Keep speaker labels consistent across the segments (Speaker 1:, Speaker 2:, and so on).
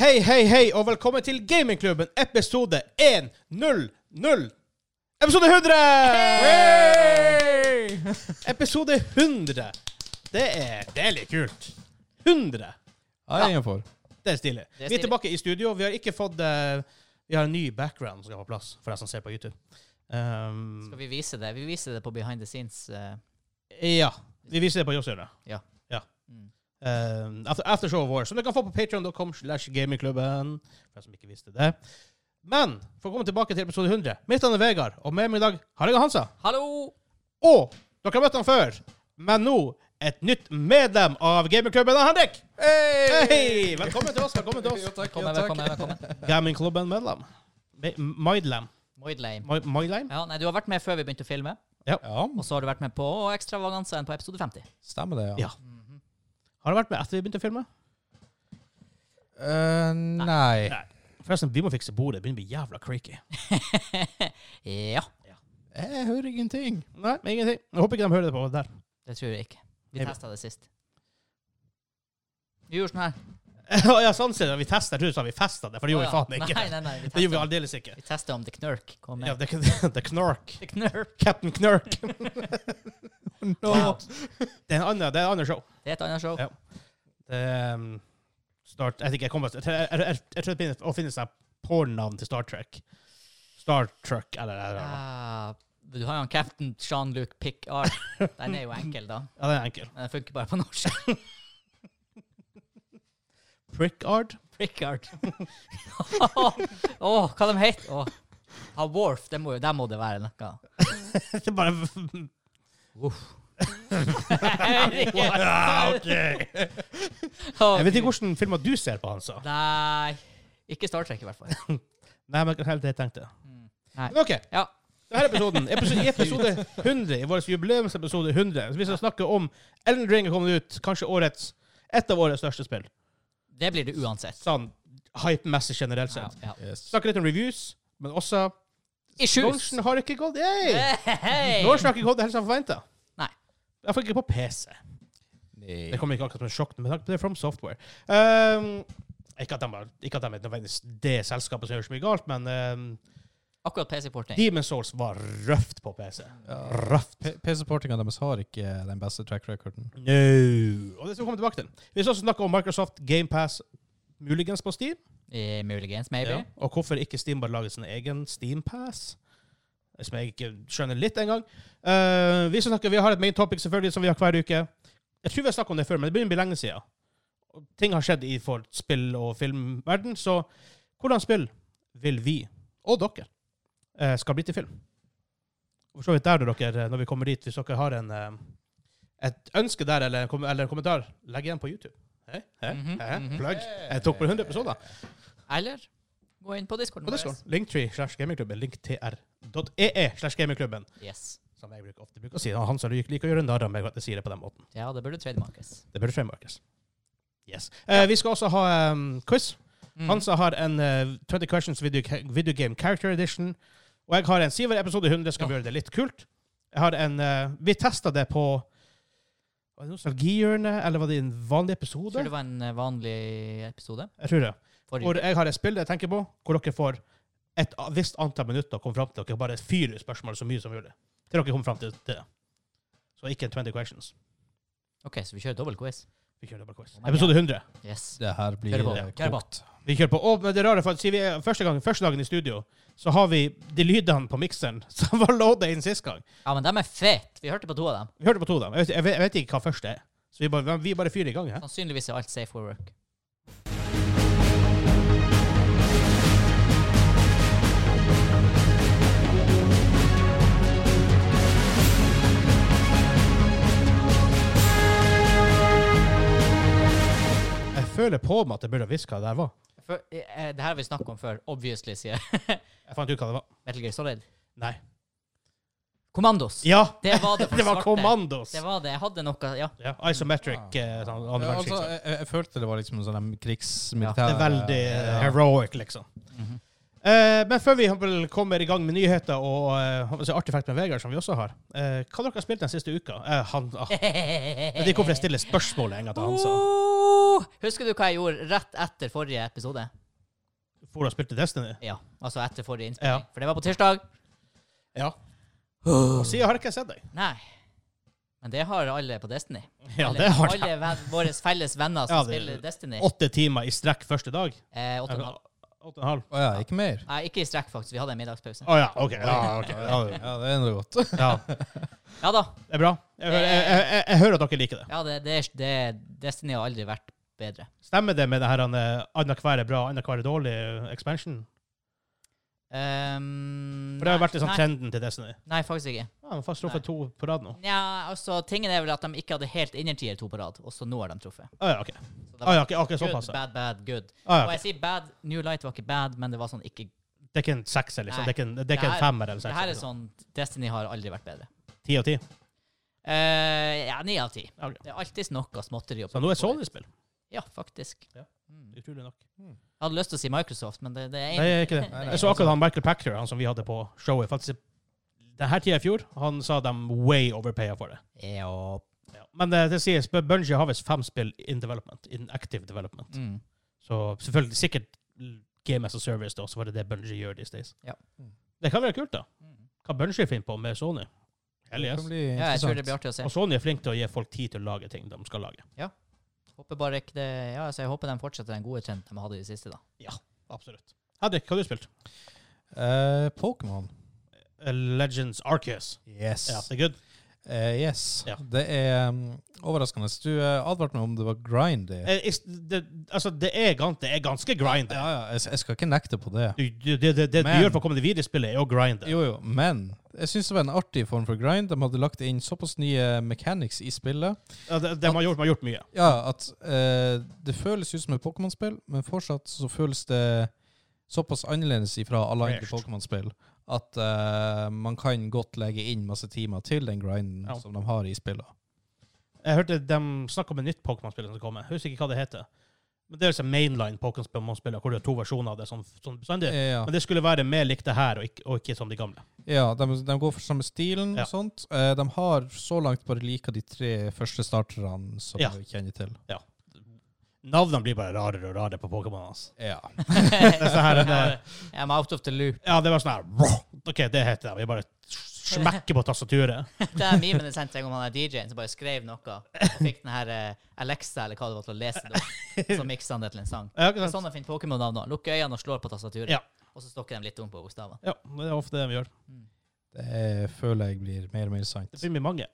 Speaker 1: Hei, hei, hei, og velkommen til Gamingklubben, episode 100. Episode 100! Episode 100. Det er, det er litt kult. 100.
Speaker 2: Jeg er innenfor.
Speaker 1: Det er stilig. Vi er
Speaker 3: Det er stilig.
Speaker 1: tilbake i studio. Vi har ikke fått eh, Vi har en ny background som skal på plass, for deg som ser på YouTube. Um,
Speaker 3: Skal vi vise det? Vi viser det på behind the scenes. eh,
Speaker 1: Ja. Vi viser det på Jåssøyene.
Speaker 3: Ja.
Speaker 1: ja.
Speaker 3: Mm.
Speaker 1: Um, after, aftershow vår, som du kan få på patreon.com slash gamingklubben. For de som ikke visste det. Men for å komme tilbake til episode 100 Mitt navn er Vegard, og med meg i dag har jeg Hansa.
Speaker 3: Hallo!
Speaker 1: Og dere har møtt han før, men nå et nytt medlem av gamingklubben av Henrik. Hei! Velkommen til oss. velkommen til oss.
Speaker 2: takk.
Speaker 3: Velkommen, velkommen. velkommen.
Speaker 1: Gamingklubben-medlem. Me- Maidlem.
Speaker 3: Moidlame.
Speaker 1: Ma- Maidlem?
Speaker 3: Ja, nei, du har vært med før vi begynte å filme,
Speaker 2: Ja,
Speaker 3: og så har du vært med på Ekstravagansen på episode 50.
Speaker 2: stemmer det,
Speaker 1: Ja.
Speaker 2: ja.
Speaker 1: Har du vært med etter vi begynte å filme?
Speaker 2: Eh, nei.
Speaker 1: Nei. Forresten, vi må fikse bordet. Det begynner å bli jævla creaky.
Speaker 3: Ja,
Speaker 2: Jeg hører ingenting.
Speaker 1: Nei, ingenting. Jeg håper ikke de hører det på der.
Speaker 3: det tror jeg ikke. Vi
Speaker 1: Jeg-
Speaker 3: testa det sist. Vi gjorde sånn her.
Speaker 1: ja, sånn ser det. Vi tester. Jeg trodde du sa vi festet det, for det gjorde vi
Speaker 3: Å, ja.
Speaker 1: faen ikke.
Speaker 3: Nei, nei, nei, vi
Speaker 1: det gjorde vi
Speaker 3: testa-
Speaker 1: aldeles ikke.
Speaker 3: vi testa om The Knurk kom
Speaker 1: Ja,
Speaker 3: med.
Speaker 1: det, det er Knark.
Speaker 3: The Knurk.
Speaker 1: Captain Knark.
Speaker 2: Nå.
Speaker 3: Ja.
Speaker 1: Det er en annen, det er en annen show.
Speaker 3: Det er et annet show.
Speaker 1: Ja. Det er um, Star, jeg, vet ikke, jeg, kommer, jeg, jeg, jeg, jeg tror det finnes, å finne seg pornnavn til Star Trek. Star Trek, eller eller, eller.
Speaker 3: Ah, du har jo han cap'n Jean-Luc Picard. Den er jo enkel, da.
Speaker 1: Ja, den er enkel.
Speaker 3: Men den funker bare på norsk.
Speaker 1: Prickard.
Speaker 3: Prickard. Åh, hva de heter Åh. Ha Worf, det må, jo- der må det være noe.
Speaker 1: det er bare ja, ok. Jeg vet ikke hvordan filmer du ser på, altså. Hansa.
Speaker 3: Nei. Ikke Star Trek, i hvert fall.
Speaker 1: Nei, men helt det jeg tenkte.
Speaker 3: Nei.
Speaker 1: Men OK.
Speaker 3: Ja.
Speaker 1: Denne episoden, episode, i episode 100, i vår jubileumsepisode 100, så vi skal snakke om Elden Ring er kommet ut, kanskje årets, et av årets største spill.
Speaker 3: Det blir det uansett.
Speaker 1: Sånn hype-messig generelt
Speaker 3: Ja,
Speaker 1: sett.
Speaker 3: ja.
Speaker 2: Yes.
Speaker 1: Snakke litt om reviews, men også
Speaker 3: Issues!
Speaker 1: Launchen har ikke gått hey!
Speaker 3: Hey!
Speaker 1: Launchen har ikke gått helt som forventa.
Speaker 3: Nei.
Speaker 1: Iallfall ikke på PC.
Speaker 2: Nei.
Speaker 1: Det kommer ikke akkurat som en sjokk, men det er From Software. Ehm, ikke, at de, har- ikke at de er nødvendigvis det selskapet som gjør så mye galt, men ehm,
Speaker 3: Akkurat PC-porting.
Speaker 1: Demon's Souls var røft på PC.
Speaker 2: Ja.
Speaker 1: Røft.
Speaker 2: P- PC-portinga deres har ikke den beste track recorden.
Speaker 1: No. Og det skal vi komme tilbake til. Vi skal også snakke om Microsoft GamePass, muligens på Steam.
Speaker 3: Eh, Muligens, maybe.
Speaker 1: Ja. Og hvorfor ikke Steam bare lager sin egen Steampass? Som jeg ikke skjønner litt engang. Uh, vi, skal snakke- vi har et main topic selvfølgelig som vi har hver uke. Jeg tror vi har snakket om det før, men det begynner å bli lenge siden. Og ting har skjedd i for spill- og filmverden, så hvordan spill vil vi, og dere, eh, skal bli til film? For så vidt der, dere, når vi kommer dit, hvis dere har en, eh, et ønske der, eller, en kom- eller en kommentar, legg igjen på YouTube. Hei, hei,
Speaker 3: Mhm,
Speaker 1: hei,
Speaker 3: mhm.
Speaker 1: plugg. Jeg tok på 100 episoder.
Speaker 3: Eller gå inn på Discord.
Speaker 1: På Discord. Linktree slash gamingklubben. Linktr.ee slash gamingklubben.
Speaker 3: Yes.
Speaker 1: Som jeg bruker, ofte bruker å si. Og Hans og Lyk liker å gjøre narr av meg for at jeg sier det på den måten.
Speaker 3: Ja, det burde trademarkes.
Speaker 1: Det burde trademarkes. Yes. Eh, vi skal også ha em, quiz.
Speaker 3: Mm.
Speaker 1: Hansa har en eh, 20 Questions video, video Game Character Edition. Og jeg har en Siver episode 100. Skal vi gjøre det litt kult? Jeg har en eh, Vi testa det på Var det Nostalgihjørnet, eller var det i en vanlig
Speaker 3: Tror
Speaker 1: episode?
Speaker 3: det var en eh, vanlig episode.
Speaker 1: Jeg tror det.
Speaker 3: Forrige
Speaker 1: Hvor jeg har et spill jeg tenker på, hvor dere får et a- visst antall minutter å komme fram til. Dere bare fyrer ut spørsmål så mye som mulig. Til dere kommer fram til det. Så ikke 20 questions.
Speaker 3: OK, så vi kjører dobbel quiz.
Speaker 1: Vi kjører bare quiz.
Speaker 3: Oh my God.
Speaker 1: Episode 100.
Speaker 3: Yes.
Speaker 2: Det her blir
Speaker 3: Kjør på,
Speaker 2: eh,
Speaker 3: kjør på.
Speaker 2: kokt.
Speaker 1: Vi kjører på. Og men det rare, for at sier vi er første, gang, første dagen i studio, så har vi de lydene på mikseren som var loada inn sist gang.
Speaker 3: Ja, men de er fete. Vi hørte på to av dem.
Speaker 1: Vi hørte på to av dem. Jeg vet, jeg vet, jeg vet ikke hva første er. Så vi bare, vi bare fyrer i gang. Her.
Speaker 3: Sannsynligvis er alt safe for work.
Speaker 1: Jeg føler på meg at jeg burde ha visst hva det der var.
Speaker 3: For, eh, det her har vi snakket om før. Obviously, sier
Speaker 1: Jeg fant ut hva det var.
Speaker 3: Metal Gear Solid.
Speaker 1: Nei.
Speaker 3: Kommandos.
Speaker 1: Ja!
Speaker 3: Det var det for
Speaker 1: Det var
Speaker 3: svarte.
Speaker 1: Commandos!
Speaker 3: Det var Ah. det. Jeg hadde noe Ja.
Speaker 1: Ja, isometric. eh, sånn,
Speaker 2: Ja,
Speaker 1: andre
Speaker 2: altså,
Speaker 1: verdenskrig.
Speaker 2: jeg, jeg jeg følte det var liksom sånn en
Speaker 3: Ja,
Speaker 2: krigsmilitær
Speaker 1: Det er veldig eh,
Speaker 2: Ja.
Speaker 1: heroic, liksom. Eh, men før vi vel kommer i gang med nyheter og eh, altså artefakt med Vegard, som vi også har, eh, hva dere har spilt den siste uka? Eh, han, ah, jeg vet ikke hvorfor jeg stiller spørsmålet en gang til han sa.
Speaker 3: Oh, husker du hva jeg gjorde rett etter forrige episode?
Speaker 1: for å spille Destiny.
Speaker 3: Ja, altså etter forrige innspill.
Speaker 1: Ja.
Speaker 3: For det var på tirsdag.
Speaker 1: Ja. Og siden har jeg ikke sett deg.
Speaker 3: Nei. Men det har alle på Destiny.
Speaker 1: Ja,
Speaker 3: alle
Speaker 1: det har jeg.
Speaker 3: alle ven- våre felles venner som
Speaker 1: Ja, det-
Speaker 3: spiller Destiny.
Speaker 1: Åtte timer i strekk første dag.
Speaker 3: Eh, åtte og en halv.
Speaker 1: Åtte og en halv.
Speaker 2: Å ja, ikke mer?
Speaker 3: Nei, ikke i strekk, faktisk. Vi hadde en middagspause.
Speaker 1: Å ja, OK. Ja, ok. Ja, det-
Speaker 2: Ja, det er noe godt.
Speaker 1: ja,
Speaker 3: Ja da.
Speaker 1: det er bra. Jeg hører, jeg, jeg, jeg, jeg hører at dere liker det.
Speaker 3: Ja, det, det, det, Destiny har aldri vært bedre.
Speaker 1: Stemmer det med det her eh, annenhver er bra, annenhver er dårlig eh, expansion?
Speaker 3: Ehm,
Speaker 1: For det har jo vært liksom
Speaker 3: nei,
Speaker 1: trenden til Destiny.
Speaker 3: nei, nei, faktisk ikke.
Speaker 1: Ja, men fast truffet to på rad nå.
Speaker 3: Nja, altså, tingen er vel at de ikke hadde helt innertier to på rad, og så nå har de truffet.
Speaker 1: Å ja, OK.
Speaker 3: Så det
Speaker 1: Å
Speaker 3: var
Speaker 1: Ah, ja, ok, akkurat
Speaker 3: good,
Speaker 1: såpass. ja.
Speaker 3: bad, bad, good.
Speaker 1: Å ja,
Speaker 3: Og
Speaker 1: ok.
Speaker 3: jeg sier bad, New Light var ikke bad, men det var sånn ikke
Speaker 1: Det er ikke en sekser, liksom. Det
Speaker 3: Nei.
Speaker 1: er ikke en, det er ikke
Speaker 3: Det
Speaker 1: en
Speaker 3: her-
Speaker 1: femmer eller
Speaker 3: Det her er
Speaker 1: sekser. liksom.
Speaker 3: sånn Destiny har aldri vært bedre.
Speaker 1: Ti av ti.
Speaker 3: Eh, ja, ni av ti.
Speaker 1: Ja, ok.
Speaker 3: Det er alltid noe småtteri. å
Speaker 1: Så nå er
Speaker 3: plukke på.
Speaker 1: Sony i spill.
Speaker 3: Ja, faktisk.
Speaker 1: Ja.
Speaker 3: Mm.
Speaker 1: Utrolig nok.
Speaker 3: Jeg hadde lyst til å si Microsoft, men det, det er
Speaker 1: Nei, jeg er ikke det.
Speaker 2: Nei, nei.
Speaker 1: Jeg så akkurat han Michael Packer, han som vi hadde på showet. faktisk denne tida i fjor, han sa de way overpaya for det.
Speaker 3: Ja.
Speaker 1: Men eh, det sies Bungie har visst fem spill in development, in active development.
Speaker 3: Mm.
Speaker 1: Så selvfølgelig sikkert Game as a Service, da, så var det det Bungie gjør these days.
Speaker 3: Ja.
Speaker 2: Mm.
Speaker 1: Det kan være kult, da.
Speaker 3: Mm.
Speaker 1: Hva Bungie finner på med Sony. Hell
Speaker 2: Det
Speaker 1: yes.
Speaker 2: kan bli
Speaker 3: ja, jeg tror det blir
Speaker 2: interessant.
Speaker 3: artig å se.
Speaker 1: Og Sony er flink til å gi folk tid til å lage ting de skal lage.
Speaker 3: Håper bare ikke det Ja, altså, jeg håper de fortsetter den gode trenden de hadde i det siste, da.
Speaker 1: Absolutt. Henrik, hva har du spilt?
Speaker 2: Eh, Pokémon.
Speaker 1: Eh, Legends Arceus.
Speaker 2: Yes.
Speaker 1: Ja, det er good.
Speaker 2: Eh, yes.
Speaker 1: Ja.
Speaker 2: Det er um, overraskende. Du eh, advarte meg om det var grindy.
Speaker 1: Eh, is- det, altså, det er, gan- det er ganske grind.
Speaker 2: Ja, ja, jeg, jeg skal ikke nekte på det.
Speaker 1: Du, du, det det, det du
Speaker 2: Men-
Speaker 1: gjør for å komme deg videre i spillet, er å grinde.
Speaker 2: Jo, jo, men jeg syns det var en artig form for grind. De hadde lagt inn såpass nye mechanics i spillet
Speaker 1: Ja, de, de har gjort, de har gjort mye.
Speaker 2: Ja, at eh, det føles ut som et Pokémon-spill, men fortsatt så føles det såpass annerledes ifra alle andre
Speaker 1: Fresh.
Speaker 2: Pokémon-spill at eh, man kan godt legge inn masse timer til den grinden
Speaker 1: Ja.
Speaker 2: som de har i spillet.
Speaker 1: Jeg hørte de snakke om et nytt Pokémon-spill som kommer. Jeg husker ikke hva det heter. Men Det er altså mainline Pokémon-spill, hvor det er to versjoner av det. Sånn, sånn, bestandig.
Speaker 2: Eh, ja.
Speaker 1: Men det skulle være mer likt det her, og ikke, og ikke som de gamle.
Speaker 2: Ja, de, de går for samme stilen
Speaker 1: Ja.
Speaker 2: og sånt. Eh, de har så langt bare lika de tre første starterne som
Speaker 1: Ja.
Speaker 2: vi kjenner til.
Speaker 1: Navnene blir bare rarere og rarere på Pokémon. Altså.
Speaker 2: Ja.
Speaker 1: Det er sånn her, det,
Speaker 3: I'm out of the loop.
Speaker 1: ja, det var sånn her «Wow, OK, det heter det. Vi bare smekker på tastaturet.
Speaker 3: Det er memen jeg sendte en gang om han der DJ-en som bare skrev noe, og fikk den her eh, Alexa eller hva det var til å lese det opp, så miksa han det til en sang.
Speaker 1: Ja, ikke
Speaker 3: Det er
Speaker 1: sant?
Speaker 3: sånn de finner Pokémon-navn nå. Lukker øynene og slår på tastaturet,
Speaker 1: Ja.
Speaker 3: og så stokker de litt om på bokstavene.
Speaker 1: ja, det er ofte det vi gjør.
Speaker 2: Det er, føler jeg blir mer og mer sant.
Speaker 1: Det blir mye mange.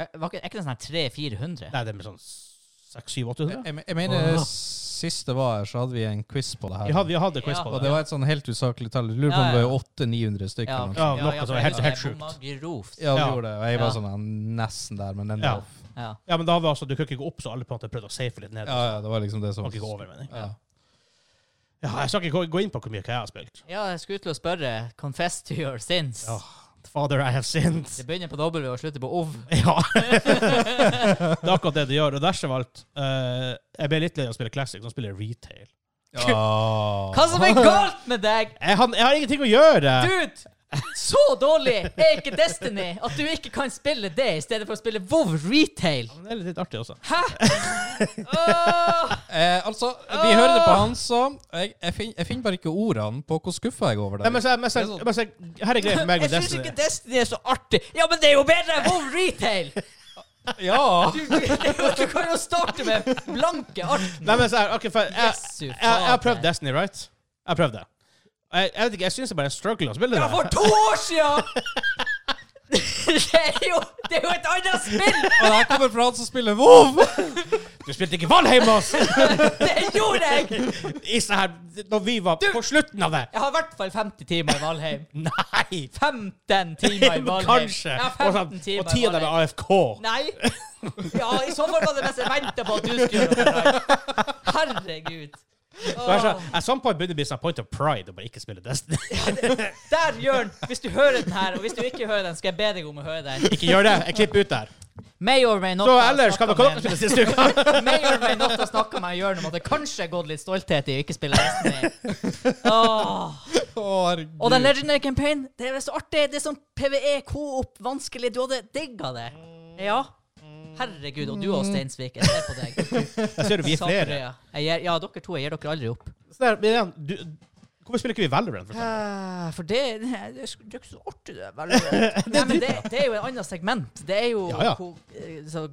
Speaker 3: Er, var ikke, er ikke det sånn her 300-400?
Speaker 1: Nei, det blir sånn 600-700-800.
Speaker 2: Jeg, jeg mener
Speaker 3: Åh.
Speaker 2: sist det var her, så hadde vi en quiz på det her.
Speaker 1: Vi hadde, vi hadde quiz på
Speaker 2: og
Speaker 1: det.
Speaker 2: det var et sånn helt usaklig tall. Jeg Lurer på
Speaker 3: Ja,
Speaker 2: om det
Speaker 3: ja.
Speaker 2: var 800-900 stykker.
Speaker 3: Ja,
Speaker 2: eller noe
Speaker 1: Ja,
Speaker 2: sånt.
Speaker 1: noe som er helt- helt sjukt.
Speaker 3: sjukt.
Speaker 2: Ja, vi
Speaker 1: Ja.
Speaker 2: gjorde det. Og jeg var
Speaker 3: Ja.
Speaker 2: sånn ja, nesten der, men enda
Speaker 1: Ja.
Speaker 2: off.
Speaker 3: Ja.
Speaker 1: Ja, men da var altså, du kunne ikke gå opp, så alle på en måte prøvde å safe litt ned.
Speaker 2: Ja, ja, det var liksom det som
Speaker 1: Og ikke gå over, mener jeg.
Speaker 2: Ja.
Speaker 1: Ja, jeg skal ikke gå, gå inn på hvor mye hva jeg har spilt.
Speaker 3: ja, jeg skulle til å spørre. Confess to your sins.
Speaker 1: Ja. Father, I have sinned.
Speaker 3: Det begynner på W og slutter på OV.
Speaker 1: Ja. det er akkurat det du gjør. Og dersom alt eh, Jeg ble litt lei av å spille classic, nå spiller jeg retail.
Speaker 3: Hva som er galt med deg?
Speaker 1: Jeg har, jeg har ingenting å gjøre!
Speaker 3: Dude! Så dårlig er ikke Destiny at du ikke kan spille det i stedet for å spille WoW Retail.
Speaker 1: Men Det er litt artig også.
Speaker 3: Hæ? Åh!
Speaker 2: Eh, altså, vi hører det på han, så jeg, jeg, fin, jeg finner bare ikke ordene på hvor skuffa jeg er over det.
Speaker 1: Nei, men, så, men, så, men så, her er greia for meg
Speaker 3: Jeg
Speaker 1: med
Speaker 3: syns
Speaker 1: Destiny.
Speaker 3: ikke Destiny er så artig. Ja, men det er jo bedre enn WoW Retail!
Speaker 2: ja.
Speaker 3: Du, du, du kan jo starte med blanke ark.
Speaker 1: Nei, men så, her, ok, for jeg, jeg,
Speaker 3: Jesu
Speaker 1: jeg, jeg har
Speaker 3: fader.
Speaker 1: prøvd Destiny, right? Jeg har prøvd det. Jeg, jeg vet ikke, jeg syns det bare er struggle å spille
Speaker 3: Ja, for
Speaker 1: det.
Speaker 3: to år sia! Det er jo, det er jo et annet spill!
Speaker 2: Og det her kommer fra han som spiller WoW!
Speaker 1: Du spilte ikke Valheim med oss!
Speaker 3: Det gjorde jeg!
Speaker 1: I sånn her, når vi var på slutten av det.
Speaker 3: Jeg har i hvert fall 50 timer i Valheim.
Speaker 1: Nei!
Speaker 3: 15 timer i Valheim.
Speaker 1: Kanskje.
Speaker 3: Ja,
Speaker 1: Og,
Speaker 3: 15
Speaker 1: sånn,
Speaker 3: timer
Speaker 1: og ti av
Speaker 3: i
Speaker 1: dem er
Speaker 3: Valheim.
Speaker 1: AFK.
Speaker 3: Nei. Ja, i så fall var det mens jeg venta på at du skulle gjøre noe. Herregud.
Speaker 1: Det er så,
Speaker 3: Åh,
Speaker 1: at some point begynner det å bli sånn point of pride å bare ikke spille Destiny.
Speaker 3: Der, Jørn, hvis du hører den her, og hvis du ikke hører den, skal jeg be deg om å høre den.
Speaker 1: Ikke gjør det! Jeg klipper ut der.
Speaker 3: May or may not
Speaker 1: Så
Speaker 3: ha
Speaker 1: ellers kan
Speaker 3: snakket
Speaker 1: dere
Speaker 3: med-
Speaker 1: dere spille siste uka.
Speaker 3: May or may not ha snakka med Jørn om at det kanskje er gått litt stolthet i å ikke spille Destiny. Åh. Og den legendary campaign, det er så artig. Det er sånn PVE, co-op, vanskelig. Du hadde digga det. Ja. Herregud. Og du og Steinsvik, jeg ser på deg.
Speaker 1: Jeg ser jo vi er flere.
Speaker 3: Sakerøya. Jeg gir, ja, dere to. Jeg gir dere aldri opp.
Speaker 1: Så der, men igjen, du, hvorfor spiller ikke vi Valorant? For eksempel?
Speaker 3: Eh, For det, det er det er ikke så artig, det. Vel, Nei, men det, det er jo et annet segment. Det er jo
Speaker 1: Ja, ja.
Speaker 3: ko- eh, så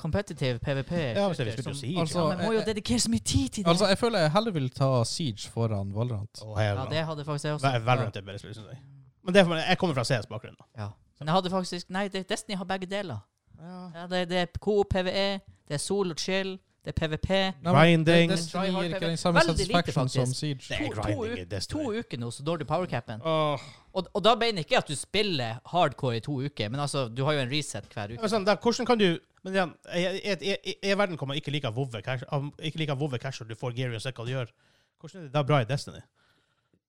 Speaker 3: competitive PVP.
Speaker 1: ja, hvis jeg skulle jo
Speaker 3: som-
Speaker 1: si
Speaker 2: altså-
Speaker 3: Ja, men må jo dedikere så mye tid til det.
Speaker 2: Altså, jeg føler jeg heller vil ta Siege foran Valorant.
Speaker 1: Å, jeg er
Speaker 3: ja,
Speaker 1: glad.
Speaker 3: det hadde faktisk jeg også.
Speaker 1: Val- Valorant er bedre spill, synes jeg. liksom. Men det er for meg, jeg kommer fra CS-bakgrunn. da.
Speaker 3: Ja. Men jeg hadde faktisk Nei, det, Destiny har begge deler.
Speaker 2: Ja.
Speaker 3: Ja, det, det er Coop PVE, E, det er Sol og Chill, det er PVP.
Speaker 2: Nei, men det-
Speaker 1: Grinding.
Speaker 2: Destiny
Speaker 3: Try hard
Speaker 2: gir ikke
Speaker 3: PvP.
Speaker 2: den samme
Speaker 3: Veldig lite,
Speaker 2: satisfaction som
Speaker 3: faktisk.
Speaker 1: Det er
Speaker 3: To- to
Speaker 2: Siege.
Speaker 1: grinding
Speaker 3: u-
Speaker 1: i Destiny.
Speaker 3: To uker nå, så når du powercapen.
Speaker 1: Åh.
Speaker 3: Og, og da mener jeg ikke at du spiller hardcore i to uker, men altså, du har jo en reset hver
Speaker 1: Ja,
Speaker 3: uke.
Speaker 1: men sånn, da, hvordan kan du Men igjen, jeg- jeg- jeg- jeg- jeg- verden kommer ikke like Vovve Cash av- Ikke like Vovve Cash og du får gear uansett hva du gjør. Hvordan er det da bra i Destiny?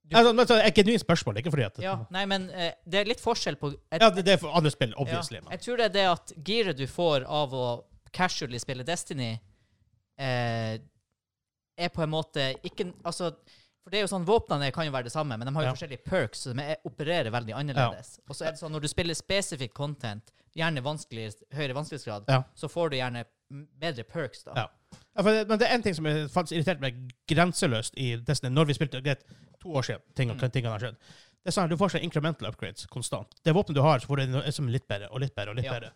Speaker 3: Du-
Speaker 1: altså, men, så, er ikke genuint spørsmål. Ikke fordi at
Speaker 3: Ja, nei, men eh, det er litt forskjell på jeg,
Speaker 1: Ja, det, det er for andre spill, obviously.
Speaker 3: ja,
Speaker 1: men-
Speaker 3: Jeg tror det er det at giret du får av å casually spille Destiny, eh, er på en måte ikke Altså, for det er jo sånn, våpnene kan jo være det samme, men de har jo
Speaker 1: Ja.
Speaker 3: forskjellige perks, som er, opererer veldig annerledes. Og så er det sånn, når du spiller spesifikt content, gjerne vanskelig, høyere vanskelighetsgrad,
Speaker 1: Ja.
Speaker 3: så får du gjerne m- bedre perks, da.
Speaker 1: Ja. Ja, for det, men det er én ting som er faktisk irritert meg grenseløst i Destiny, når vi spilte greit, to år siden. Ting,
Speaker 3: Mm.
Speaker 1: tingene har skjedd. Det er sånn, at Du får sånn incremental upgrades konstant. Det våpenet du har, så får du noe som er litt bedre og litt bedre. og litt
Speaker 3: Ja.
Speaker 1: bedre.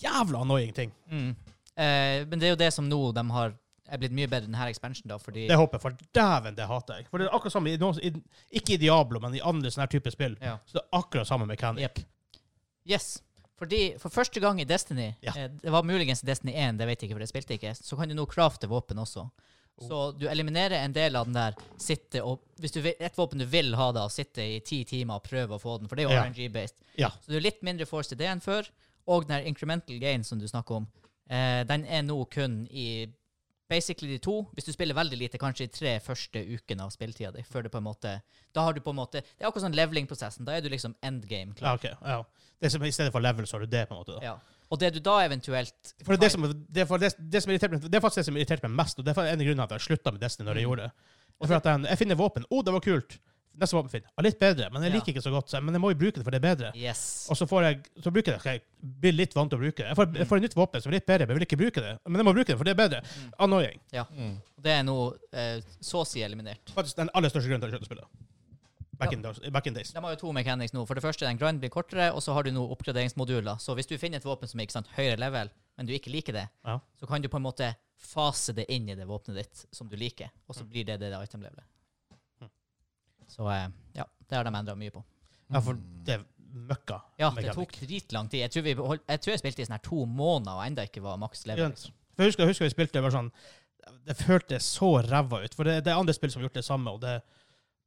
Speaker 1: Jævla annoying ting.
Speaker 3: Mm. Eh, men det er jo det som nå de har er blitt mye bedre denne expansion, da, fordi
Speaker 1: Det håper jeg, for dæven, det hater jeg. For det er akkurat samme, i noen, i, Ikke i Diablo, men i andre sånne her type spill.
Speaker 3: Ja.
Speaker 1: Så det er akkurat samme mekanikk.
Speaker 3: Jep. Yes. Fordi For første gang i Destiny
Speaker 1: Ja.
Speaker 3: eh, Det var muligens i Destiny 1, det vet jeg ikke, for jeg spilte ikke. Så kan du nå crafte våpen også.
Speaker 1: Oh.
Speaker 3: Så du eliminerer en del av den der sitte og Hvis du vil, et våpen du vil ha, da, sitte i ti timer og prøve å få den, for det er jo
Speaker 1: Ja.
Speaker 3: RNG-based.
Speaker 1: Ja.
Speaker 3: Så du er litt mindre forced i det enn før. Og den her incremental gain som du snakker om, eh, den er nå kun i basically de to. Hvis du spiller veldig lite, kanskje i tre første ukene av spilletida di, før det på en måte Da har du på en måte Det er akkurat sånn leveling-prosessen. Da er du liksom end game klar.
Speaker 1: ja, ok. Ja. Det som, I stedet for level, så har du det, på en måte. da.
Speaker 3: Ja. Og det du da eventuelt
Speaker 1: For det, er det, som, det, er for det, det, som irriterte meg, det er faktisk det som irriterte meg mest, og det er en av grunnene til at jeg slutta med Destiny når
Speaker 3: Mm.
Speaker 1: jeg gjorde det. Og for at jeg, jeg finner våpen. Å, det var kult. Neste våpen finner jeg. Ja, Litt bedre, men jeg
Speaker 3: Ja.
Speaker 1: liker ikke så godt. så jeg- Men jeg må jo bruke det, for det er bedre.
Speaker 3: Yes.
Speaker 1: Og så får jeg, så bruker jeg det. Jeg blir litt vant til å bruke det. Jeg får, jeg får et nytt våpen som er litt bedre, men jeg vil ikke bruke det. Men jeg må bruke det, for det er bedre.
Speaker 3: Mm.
Speaker 1: Annoying.
Speaker 3: Ja. Og det er nå eh, så å si eliminert.
Speaker 1: Faktisk den aller største grunnen til at jeg sluttet å spille. Back, in days, back in days.
Speaker 3: De har jo to mechanics nå. For det første, den grind blir kortere, og så har du nå oppgraderingsmoduler. Så hvis du finner et våpen som er ikke sant, høyere level, men du ikke liker det,
Speaker 1: Ja.
Speaker 3: så kan du på en måte fase det inn i det våpenet ditt som du liker, og så blir det det det item-levelet.
Speaker 1: Mm.
Speaker 3: Så eh, ja, det har de endra mye på.
Speaker 1: Ja, for Mm. det er møkka.
Speaker 3: Ja, det
Speaker 1: mekanikk.
Speaker 3: tok dritlang tid. Jeg tror, vi behold, jeg, tror jeg spilte i sånn her to måneder og enda ikke var maks
Speaker 1: Ikke
Speaker 3: level.
Speaker 1: sant? For jeg husker, jeg husker vi spilte det var sånn Det føltes så ræva ut. For det, det er andre spill som har gjort det samme. Og det,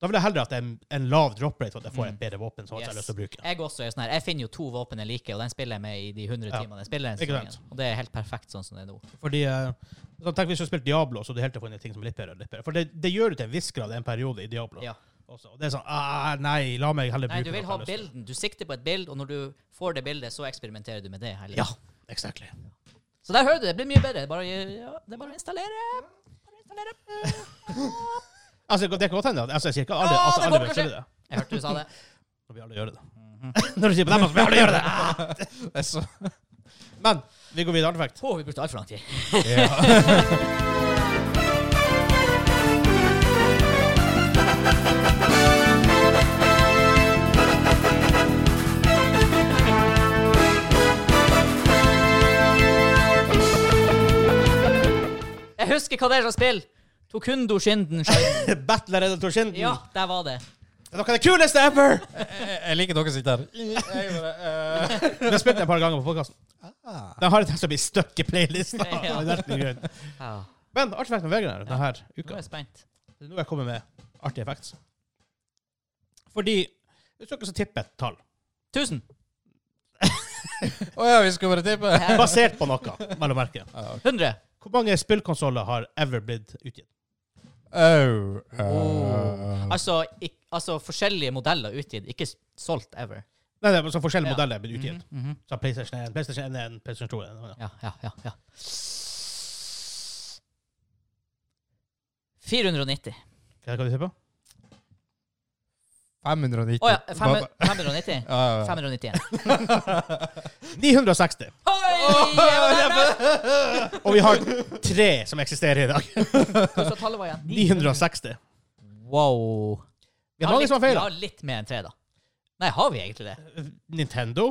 Speaker 1: da vil jeg heller at det er en, en lav drop rate, for at jeg får
Speaker 3: Mm.
Speaker 1: et bedre våpen som jeg har
Speaker 3: Yes.
Speaker 1: lyst til å bruke.
Speaker 3: Jeg også er sånn her, jeg finner jo to våpen jeg liker, og den spiller jeg med i de 100
Speaker 1: Ja.
Speaker 3: timene jeg spiller.
Speaker 1: Ikke
Speaker 3: Den
Speaker 1: sant.
Speaker 3: sesongen. og det er helt perfekt sånn som det er nå.
Speaker 1: Fordi eh, så Tenk hvis du har spilt Diablo, så du helt til å få inn ting som er litt bedre. Litt bedre. For det, det gjør du til en viss grad en periode i Diablo.
Speaker 3: Ja.
Speaker 1: Også. Og det er sånn ah, Nei, la meg heller
Speaker 3: Nei,
Speaker 1: bruke
Speaker 3: du vil
Speaker 1: noe
Speaker 3: ha
Speaker 1: jeg har lyst til.
Speaker 3: bilden. Du sikter på et bild, og når du får det bildet, så eksperimenterer du med det. heller.
Speaker 1: Ja, exactly.
Speaker 3: Så der hører du, det blir mye bedre. Bare, ja, det er bare å installere. Bare installere.
Speaker 1: Altså, det kan godt hende. at- Altså, jeg sier ikke at alle,
Speaker 3: Å,
Speaker 1: altså,
Speaker 3: det
Speaker 1: alle
Speaker 3: går
Speaker 1: vil
Speaker 3: kanskje.
Speaker 1: spille det.
Speaker 3: Jeg hørte du sa det.
Speaker 1: Når vi alle gjør det. Når du sier på dem, så vil alle gjøre det! Ah!
Speaker 2: Mhm. Det er så
Speaker 1: Men vi går videre til artefakt.
Speaker 3: Å, vi brukte altfor lang tid. Jeg husker hva det er slags spill. Tokundo Shinden Shinden.
Speaker 1: Battler Editor Shinden.
Speaker 3: Ja, der var det.
Speaker 1: Det er noe av det kuleste ever!
Speaker 2: Jeg jeg liker dere sitter her. Jeg gjorde det. eh.
Speaker 1: Vi har spilt det et par ganger på podkasten.
Speaker 2: Ah.
Speaker 1: Den har det som blir stuck i playlista.
Speaker 3: Ja.
Speaker 1: av en eller annen grunn.
Speaker 3: Ja,
Speaker 1: Men artefakten med Vegard denne her
Speaker 3: nå er
Speaker 1: uka
Speaker 3: jeg spent.
Speaker 1: Det er Nå jeg kommer med artige effekter. Fordi Hvis dere skal tippe et tall,
Speaker 3: 1000.
Speaker 2: Å ja, vi skal bare tippe?
Speaker 1: basert på noe, vel å merke
Speaker 3: 100.
Speaker 1: Hvor mange spillkonsoller har ever blitt utgitt?
Speaker 2: Au.
Speaker 3: Oh. Altså, ikk, altså forskjellige modeller utgitt, ikke s- solgt ever.
Speaker 1: Nei, det er så forskjellige
Speaker 3: Ja.
Speaker 1: modeller er blitt utgitt.
Speaker 3: Mhm, mhm.
Speaker 1: Så PlayStation 1, PlayStation 1 er en, PlayStation 2 er en. annen.
Speaker 3: Ja, ja, ja, ja. 490.
Speaker 1: Hva kan du tippe?
Speaker 2: 590.
Speaker 3: Å ja, fem- 590.
Speaker 2: Ja, ja, ja.
Speaker 3: 591.
Speaker 1: 960.
Speaker 3: Oi! jeg var nærmest!
Speaker 1: Og vi har tre som eksisterer i dag.
Speaker 3: Hva sa tallet var igjen?
Speaker 1: 960.
Speaker 3: Wow.
Speaker 1: Det er mange
Speaker 3: litt,
Speaker 1: som har feil,
Speaker 3: Vi har litt mer enn tre, da. Nei, har vi egentlig det?
Speaker 1: Nintendo,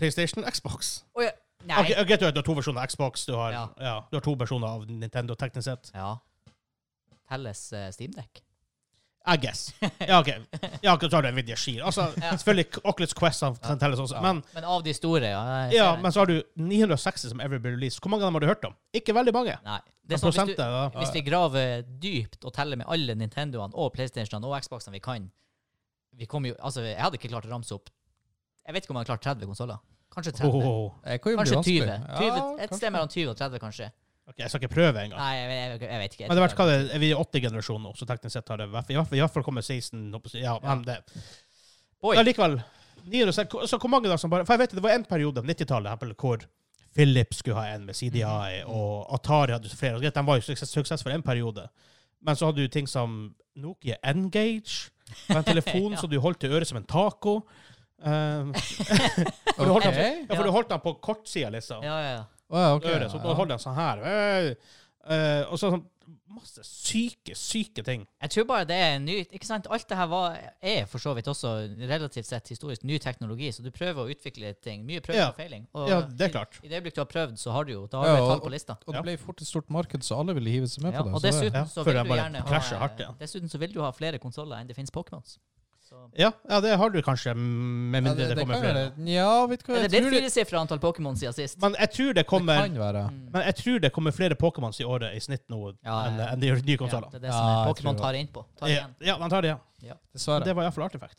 Speaker 1: PlayStation, Xbox.
Speaker 3: Oi, nei.
Speaker 1: Ok, ok, du, har- du har to versjoner av Xbox. Du har, ja.
Speaker 3: Ja.
Speaker 1: du har to versjoner av Nintendo, teknisk sett.
Speaker 3: Ja. Telles uh, Steamdekk?
Speaker 1: I guess. Ja, OK. Ja, ok, så har du Nvidia Shield. Altså,
Speaker 3: Ja.
Speaker 1: Selvfølgelig, Oculus Quest kan telles også. Men,
Speaker 3: Men av de store, ja. jeg
Speaker 1: ja,
Speaker 3: ser det.
Speaker 1: men så har du 960 som every been released. Hvor mange av dem har du hørt om? Ikke veldig mange.
Speaker 3: Nei.
Speaker 1: Men
Speaker 3: Det er sånn,
Speaker 1: prosentet,
Speaker 3: hvis, du,
Speaker 1: da.
Speaker 3: hvis vi graver dypt og teller med alle Nintendoene og PlayStationene og Xboxene vi kan vi kommer jo, altså, Jeg hadde ikke klart å ramse opp Jeg vet ikke om jeg hadde klart 30 konsoller. Kanskje 30.
Speaker 1: Oh,
Speaker 2: Eh, Det kan jo bli
Speaker 3: Kanskje 20.
Speaker 2: vanskelig.
Speaker 3: 20
Speaker 2: Ja,
Speaker 3: et
Speaker 2: kanskje.
Speaker 3: sted mellom 20 og 30, kanskje.
Speaker 1: OK, jeg skal ikke prøve engang.
Speaker 3: Nei, jeg, jeg, jeg vet ikke.
Speaker 1: Men det har vært, hva det, er vi i 80-generasjonen nå, så teknisk sett har det vært, i hvert fall, i hvert fall kommet 16 opp- Ja, men det
Speaker 3: Boy.
Speaker 1: Men likevel 960, Så hvor mange da som bare For jeg vet det var en periode, 90-tallet, eksempel, hvor Philips skulle ha en med
Speaker 3: Mm.
Speaker 1: CDI, og Atari hadde flere. og greit, De var jo suksess, suksessfulle en periode. Men så hadde du ting som Nokia Engage, på en telefon
Speaker 3: Ja.
Speaker 1: som du holdt i øret som en taco. Um, for du holdt den,
Speaker 2: Ok.
Speaker 1: ja, for
Speaker 3: Ja.
Speaker 1: du holdt den på kortsida, liksom
Speaker 3: Ja, ja, ja.
Speaker 2: Å, ja, ok.
Speaker 1: øret, så da holder jeg sånn her. Eh, og så sånn masse syke, syke ting.
Speaker 3: Jeg tror bare det er ny Ikke sant? Alt det her var, er for så vidt også relativt sett historisk ny teknologi, så du prøver å utvikle ting. Mye prøving
Speaker 1: Ja.
Speaker 3: og feiling. Og
Speaker 1: Ja, det er klart.
Speaker 3: I, i det øyeblikk du har prøvd, så har du jo Da har
Speaker 2: Ja,
Speaker 3: du et
Speaker 2: og-
Speaker 3: tall på lista.
Speaker 2: Og det ble fort et stort marked, så alle ville hive seg med
Speaker 3: Ja,
Speaker 2: på det.
Speaker 3: og
Speaker 2: så det-
Speaker 3: dessuten
Speaker 1: Ja,
Speaker 3: så
Speaker 1: før
Speaker 3: vil
Speaker 1: jeg
Speaker 3: du
Speaker 1: bare
Speaker 3: gjerne
Speaker 1: krasjer
Speaker 3: ha
Speaker 1: hardt igjen.
Speaker 3: Dessuten så vil du ha flere konsoller enn det finnes Pokémons. Så-
Speaker 1: Ja, ja, det har du kanskje, med mindre
Speaker 2: Ja,
Speaker 1: det, kommer
Speaker 2: kan
Speaker 1: flere.
Speaker 2: være- Ja, vet du hva
Speaker 3: Er
Speaker 2: jeg
Speaker 3: det blitt
Speaker 2: tror det-
Speaker 3: firesifra antall Pokémon siden sist?
Speaker 1: Men jeg tror det kommer
Speaker 2: kan være.
Speaker 3: Mm.
Speaker 1: men jeg tror det kommer flere Pokémons i året i snitt nå
Speaker 3: Ja, ja,
Speaker 1: enn
Speaker 3: ja.
Speaker 1: enn de gjør nye
Speaker 3: Ja,
Speaker 1: konsoller.
Speaker 3: det er det som
Speaker 2: Ja,
Speaker 3: er
Speaker 2: jeg
Speaker 3: Pokémon
Speaker 2: tror
Speaker 3: tar inn på. Tar
Speaker 1: Ja,
Speaker 3: igjen.
Speaker 1: ja, man tar det, ja.
Speaker 2: Dessverre.
Speaker 1: Det var iallfall artefakt.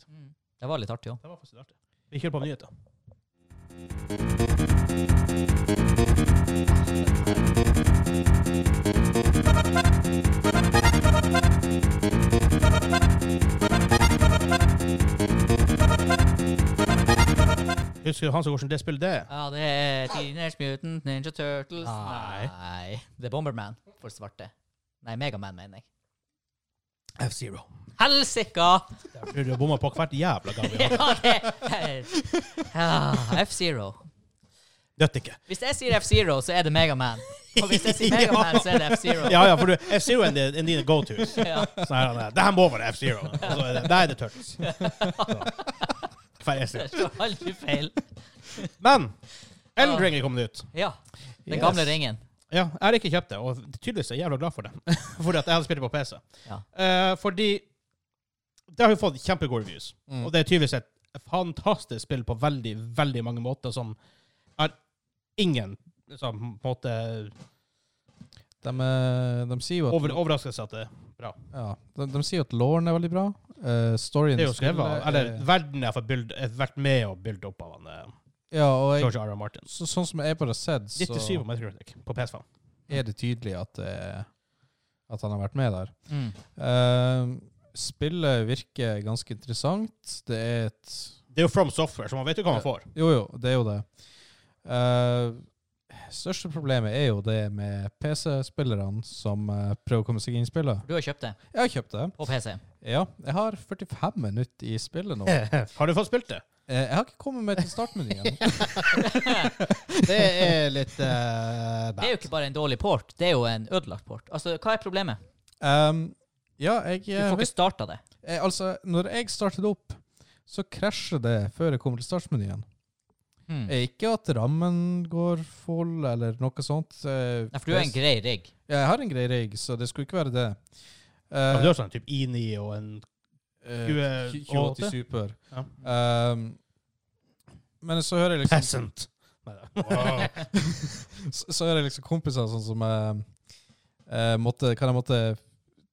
Speaker 3: Det var litt artig òg.
Speaker 1: Det var faktisk artig. Vi kjører på med nyheter. Husker du han som går som det spillet det er?
Speaker 3: Ja, det er Teenage Mutant Ninja Turtles.
Speaker 1: Nei.
Speaker 3: Nei. Det er Bomberman for svarte. Nei, Megaman, mener jeg.
Speaker 1: F-Zero.
Speaker 3: Helsika!
Speaker 1: Jeg tror du har bomma på hvert jævla gang vi har.
Speaker 3: Ja, det- Ah, F-Zero.
Speaker 1: Nødt ikke.
Speaker 3: Hvis jeg sier F-Zero, så er det Megaman. Og hvis jeg sier Megaman, så er det F-Zero.
Speaker 1: Ja, ja, for du, F-Zero er din- er dine go-tos.
Speaker 3: Ja.
Speaker 1: Sånn her, han er, Det her må være F-Zero. Og så er det- Der er det Turtles. Så. Hver eneste.
Speaker 3: Det står aldri feil.
Speaker 1: Men Elden Ring er kommet ut.
Speaker 3: Ja. Den
Speaker 2: Yes.
Speaker 3: gamle ringen.
Speaker 1: Ja, jeg har ikke kjøpt det, og tydeligvis er jeg jævla glad for det. fordi at jeg hadde spilt det på PC.
Speaker 3: Ja.
Speaker 1: Eh, fordi det har jo fått kjempegode reviews.
Speaker 2: Mm.
Speaker 1: Og det er tydeligvis et fantastisk spill på veldig, veldig mange måter som har ingen liksom, på en måte
Speaker 2: De, eh, de sier jo at
Speaker 1: over, overraskelse at det
Speaker 2: Ja, de, de sier jo at lauren er veldig bra. Eh, storyen
Speaker 1: det er jo
Speaker 2: spillet
Speaker 1: skrevet av- Eller
Speaker 2: er-
Speaker 1: verden har fått bild- eh, vært med å bygge opp av han, eh,
Speaker 2: Ja, og jeg,
Speaker 1: George R. R. Martin.
Speaker 2: så, sånn som jeg bare har sett,
Speaker 1: 97 på
Speaker 2: så
Speaker 1: Metacritic på PS5.
Speaker 2: er det tydelig at, det- at han har vært med der.
Speaker 3: Mm.
Speaker 2: Eh, spillet virker ganske interessant. Det er et
Speaker 1: Det er jo From Software, så man vet jo hva man får.
Speaker 2: Jo, jo, det er jo det. Eh, største problemet er jo det med PC-spillerne som eh, prøver å komme seg inn i spillet.
Speaker 3: Du har kjøpt det
Speaker 2: Jeg har kjøpt det.
Speaker 3: på PC.
Speaker 2: Ja, jeg har 45 minutter i spillet nå. Eh,
Speaker 1: Har du fått spilt det?
Speaker 2: jeg har ikke kommet meg til startmenyen.
Speaker 1: Det er litt
Speaker 3: Det er jo ikke bare en dårlig port, det er jo en ødelagt port. Altså, hva er problemet?
Speaker 2: Um, ja, jeg, eh,
Speaker 3: Du får
Speaker 2: vet-
Speaker 3: ikke starta det.
Speaker 2: jeg Altså, når jeg startet opp, så krasjer det før jeg kommer til startmenyen.
Speaker 3: Mm.
Speaker 2: Eh, Ikke at rammen går full, eller noe sånt. eh,
Speaker 3: Nei, for du er en
Speaker 2: det-
Speaker 3: grei rigg.
Speaker 2: Ja, jeg har en grei rigg, så det skulle ikke være det.
Speaker 1: Ja,
Speaker 2: Eh,
Speaker 1: men det er jo sånn typ INI og en
Speaker 2: Eh,
Speaker 1: 20-
Speaker 2: 2080 Super.
Speaker 1: Ja.
Speaker 2: Ehm, men så hører jeg liksom
Speaker 1: peasant. Wow.
Speaker 2: så, så hører jeg liksom kompiser sånn som eh, eh, måtte, Kan jeg måtte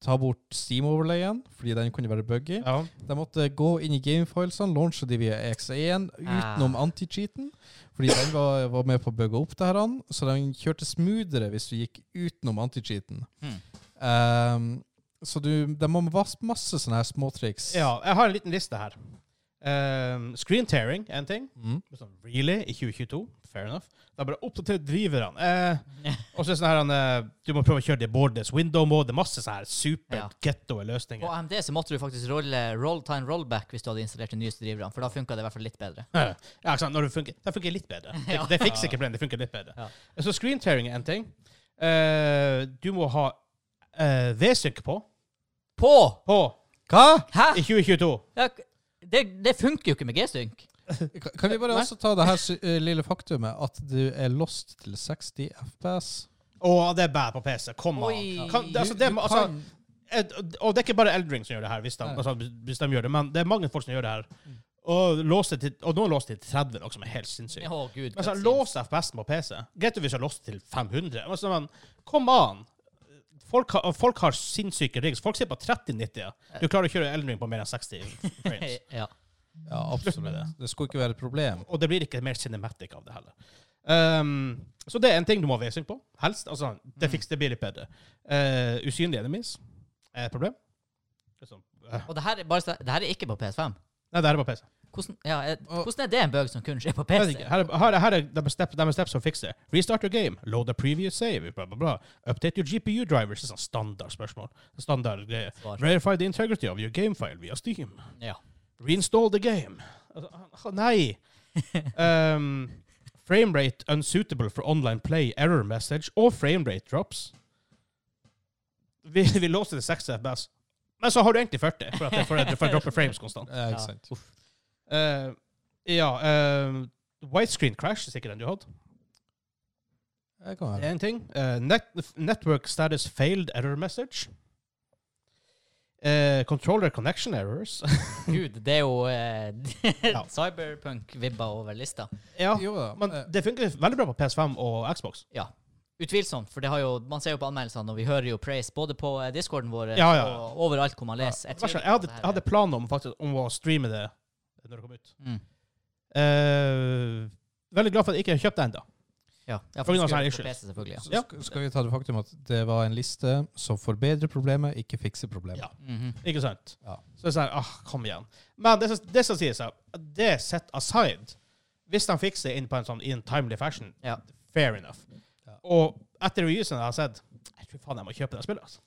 Speaker 2: ta bort Steam-overlayen, fordi den kunne være buggy.
Speaker 1: Ja.
Speaker 2: De måtte gå inn i gamefilesene, launche de via EXE1 utenom
Speaker 3: Ah.
Speaker 2: anti-cheaten, fordi den var, var med på å bugge opp det her, an, så den kjørte smoothere hvis du gikk utenom anti-cheaten.
Speaker 3: Hmm.
Speaker 2: Ehm, så du, de må vaske masse sånne her småtriks.
Speaker 1: ja, jeg har en liten liste her. Um, screen tearing er en ting.
Speaker 2: Mm.
Speaker 1: Sånn, Really? I 2022? Fair enough. Det er bare opp til driverne. Eh, og så er det sånn her han, eh, Du må prøve å kjøre det bordes window mode. Masse sånne her super
Speaker 3: Ja.
Speaker 1: ghetto
Speaker 3: På
Speaker 1: løsninger.
Speaker 3: AMD så måtte du faktisk rolle roll time rollback hvis du hadde installert de nyeste driverne, for da funka det i hvert fall litt bedre.
Speaker 1: Ja, ikke sant? Når det funker, det funker litt bedre. Det,
Speaker 3: Ja.
Speaker 1: det fikser ikke problemet, det funker litt bedre.
Speaker 3: Ja.
Speaker 1: Så screen tearing er en ting. Eh, du må ha eh, V-sync på.
Speaker 3: På!
Speaker 1: På
Speaker 2: Hva?
Speaker 1: I
Speaker 3: Hæ?
Speaker 1: 2022.
Speaker 3: Ja, det, det funker jo ikke med G-synk.
Speaker 2: Kan- Kan vi bare
Speaker 1: Nei.
Speaker 2: også ta det her sy- eh, lille faktumet at du er lost til 60 FPS?
Speaker 1: Å, det er bad på PC. Kom an.
Speaker 3: Oi.
Speaker 1: Kan, det, altså, det,
Speaker 2: Du- du
Speaker 1: altså,
Speaker 2: kan-
Speaker 1: et, og det er ikke bare Eldring som gjør det her, hvis de,
Speaker 2: Nei. Mm.
Speaker 1: altså, hvis de gjør det, men det er mange folk som gjør det her. Og, låste til, og noen låste til 30, noe som er helt sinnssykt.
Speaker 3: Å, gud.
Speaker 1: Men så
Speaker 3: cutscenes.
Speaker 1: lås FPS på PC. Greit hvis jeg låste til 500, men så, men kom an! Folk har, folk har sinnssyke rigs. Folk sitter på 3090. Du klarer å kjøre Eldring på mer enn 60 frames.
Speaker 3: Ja.
Speaker 2: Ja,
Speaker 1: Slutt med
Speaker 2: absolutt.
Speaker 1: det.
Speaker 2: Det skulle ikke være et problem.
Speaker 1: Og det blir ikke mer cinematic av det heller. Ehm, så det er en ting du må ha vesing på. Helst. Altså, det, fiks, det blir litt bedre. Eh, usynlige enemies er et problem. Det er sånn, eh,
Speaker 3: Og det her, er bare, så- det her er ikke på PS5.
Speaker 1: Nei, det her er på PC.
Speaker 3: Hvordan, ja, eh, hvordan er det en bug som kun skjer på
Speaker 1: Jeg vet
Speaker 3: PC?
Speaker 1: ikke. Her er, her er, her er de step, de steps som fikser det. Restart your game. Load a previous save. Bla, bla, bla. Update your GPU drivers. Det er sånn standard spørsmål. Standard greie.
Speaker 3: Svar.
Speaker 1: Verify the integrity of your gamefile via Steam.
Speaker 3: Ja.
Speaker 1: Reinstall the game. Altså, Nei! Um, framerate unsuitable for online play, error message og framerate drops. Vi, vi låser til 6 FPS, men så har du egentlig 40 for at det for, at- for å droppe frames konstant.
Speaker 3: Ja.
Speaker 2: Ja, ikke sant.
Speaker 1: Uh, ja uh, Widescreen crash er sikkert den du hadde.
Speaker 2: Jeg kan
Speaker 1: Det
Speaker 2: være.
Speaker 1: er en ting. Uh, net network status failed error message. Uh, controller connection errors.
Speaker 3: Gud, det er jo eh,
Speaker 1: Ja.
Speaker 3: cyberpunk-vibba over lista.
Speaker 1: ja,
Speaker 2: Jo da.
Speaker 1: men
Speaker 2: eh,
Speaker 1: det funker veldig bra på PS5 og Xbox.
Speaker 3: Ja. Utvilsomt, for det har jo, man ser jo på anmeldelsene, og vi hører jo praise både på eh, discorden vår eh,
Speaker 1: Ja, ja.
Speaker 3: og overalt hvor man leser. Jeg
Speaker 1: Vær så
Speaker 3: tviler
Speaker 1: snill, Jeg hadde,
Speaker 3: på
Speaker 1: jeg
Speaker 3: at
Speaker 1: hadde
Speaker 3: det her
Speaker 1: planer om, faktisk, om å streame det når det kom ut.
Speaker 3: er- Mm.
Speaker 1: Eh, veldig glad for at jeg ikke har kjøpt det ennå.
Speaker 3: Ja, ja,
Speaker 1: På
Speaker 3: for
Speaker 1: grunn av sånne
Speaker 3: vi skal gjøre det
Speaker 1: issues.
Speaker 3: på PC, selvfølgelig. Ja.
Speaker 2: s-
Speaker 1: ja.
Speaker 2: sk- Skal vi ta det faktum at det var en liste som forbedrer problemet, ikke fikser problemet?
Speaker 1: Ja.
Speaker 3: Mhm.
Speaker 1: Ikke sant?
Speaker 2: Ja.
Speaker 1: Så jeg sier, ah, kom igjen. Men det, som- det som sier seg, det set aside, hvis de fikser det inn på en sånn i en timely fashion,
Speaker 3: Ja.
Speaker 1: fair enough.
Speaker 2: Ja.
Speaker 1: Og etter reviewen jeg har sett, jeg tror faen jeg må kjøpe det spillet. Altså.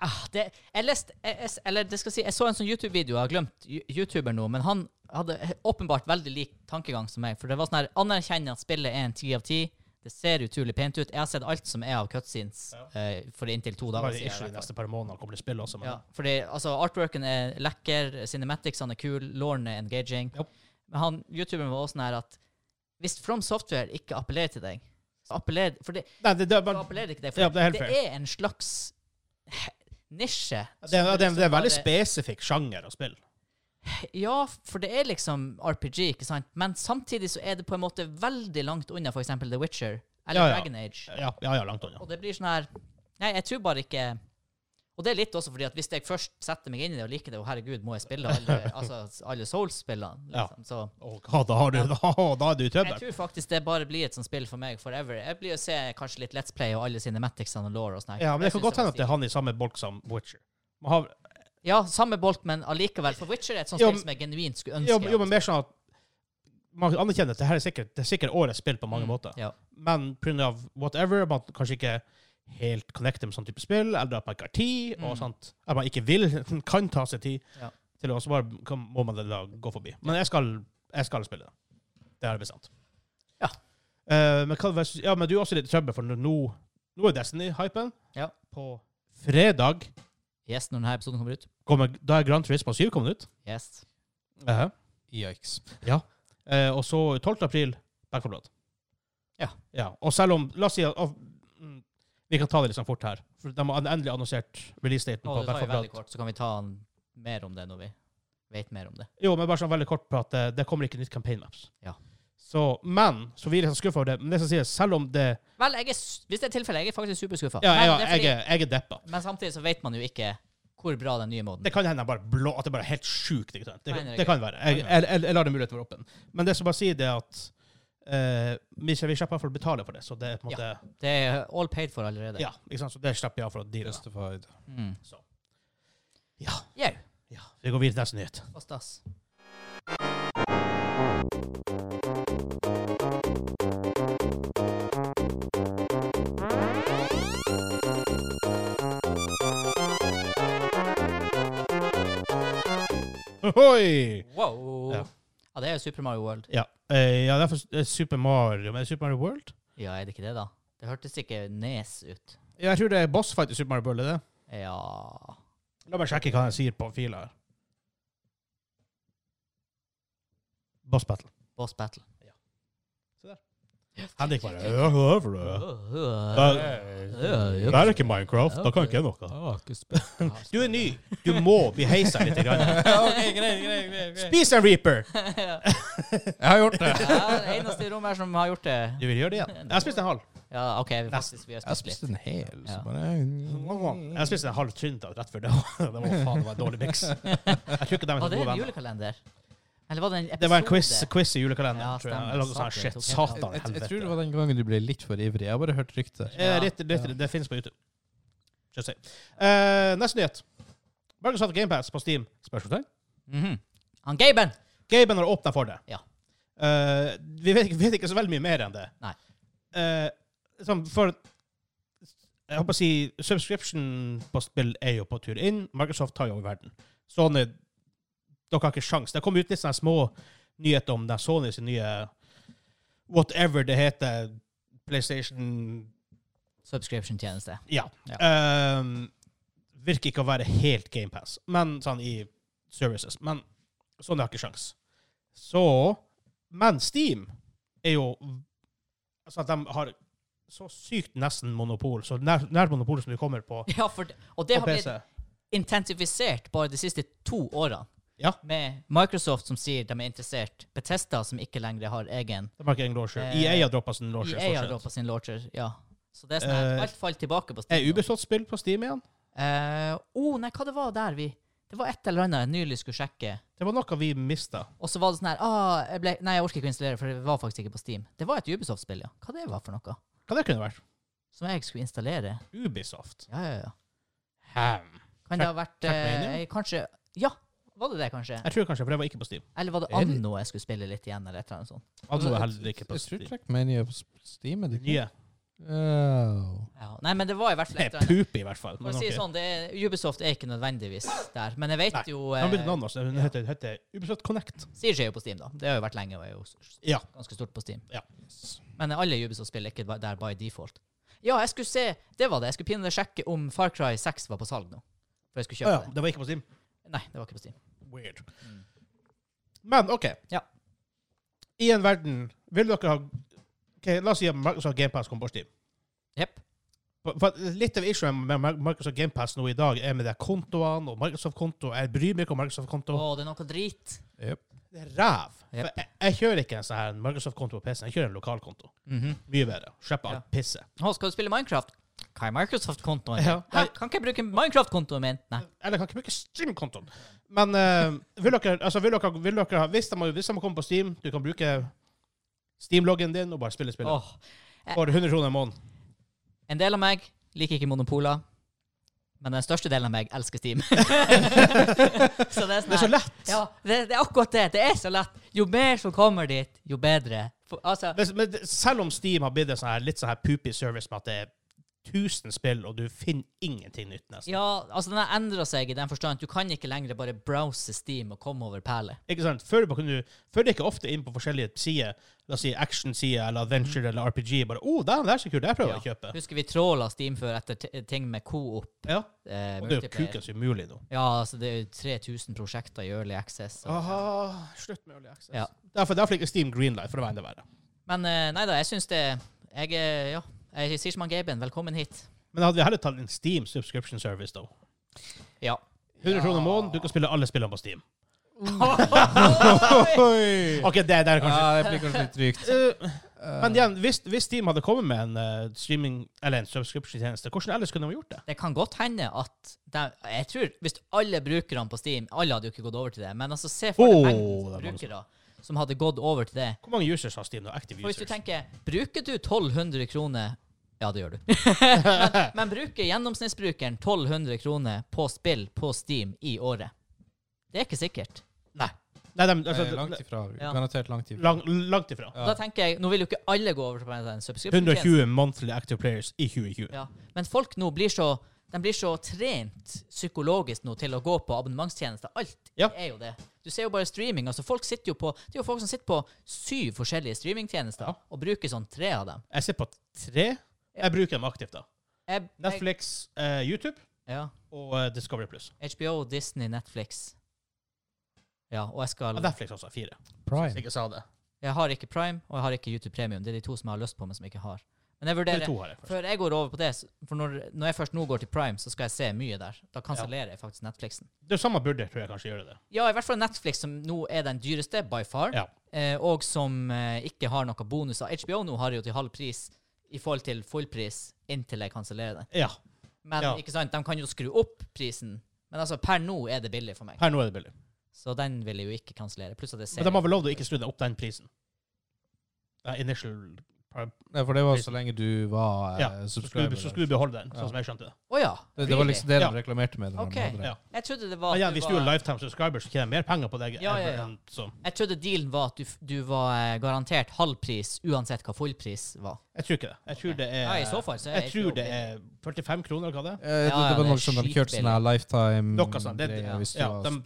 Speaker 3: Ah, det, jeg leste jeg, jeg, Eller det skal si, jeg så en sånn YouTube-video, jeg har glemt Yo- YouTuber nå, men han hadde he- åpenbart veldig lik tankegang som meg. For det var sånn her Anerkjenner at spillet er en ti av ti. Det ser utrolig pent ut. Jeg har sett alt som er av cutscenes eh, for inntil to
Speaker 1: Det
Speaker 3: dager
Speaker 1: var
Speaker 3: siden. i
Speaker 1: issue de
Speaker 3: hvert fall.
Speaker 1: neste par månedene kommer til spillet også. Men
Speaker 3: Ja, fordi altså, artworken er lekker, cinematicsene er kul, låren er engaging.
Speaker 1: Japp.
Speaker 3: Men han, youtuberen var også sånn her at hvis From Software ikke appellerer til deg, så appellerer, for det,
Speaker 1: Nei, det, det, er
Speaker 3: så
Speaker 1: bare-
Speaker 3: appellerer det ikke det. For
Speaker 1: Ja, det er helt
Speaker 3: det
Speaker 1: fair.
Speaker 3: er en slags nisje.
Speaker 1: det, er- det, er- det er en veldig
Speaker 3: Som bare-
Speaker 1: spesifikk sjanger å spille.
Speaker 3: Ja, for det er liksom RPG, ikke sant? Men samtidig så er det på en måte veldig langt unna for eksempel The Witcher eller
Speaker 1: Ja, ja.
Speaker 3: Dragon Age.
Speaker 1: Ja, ja, ja langt unna.
Speaker 3: Og det blir sånn her Nei, jeg tror bare ikke Og det er litt også fordi at hvis jeg først setter meg inn i det og liker det, og herregud, må jeg spille alle, altså, alle Souls-spillene?
Speaker 1: Ja.
Speaker 3: Liksom. Så
Speaker 1: Å, hva, da, har du, da, da er du i
Speaker 3: jeg
Speaker 1: trøbbel.
Speaker 3: tror faktisk det bare blir et sånt spill for meg forever. Jeg blir å se kanskje litt Let's Play og alle cinematicsene og law og sånn. her.
Speaker 1: Ja, men det kan
Speaker 3: synes
Speaker 1: godt hende
Speaker 3: var
Speaker 1: at det er han i samme bolk som Witcher. Man har,
Speaker 3: stilig. Ja, samme bolt, men allikevel. For Witcher er et sånt
Speaker 1: Jo,
Speaker 3: spill som jeg genuint skulle ønske.
Speaker 1: jo, jo, men mer sånn at man anerkjenner at det her er sikkert, det er sikkert årets spill på mange måter.
Speaker 3: Mm, Ja.
Speaker 1: Men pga. whatever, man kanskje ikke helt connecter med sånn type spill, eller at man ikke har tid, og
Speaker 3: Mm.
Speaker 1: sånt. Eller man ikke vil, kan ta seg tid
Speaker 3: Ja.
Speaker 1: til å, så bare kan- må man det da gå forbi. Men jeg skal, jeg skal spille det. Det er bestemt.
Speaker 3: Ja.
Speaker 1: Eh, men, hva, ja, men du er også litt i trøbbel, for nå, nå er Destiny-hypen.
Speaker 3: Ja.
Speaker 1: På fredag
Speaker 3: Yes, når denne episoden kommer ut.
Speaker 1: kommer, da er Grand Turismo 7 kommet ut.
Speaker 3: Yes.
Speaker 1: Uh
Speaker 2: Yikes.
Speaker 1: Eh, og så 12. april, Back 4 Blood.
Speaker 3: Ja.
Speaker 1: Og selv om La oss si at av- mm, Vi kan ta det litt sånn fort her. For de har endelig annonsert releasedaten
Speaker 3: Og
Speaker 1: på
Speaker 3: det
Speaker 1: Back 4
Speaker 3: tar jo veldig
Speaker 1: Blood.
Speaker 3: kort, så kan vi ta en- mer om det når vi vet mer om det.
Speaker 1: Jo, men bare sånn veldig kort på at eh, det kommer ikke nytt campaign maps.
Speaker 3: Ja.
Speaker 1: Så, men så vi er litt skuffa over det. Men det som sies, selv om det
Speaker 3: Vel, jeg er, s- hvis det er tilfellet, jeg er faktisk superskuffa.
Speaker 1: Ja,
Speaker 3: Men
Speaker 1: ja
Speaker 3: det er
Speaker 1: jeg,
Speaker 3: fordi-
Speaker 1: er- jeg er deppa.
Speaker 3: Men samtidig så vet man jo ikke hvor bra den nye moden
Speaker 1: Det
Speaker 3: er.
Speaker 1: kan hende jeg bare blå, at det bare er helt sjukt. Ikke sant? Det,
Speaker 3: Nei, det er
Speaker 1: det kan være. Jeg, jeg, jeg, jeg lar den muligheten være åpen. Men det som bare sier, det er at eh, vi, vi slipper i hvert fall å betale for det. Så det er på en måte
Speaker 3: Det er all paid for allerede.
Speaker 1: Ja, ikke sant? Så det slipper jeg av for å deale. med.
Speaker 2: Justified.
Speaker 3: Mm.
Speaker 1: Så. Ja.
Speaker 3: Jau.
Speaker 1: Ja, vi går videre til neste nyhet.
Speaker 3: Og stas.
Speaker 1: Ohoi!
Speaker 3: Wow.
Speaker 1: Ja.
Speaker 3: Ja. det er jo Super Mario World.
Speaker 1: Ja, eh, ja derfor eh, Super Mario Men Super Mario World?
Speaker 3: Ja, er det ikke det, da? Det hørtes ikke nes ut.
Speaker 1: Ja, jeg tror det er bossfight i Super Mario World, er det?
Speaker 3: Ja
Speaker 1: La meg sjekke hva jeg sier på fila her. Boss battle.
Speaker 3: Boss battle.
Speaker 1: Henrik bare «Ja, hva er for det? Det er ikke Minecraft. Da kan ikke jeg noe. Du er ny. Du må bli heisa litt. Grann.
Speaker 2: ok, greit, greit, greit.
Speaker 1: Spis en reaper!
Speaker 2: Jeg har gjort det.
Speaker 3: Ja, det eneste i rommet her som har gjort det.
Speaker 1: Du vil gjøre det igjen. Jeg spiste en halv.
Speaker 3: Ja, OK, vi faktisk vi har
Speaker 2: Jeg har
Speaker 3: spist litt.
Speaker 2: spist en hel, så
Speaker 3: Ja.
Speaker 2: bare
Speaker 1: Jeg spiste en halv Trinidad rett før det. Det var faen, det var en dårlig miks. Jeg tror ikke de er
Speaker 3: Var
Speaker 1: så gode
Speaker 3: det en
Speaker 1: venner.
Speaker 3: julekalender? Eller var det en episode?
Speaker 1: Det var en quiz, quiz i
Speaker 3: Ja,
Speaker 1: julekalenderen, tror jeg.
Speaker 3: stemmer.
Speaker 1: Eller noe sånt.
Speaker 3: Satan,
Speaker 1: Shit,
Speaker 3: tok helt
Speaker 1: satan
Speaker 3: av.
Speaker 2: jeg, jeg, jeg tror det
Speaker 1: helvete.
Speaker 2: var den gangen du ble litt for ivrig. Jeg har bare hørt rykter.
Speaker 1: Eh, litt- litt- Det finnes på YouTube. Just say. Eh, Neste nyhet. Microsoft GamePass på Steam. Spørsmålstegn?
Speaker 3: Mhm. Han Gaben!
Speaker 1: Gaben har åpna for det.
Speaker 3: Ja.
Speaker 1: Eh, vi vet, ikke- vet ikke så veldig mye mer enn det.
Speaker 3: Nei.
Speaker 1: Eh, sånn for Jeg håper å si subscription på spill er jo på tur inn. Microsoft tar jo over verden. Sony Dere har ikke sjans. Det kom ut litt sånne små nyheter om den Sony sin nye Whatever det heter. PlayStation
Speaker 3: Subscription-tjeneste.
Speaker 1: Ja. Ehm, virker ikke å være helt GamePass, men sånn i services. Men sånn har ikke sjans. Så Men Steam er jo Altså at de har så sykt nesten monopol, så nær, nært monopol som du kommer på,
Speaker 3: Ja, for det, og
Speaker 1: på
Speaker 3: det har blitt
Speaker 1: PC.
Speaker 3: intensifisert bare de siste to årene.
Speaker 1: Ja.
Speaker 3: Med Microsoft som sier de er interessert, Betesta som ikke lenger har egen
Speaker 1: De har ikke egen launcher.
Speaker 3: Eh,
Speaker 1: EA har droppa sin launcher.
Speaker 3: EA har
Speaker 1: stort sett.
Speaker 3: droppa sin launcher, ja. Så det er sånn at
Speaker 1: Eh,
Speaker 3: alt faller tilbake på
Speaker 1: Er
Speaker 3: Steam. nå.
Speaker 1: Ubisoft spill på Steam igjen?
Speaker 3: Eh, oh, nei, hva det var der vi Det var et eller annet jeg nylig skulle sjekke.
Speaker 1: Det var noe vi mista.
Speaker 3: Og så var det sånn her ah, jeg ble, Nei, jeg orker ikke å installere, for det var faktisk ikke på Steam. Det var et Ubisoft-spill, ja. Hva det var for noe?
Speaker 1: Hva det kunne vært?
Speaker 3: Som jeg skulle installere.
Speaker 1: Ubisoft.
Speaker 3: Ja, ja, ja.
Speaker 1: Ham.
Speaker 3: Kan det ha vært eh,
Speaker 1: Trackmania? Eh,
Speaker 3: Kanskje Ja, var det det, kanskje?
Speaker 1: Jeg tror kanskje, for det var ikke på Steam.
Speaker 3: Eller var det
Speaker 2: Er det-
Speaker 3: Anno jeg skulle spille litt igjen, eller et eller annet sånt?
Speaker 1: Anno er heller ikke på
Speaker 2: Jeg tror
Speaker 1: Steam.
Speaker 2: Trackmania er på Steam. Er det ikke?
Speaker 1: Nye.
Speaker 2: Oh.
Speaker 3: Ja. Nei, men det var i hvert fall
Speaker 1: Det
Speaker 3: et
Speaker 1: er
Speaker 3: eller annet.
Speaker 1: poop, i hvert fall.
Speaker 3: For å si
Speaker 1: ok.
Speaker 3: det sånn, det er, Ubisoft er ikke nødvendigvis der. Men jeg vet
Speaker 1: Nei,
Speaker 3: jo
Speaker 1: Han byttet navn
Speaker 3: eh,
Speaker 1: også. Hun heter, heter Ubisoft Connect.
Speaker 3: Siege er jo på Steam, da. Det har jo vært lenge og er jo s- s-
Speaker 1: Ja.
Speaker 3: ganske stort på Steam.
Speaker 1: Ja.
Speaker 3: Men alle Ubisoft-spill er ikke ba- der by default. Ja, jeg skulle se Det var det. Jeg skulle pinadø sjekke om Far Cry 6 var på salg nå. For jeg skulle
Speaker 1: Å
Speaker 3: kjøpe
Speaker 1: ja, det var ikke på Steam.
Speaker 3: det. Nei, det var ikke på Steam.
Speaker 1: Weird.
Speaker 3: Mm.
Speaker 1: Men OK.
Speaker 3: Ja.
Speaker 1: I en verden Vil dere ha ok, La oss si at Microsoft GamePass kommer på Steam.
Speaker 3: Jepp.
Speaker 1: For- For litt av issuen med Mar- Microsoft GamePass nå i dag er med de kontoene og Microsoft-konto. Jeg bryr meg ikke om
Speaker 3: Å,
Speaker 1: Microsoft-konto.
Speaker 3: det er noe drit.
Speaker 2: Yep.
Speaker 1: Det er ræv.
Speaker 3: Yep.
Speaker 1: For jeg, jeg kjører ikke en sånn her Microsoft-konto på PC-en. Jeg kjører en lokalkonto.
Speaker 3: Mhm.
Speaker 1: Mye bedre. Slipper alt pisset.
Speaker 3: Å, skal du spille Minecraft? Hva er Microsoft-kontoen?
Speaker 1: Ja.
Speaker 3: din? Hæ, Kan ikke jeg bruke Minecraft-kontoen min? Nei.
Speaker 1: Eller jeg kan ikke bruke Steam-kontoen. Men eh, vil dere, altså, vil dere, vil dere hvis, de, hvis de kommer på Steam, du kan bruke Steam-loggen din og bare spille spillet.
Speaker 3: Åh.
Speaker 1: For 100 kroner i måneden.
Speaker 3: En del av meg liker ikke monopoler, men den største delen av meg elsker Steam. så det er, sånn
Speaker 1: Det er så
Speaker 3: her-
Speaker 1: lett!
Speaker 3: Ja, det, det er akkurat det. Det er så lett. Jo mer som kommer dit, jo bedre. For, altså,
Speaker 1: Men, men det- selv om Steam har blitt en sånn her, litt sånn her poopy service med at det er 1000 spill, og du finner ingenting nytt, nesten.
Speaker 3: ja, altså, den har endra seg i den forstand at du kan ikke lenger bare browse Steam og komme over perler.
Speaker 1: Ikke sant? Før, bare kunne du, før det gikk jeg ofte inn på forskjellige sider, la oss si action-sider eller adventure eller RPG, bare 'Å, oh, den der ser kul ut, jeg prøver
Speaker 3: Ja.
Speaker 1: å kjøpe'.
Speaker 3: Husker vi tråla Steam før etter t ting med coop?
Speaker 1: Ja. Og
Speaker 3: Eh,
Speaker 1: det er jo
Speaker 3: multiplayer?
Speaker 1: kukens umulig nå.
Speaker 3: Ja, altså, det er jo 3000 prosjekter i early access.
Speaker 1: Ah.
Speaker 3: og-
Speaker 1: Aha, slutt med Early Access.
Speaker 3: Ja.
Speaker 1: Derfor, derfor ikke Steam Greenlight, for det var enda verre.
Speaker 3: Men eh, nei da, jeg syns det Jeg, eh, ja, jeg sier som han Gaben, velkommen hit.
Speaker 1: Men hadde vi heller tatt en Steam subscription service, da?
Speaker 3: Ja.
Speaker 1: 100 kroner i måneden, du kan spille alle spillene på Steam.
Speaker 2: Oi!
Speaker 1: OK, det, det er
Speaker 2: Ja,
Speaker 1: kanskje
Speaker 2: det blir kanskje litt drygt.
Speaker 1: Eh, Men igjen, hvis, hvis Steam hadde kommet med en eh, streaming Eller en subscription-tjeneste, hvordan ellers kunne de gjort det?
Speaker 3: Det kan godt hende at de, Jeg tror hvis alle brukerne på Steam Alle hadde jo ikke gått over til det, men altså se for deg
Speaker 1: Åh,
Speaker 3: mengden
Speaker 1: det er mange
Speaker 3: brukere som hadde gått over til det.
Speaker 1: Hvor mange users har Steam nå? Active
Speaker 3: For hvis du
Speaker 1: users?
Speaker 3: tenker Bruker du 1200 kroner Ja, det gjør du. men, men bruker gjennomsnittsbrukeren 1200 kroner på spill på Steam i året? Det er ikke sikkert.
Speaker 1: Nei. Nei de,
Speaker 2: Eh,
Speaker 1: altså,
Speaker 2: Langt ifra.
Speaker 3: Ja.
Speaker 2: Garantert langt ifra.
Speaker 1: lang, langt ifra.
Speaker 2: Ja.
Speaker 3: Da tenker jeg, Nå vil jo ikke alle gå over til en subscription-tjeneste.
Speaker 1: 120 monthly active players i 2020.
Speaker 3: Ja. Men folk nå blir så de blir så trent psykologisk nå til å gå på abonnementstjenester. Alt
Speaker 1: Ja.
Speaker 3: er jo det. Du ser jo bare streaming. altså folk sitter jo på, Det er jo folk som sitter på syv forskjellige streamingtjenester og bruker sånn tre av dem.
Speaker 1: Jeg ser på tre. Jeg bruker dem aktivt, da.
Speaker 3: Jeg, jeg,
Speaker 1: Netflix, eh, YouTube
Speaker 3: ja.
Speaker 1: og eh, Discovery Plus.
Speaker 3: HBO, Disney, Netflix. Ja, og jeg skal
Speaker 1: Ja, Netflix altså, fire. Hvis
Speaker 2: Prime.
Speaker 1: jeg ikke sa det.
Speaker 3: Jeg har ikke Prime, og jeg har ikke YouTube Premium. Det er de to som jeg har lyst på, men som jeg ikke har. Men jeg
Speaker 1: Eller
Speaker 3: vurderer
Speaker 1: to har jeg. først.
Speaker 3: Før jeg går over på det, s- for når, når jeg først nå går til Prime, så skal jeg se mye der. Da kansellerer jeg faktisk Netflixen.
Speaker 1: Det samme burde tror jeg kanskje gjøre det.
Speaker 3: Ja, i hvert fall Netflix, som nå er den dyreste by far,
Speaker 1: Ja.
Speaker 3: eh, og som eh, ikke har noen bonuser. HBO nå har jo til halv pris i forhold til fullpris inntil jeg kansellerer den.
Speaker 1: ja.
Speaker 3: Men
Speaker 1: Ja.
Speaker 3: ikke sant, de kan jo skru opp prisen. Men altså, per nå er det billig for meg.
Speaker 1: Per nå er det billig.
Speaker 3: Så den vil jeg jo ikke kansellere. Pluss at
Speaker 1: Men
Speaker 3: jeg ser
Speaker 1: de har vel lov til å ikke skru deg opp den prisen. Ja, initial pri-
Speaker 2: Nei, for det var så lenge du var eh,
Speaker 1: Ja, så skulle,
Speaker 2: subscriber. altså.
Speaker 1: du- så skulle du beholde den,
Speaker 2: Ja.
Speaker 1: sånn som jeg skjønte det.
Speaker 3: Å ja.
Speaker 2: det, det var liksom det de
Speaker 1: Ja.
Speaker 2: reklamerte med. når de
Speaker 3: Ok.
Speaker 2: hadde det.
Speaker 1: Ja.
Speaker 3: Jeg trodde det var
Speaker 1: Men
Speaker 3: at
Speaker 1: igjen, hvis du er
Speaker 3: var-
Speaker 1: lifetime subscriber, så tjener jeg mer penger på deg.
Speaker 3: Ja, ja, ja.
Speaker 1: enn- Så.
Speaker 3: Jeg trodde dealen var at du, f- du var eh, garantert halv pris uansett hva fullpris var.
Speaker 1: Jeg tror ikke det. Jeg tror det er,
Speaker 3: Ja, i så fall så er
Speaker 1: jeg tror
Speaker 3: HBO
Speaker 1: det
Speaker 3: billig.
Speaker 1: er 45 kroner, eller hva det er.
Speaker 2: Eh, det,
Speaker 3: Ja, ja,
Speaker 2: det var
Speaker 3: det
Speaker 2: noe
Speaker 3: er
Speaker 2: som de kjørte sånn her
Speaker 3: skitbillig.
Speaker 2: lifetime
Speaker 1: Noe sånt, det-
Speaker 2: greier,
Speaker 3: ja.
Speaker 2: hvis du
Speaker 1: Ja,
Speaker 2: var-
Speaker 1: de,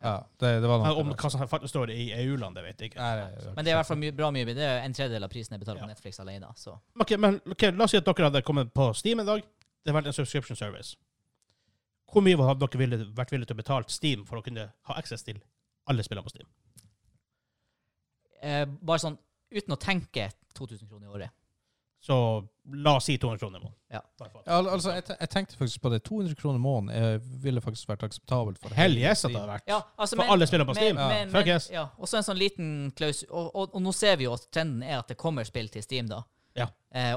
Speaker 2: ja, det, det var noe.
Speaker 1: om hva som faktisk står i EU-land, det vet jeg ikke.
Speaker 2: Nei, det-
Speaker 3: Men det er i hvert fall mye, bra mye bedre. Det er en tredjedel av prisen jeg betaler på
Speaker 1: Ja.
Speaker 3: Netflix alene. Så.
Speaker 1: Ok, men ok, La oss si at dere hadde kommet på Steam en dag. Det hadde vært en subscription service. Hvor mye hadde dere ville, vært villige til å betale Steam for å kunne ha access til alle spillene på Steam?
Speaker 3: Eh, bare sånn uten å tenke 2000 kroner i året.
Speaker 1: Så la oss si 200 kroner i måneden.
Speaker 3: Ja.
Speaker 1: Bare for at-
Speaker 2: Ja, al- altså, jeg, te- jeg tenkte faktisk på det. 200 kroner måneden eh, ville faktisk vært akseptabelt. for
Speaker 1: Hell
Speaker 2: hele
Speaker 1: yes at det
Speaker 2: tiden.
Speaker 1: hadde vært.
Speaker 3: Ja, altså,
Speaker 1: For alle spillene på Steam.
Speaker 2: Ja.
Speaker 3: Men,
Speaker 1: Fuck
Speaker 3: men,
Speaker 1: yes.
Speaker 3: ja. Og så en sånn liten klaus... Og, og, og nå ser vi jo at trenden er at det kommer spill til Steam, da.
Speaker 1: Ja.
Speaker 3: Eh,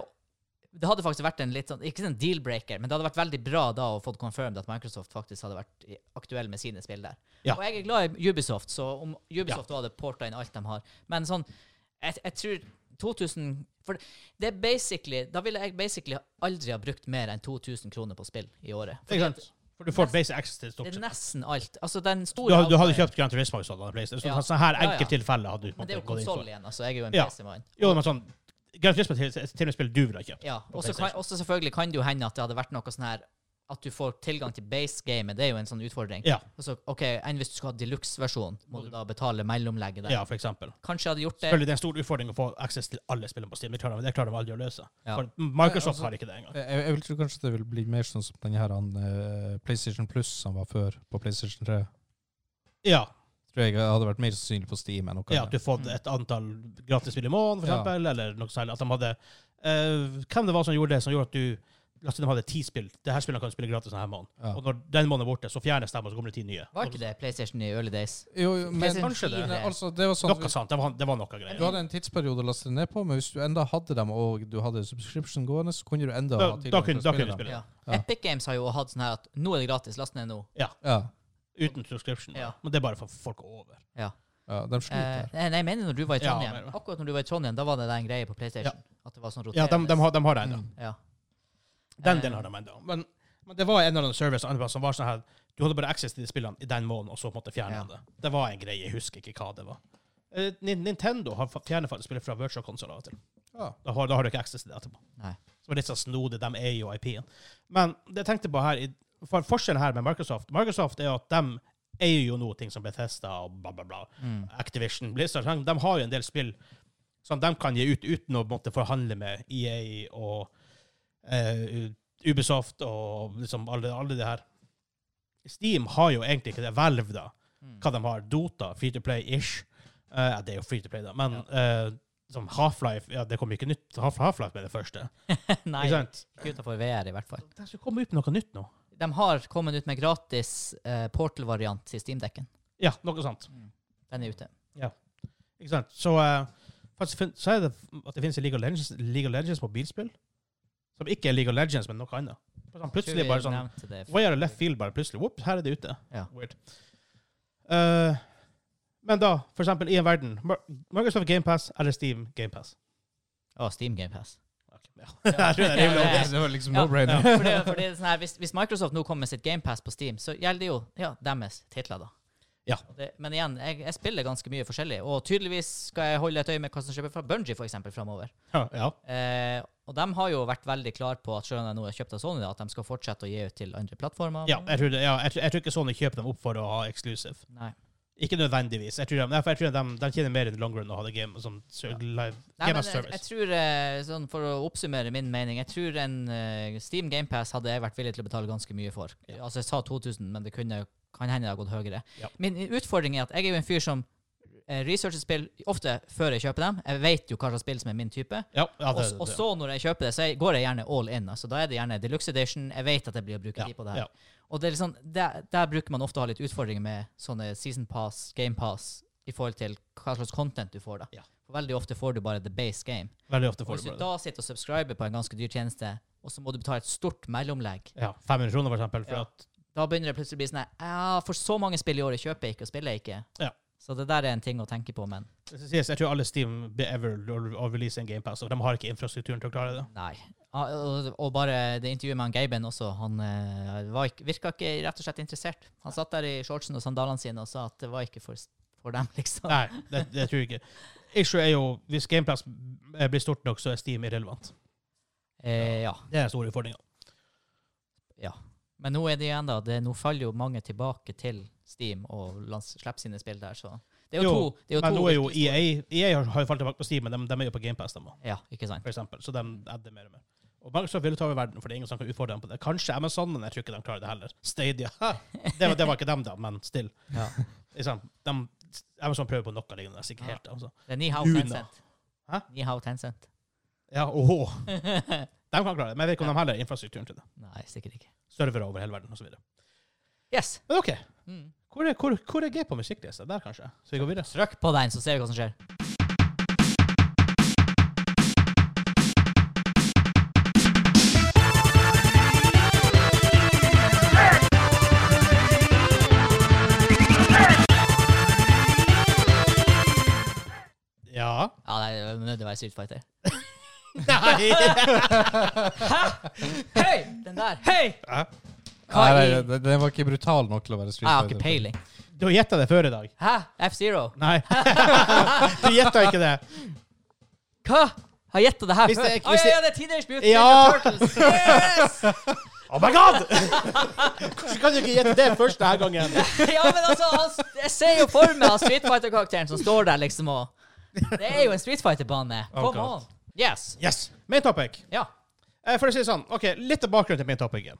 Speaker 3: det hadde faktisk vært en litt sånn Ikke en deal-breaker, men det hadde vært veldig bra da å få confirmed at Microsoft faktisk hadde vært i- aktuell med sine spill der.
Speaker 1: Ja.
Speaker 3: Og jeg er glad i Ubisoft, så om Ubisoft hadde porta inn alt de har Men sånn Jeg, jeg tror 2000 For det er basically Da ville jeg basically aldri ha brukt mer enn 2000 kroner på spill i året.
Speaker 1: Ikke
Speaker 3: Fordi at
Speaker 1: sant? For du får basic access til stort
Speaker 3: det er
Speaker 1: sett.
Speaker 3: nesten alt. Altså, den
Speaker 1: Du,
Speaker 3: store
Speaker 1: hadde- du hadde
Speaker 3: outlier-
Speaker 1: kjøpt Grand Turismo hvis du hadde hatt PlayStation. Så
Speaker 3: Ja.
Speaker 1: Sånn her
Speaker 3: Ja, ja.
Speaker 1: enkelttilfeller hadde du på en
Speaker 3: Men det er jo
Speaker 1: måte gått inn
Speaker 3: konsoll
Speaker 1: for.
Speaker 3: igjen, altså. Jeg er jo en
Speaker 1: Ja.
Speaker 3: PC-mann.
Speaker 1: Jo, men sånn, Grand Turismo er et TV-spill du ville ha kjøpt.
Speaker 3: Ja. Og så kan-
Speaker 1: PlayStation.
Speaker 3: også selvfølgelig kan det jo hende at det hadde vært noe sånn her At du får tilgang til base-gamet. Det er jo en sånn utfordring.
Speaker 1: Ja.
Speaker 3: Altså, OK, enn hvis du skal ha deluxe-versjon, må du da betale mellomlegget der.
Speaker 1: ja, for eksempel.
Speaker 3: Kanskje jeg hadde gjort det.
Speaker 1: Selvfølgelig det er en stor utfordring å få access til alle spillene på Steam. Det klarer de, det klarer de aldri å løse.
Speaker 3: Ja.
Speaker 1: For Microsoft
Speaker 2: Ja, altså-
Speaker 1: har ikke det engang.
Speaker 2: Jeg, jeg vil tro kanskje det vil bli mer sånn som denne her, han, eh, PlayStation Plus som var før på PlayStation 3.
Speaker 1: Ja,
Speaker 2: Tror jeg hadde vært mer sannsynlig på Steam enn noe
Speaker 1: Ja, at
Speaker 2: annet.
Speaker 1: du får
Speaker 3: Mm.
Speaker 1: et antall gratisspill i måneden, for
Speaker 2: Ja.
Speaker 1: eksempel, eller noe særlig. At de hadde eh, Hvem det var som gjorde det, som gjorde at du La oss si de hadde ti spill. Det her spillene kan du spille gratis denne måneden.
Speaker 2: Ja.
Speaker 1: Og når den måneden er borte, så fjernes de, og så kommer det ti nye.
Speaker 3: Var ikke det PlayStation i early days?
Speaker 2: Jo, jo, men
Speaker 3: PlayStation
Speaker 1: kanskje det.
Speaker 2: men
Speaker 3: fire.
Speaker 2: altså, det var
Speaker 1: Og
Speaker 2: sånn
Speaker 1: Noe sant. Det var, det var noe
Speaker 2: Du
Speaker 1: greier.
Speaker 2: hadde en tidsperiode å laste det ned på, men hvis du enda hadde dem, og du hadde subscription gående, så kunne du enda
Speaker 1: Da,
Speaker 2: ha tilgang
Speaker 1: da
Speaker 2: til
Speaker 1: kunne
Speaker 2: å
Speaker 1: da
Speaker 2: spille
Speaker 1: kunne du
Speaker 2: dem.
Speaker 1: spille.
Speaker 3: Ja.
Speaker 1: det.
Speaker 2: Ja.
Speaker 3: Epic Games har jo hatt sånn her at nå er det gratis, last ned nå.
Speaker 2: Ja,
Speaker 1: Uten subscription.
Speaker 3: Ja.
Speaker 1: Men det er bare for folk å over.
Speaker 2: ja, de
Speaker 3: Eh,
Speaker 2: sliter.
Speaker 3: nei, nei, jeg mener når du var i
Speaker 1: Ja,
Speaker 3: Trondheim.
Speaker 1: men-
Speaker 3: Akkurat når du var i Trondheim, da var det den greia på PlayStation. At det var sånn
Speaker 1: Ja, de,
Speaker 3: roterende.
Speaker 1: de, har, de har det ennå.
Speaker 2: Mm.
Speaker 3: Ja.
Speaker 1: Den
Speaker 3: Eh,
Speaker 1: delen har de ennå. Men, men det var en eller annen service andre plass som var sånn her Du hadde bare access til de spillene i den måneden, og så måtte fjerne
Speaker 3: Ja.
Speaker 1: det. Det var en greie. Jeg husker ikke hva det var. Eh, Nin- Nintendo har fa- fjerner faktisk spillet fra virtual console av og til.
Speaker 2: Ja.
Speaker 1: Da har, da har du ikke access til det etterpå.
Speaker 3: Nei.
Speaker 1: Som er litt sånn snodig. De er jo IP-en. Men det jeg tenkte på her, i- for forskjellen her med Microsoft Microsoft er jo at de eier jo noe ting som Bethesda og bla, bla, bla.
Speaker 3: Mm.
Speaker 1: Activision, Blizzard sånn, De har jo en del spill som de kan gi ut uten å måtte forhandle med EA og eh, Ubisoft og liksom alle, alle det her. Steam har jo egentlig ikke det hvelv, da.
Speaker 3: Mm.
Speaker 1: Hva de har. Dota, free to play-ish. Eh, ja, det er jo free to play, da. Men eh, som Half-Life ja, Det kom jo ikke nytt. Half- Half-Life ble det første.
Speaker 3: Nei,
Speaker 1: Ikke sant?
Speaker 3: ikke utenfor VR i hvert fall.
Speaker 1: De skal komme ut med noe nytt nå.
Speaker 3: De har kommet ut med gratis eh, Portal-variant til Steam-dekken.
Speaker 1: Ja, noe sånt.
Speaker 3: Den er ute.
Speaker 1: Ikke sant? Så, eh, faktisk, fin- så er det at det finnes i League of Legends, League of Legends mobilspill, som ikke er League of Legends, men noe annet. Sånn, plutselig bare sånn
Speaker 3: Tror vi nevnte det.
Speaker 1: Way out of left field, bare plutselig. Whoop, her er det ute.
Speaker 3: Ja.
Speaker 1: Weird. Eh, men da, for eksempel, i en verden Mar- Microsoft GamePass eller Steam GamePass?
Speaker 3: Å, Steam GamePass.
Speaker 1: Ja. Jeg tror det er
Speaker 3: Ja,
Speaker 1: rimelig
Speaker 3: det
Speaker 1: obvious.
Speaker 3: er-
Speaker 2: Det var liksom
Speaker 3: Ja.
Speaker 2: no-brainer.
Speaker 3: For det, for det er sånn her, hvis, hvis Microsoft nå kommer med sitt GamePass på Steam, så gjelder det jo ja, deres titler, da.
Speaker 1: Ja.
Speaker 3: Og Det, men igjen, jeg, jeg spiller ganske mye forskjellig, og tydeligvis skal jeg holde et øye med hva som skjer fra Bungie, for eksempel framover.
Speaker 1: Ja, ja.
Speaker 3: Eh, og de har jo vært veldig klar på at selv om de nå er kjøpt av Sony, da, at de skal fortsette å gi ut til andre plattformer.
Speaker 1: ja, jeg tror, det, ja jeg, tror, jeg tror ikke Sony kjøper dem opp for å ha exclusive.
Speaker 3: Nei.
Speaker 1: Ikke nødvendigvis. Jeg tror de, nei, for jeg tror de, de tjener mer enn long run å ha det game som ser- live.
Speaker 3: Nei,
Speaker 1: game
Speaker 3: men
Speaker 1: as
Speaker 3: jeg,
Speaker 1: service.
Speaker 3: jeg tror, eh, sånn For å oppsummere min mening Jeg tror en eh, Steam GamePass hadde jeg vært villig til å betale ganske mye for.
Speaker 1: Ja.
Speaker 3: Altså Jeg sa 2000, men det kunne, kan hende det har gått høyere.
Speaker 1: Ja.
Speaker 3: Min utfordring er at jeg er jo en fyr som eh, researcher spill ofte før jeg kjøper dem. Jeg vet jo hva slags spill som er min type.
Speaker 1: Ja, ja,
Speaker 3: Og,
Speaker 1: det, det,
Speaker 3: og så, når jeg kjøper det, så jeg, går jeg gjerne all in. Altså, da er det gjerne deluxe edition. Jeg vet at jeg blir å bruke
Speaker 1: ja,
Speaker 3: tid på det her.
Speaker 1: ja.
Speaker 3: Og det er litt sånn, der, der bruker man ofte å ha litt utfordringer med sånne season pass, game pass, i forhold til hva slags content du får da.
Speaker 1: Ja.
Speaker 3: For veldig ofte får du bare the base game.
Speaker 1: Veldig ofte
Speaker 3: Og
Speaker 1: får
Speaker 3: hvis
Speaker 1: du
Speaker 3: du
Speaker 1: bare det.
Speaker 3: da sitter og subscriber på en ganske dyr tjeneste, og så må du betale et stort mellomlegg,
Speaker 1: Ja, 500 kroner, for eksempel. For
Speaker 3: Ja.
Speaker 1: at,
Speaker 3: da begynner det plutselig å bli sånn, ja, for så mange spill i året kjøper jeg ikke og spiller jeg ikke.
Speaker 1: Ja.
Speaker 3: Så det der er en ting å tenke på, men
Speaker 1: det skal sies, jeg tror alle Steam be ever å- å release en GamePass, og de har ikke infrastrukturen til å klare det.
Speaker 3: nei. Ah, Og, og bare det intervjuet med han Geiben også, han eh, var ikke, virka ikke rett og slett interessert. Han satt der i shortsen og sandalene sine og sa at det var ikke for, for dem, liksom.
Speaker 1: Nei, det, det tror jeg ikke. Issue er jo, hvis GamePass eh, blir stort nok, så er Steam irrelevant.
Speaker 3: Eh, ja.
Speaker 1: Det er den store utfordringa.
Speaker 3: Ja. Men nå er det igjen da, det, nå faller jo mange tilbake til Steam og lans- slipper sine spill der, så Det er
Speaker 1: Jo,
Speaker 3: jo, to. Det er jo
Speaker 1: Men
Speaker 3: to
Speaker 1: nå er jo E
Speaker 3: virkelig store-
Speaker 1: EA EA har, har jo falt tilbake på Steam, men de, de er jo på GamePass, de, også,
Speaker 3: Ja, ikke sant.
Speaker 1: E for eksempel. Så de adder mer og mer. Og Microsoft vil jo ta over verden, for det er ingen som kan utfordre dem på det. Kanskje Amazon, men jeg tror ikke de klarer det heller. Stadia. ha! Det var, det var ikke dem, da, men still.
Speaker 3: Ja.
Speaker 1: Liksom, de, Amazon prøver på noe lignende, sikkert helt. Altså.
Speaker 3: Det er Nihao
Speaker 1: Luna.
Speaker 3: Tencent.
Speaker 1: Hæ?
Speaker 3: Nihao Tencent.
Speaker 1: Ja, åhå. De kan klare det, men jeg vet ikke om de heller har infrastrukturen til det.
Speaker 3: Nei, sikkert ikke.
Speaker 1: Servere over hele verden, og så videre.
Speaker 3: Yes.
Speaker 1: Men OK.
Speaker 3: Mm.
Speaker 1: Hvor er, hvor, hvor er G på musikklista? Der, kanskje? Så vi går videre.
Speaker 3: Trykk på den, så ser vi hva som skjer.
Speaker 1: Ja.
Speaker 3: Ja, nei, det er nødt til å være Street Fighter.
Speaker 1: Nei!
Speaker 3: Hei! Den der. Hei!
Speaker 1: Hæ?
Speaker 3: Hva i
Speaker 2: Nei,
Speaker 3: Ah,
Speaker 2: nei, den- den var ikke brutal nok til å være
Speaker 3: Jeg
Speaker 2: Street
Speaker 3: har ikke
Speaker 2: Fighter.
Speaker 3: peiling.
Speaker 1: Du gjetta det før i dag.
Speaker 3: Hæ? F-Zero?
Speaker 1: Nei. Du gjetta ikke det.
Speaker 3: Hva? Har gjetta det her
Speaker 1: Hvis
Speaker 3: før?
Speaker 1: det er-
Speaker 3: Å
Speaker 1: hvis
Speaker 3: ja,
Speaker 1: det-
Speaker 3: ja, det er Teenage Mutant
Speaker 1: Ja.
Speaker 3: Ninja Turtles. Yes!
Speaker 1: Oh my god! Hvordan kan du ikke gjette det første her gangen?
Speaker 3: ja, men altså, han, jeg ser jo for meg han Street Fighter-karakteren som står der, liksom, og Det er jo en Street Fighter-bane.
Speaker 1: Oh,
Speaker 3: Come
Speaker 1: God.
Speaker 3: on. Yes.
Speaker 1: Yes. Main topic.
Speaker 3: Ja.
Speaker 1: Eh, For å si det sånn, ok, litt av bakgrunnen til main topicen.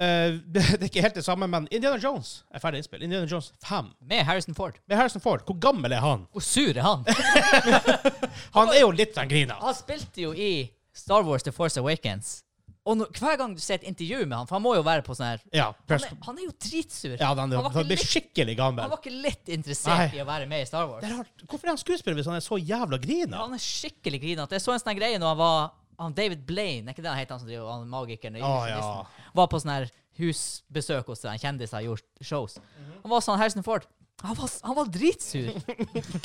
Speaker 1: Eh, det det er ikke helt det samme, men Indiana Jones er ferdig innspill. Indiana Jones 5.
Speaker 3: Med Harrison Ford.
Speaker 1: Med Harrison Ford. Hvor gammel er han?
Speaker 3: Hvor sur er han?
Speaker 1: Han er jo litt sånn grina.
Speaker 3: Han spilte jo i Star Wars The Force Awakens. Og når, hver gang du ser et intervju med han, for han må jo være på sånn her
Speaker 1: Ja,
Speaker 3: Han
Speaker 1: press.
Speaker 3: er, han er jo dritsur.
Speaker 1: ja han,
Speaker 3: han,
Speaker 1: er-
Speaker 3: var
Speaker 1: han
Speaker 3: ikke
Speaker 1: blir
Speaker 3: litt,
Speaker 1: skikkelig
Speaker 3: han
Speaker 1: gammel.
Speaker 3: var ikke litt interessert
Speaker 1: Nei.
Speaker 3: i å være med i Star Wars.
Speaker 1: Det er rart. Hvorfor er han skuespiller hvis han er så jævla grina?
Speaker 3: Han er skikkelig grinete. Jeg så en sånn her greie når han var han David Blaine, er ikke det han heter, han som driver han magikeren? og
Speaker 1: Å,
Speaker 3: illusjonisten, Var på sånn her husbesøk hos den kjendiser og gjorde shows.
Speaker 1: Mhm.
Speaker 3: Han var sånn Harrison Ford. Han var, han var dritsur.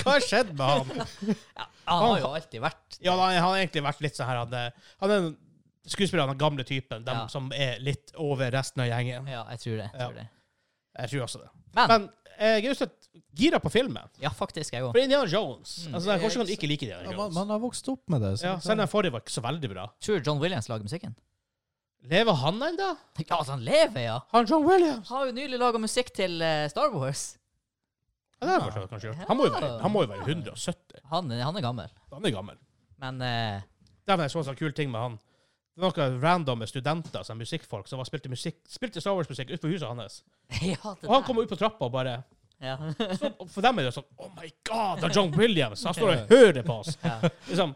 Speaker 1: Hva skjedde med han?
Speaker 3: Han har jo alltid vært
Speaker 1: Ja, han, han har egentlig vært litt sånn her Han, er- han er en skuespiller av den gamle typen, dem
Speaker 3: Ja.
Speaker 1: som er litt over resten av gjengen.
Speaker 3: Ja, jeg tror det. Jeg
Speaker 1: Ja.
Speaker 3: tror det.
Speaker 1: Jeg tror også det.
Speaker 3: Men,
Speaker 1: Men eh, jeg er jo så gira på filmen.
Speaker 3: ja, faktisk, jeg òg.
Speaker 1: For Indiana
Speaker 3: Mm.
Speaker 1: Jones altså, det er Hvordan kan du ikke like Indiana
Speaker 2: Ja, man,
Speaker 1: Jones?
Speaker 2: sånn. man har vokst opp med det. så-
Speaker 1: Ja, selv den forrige var ikke så veldig bra.
Speaker 3: Tror John Williams lager musikken?
Speaker 1: Lever han ennå?
Speaker 3: Ja, altså, han lever, ja!
Speaker 1: Han John Williams?
Speaker 3: Har jo nylig laga musikk til eh, Star Wars.
Speaker 1: Ja, det har jeg forstått, kanskje gjort. Han må jo være, han må jo være 170.
Speaker 3: Han, er- han er gammel.
Speaker 1: Han er gammel.
Speaker 3: Men eh,
Speaker 1: Dæven, jeg så en sånn kul ting med han. Det var noen randomme studenter, sånn musikkfolk, som var, spilte, musikk, spilte Star Wars-musikk utenfor huset hans.
Speaker 3: ja, det
Speaker 1: Og han
Speaker 3: der.
Speaker 1: kom ut på trappa og bare
Speaker 3: ja.
Speaker 1: så, og For dem er det sånn Oh my God, det er John Williams! Han står og hører på oss!
Speaker 3: Ja.
Speaker 1: Liksom,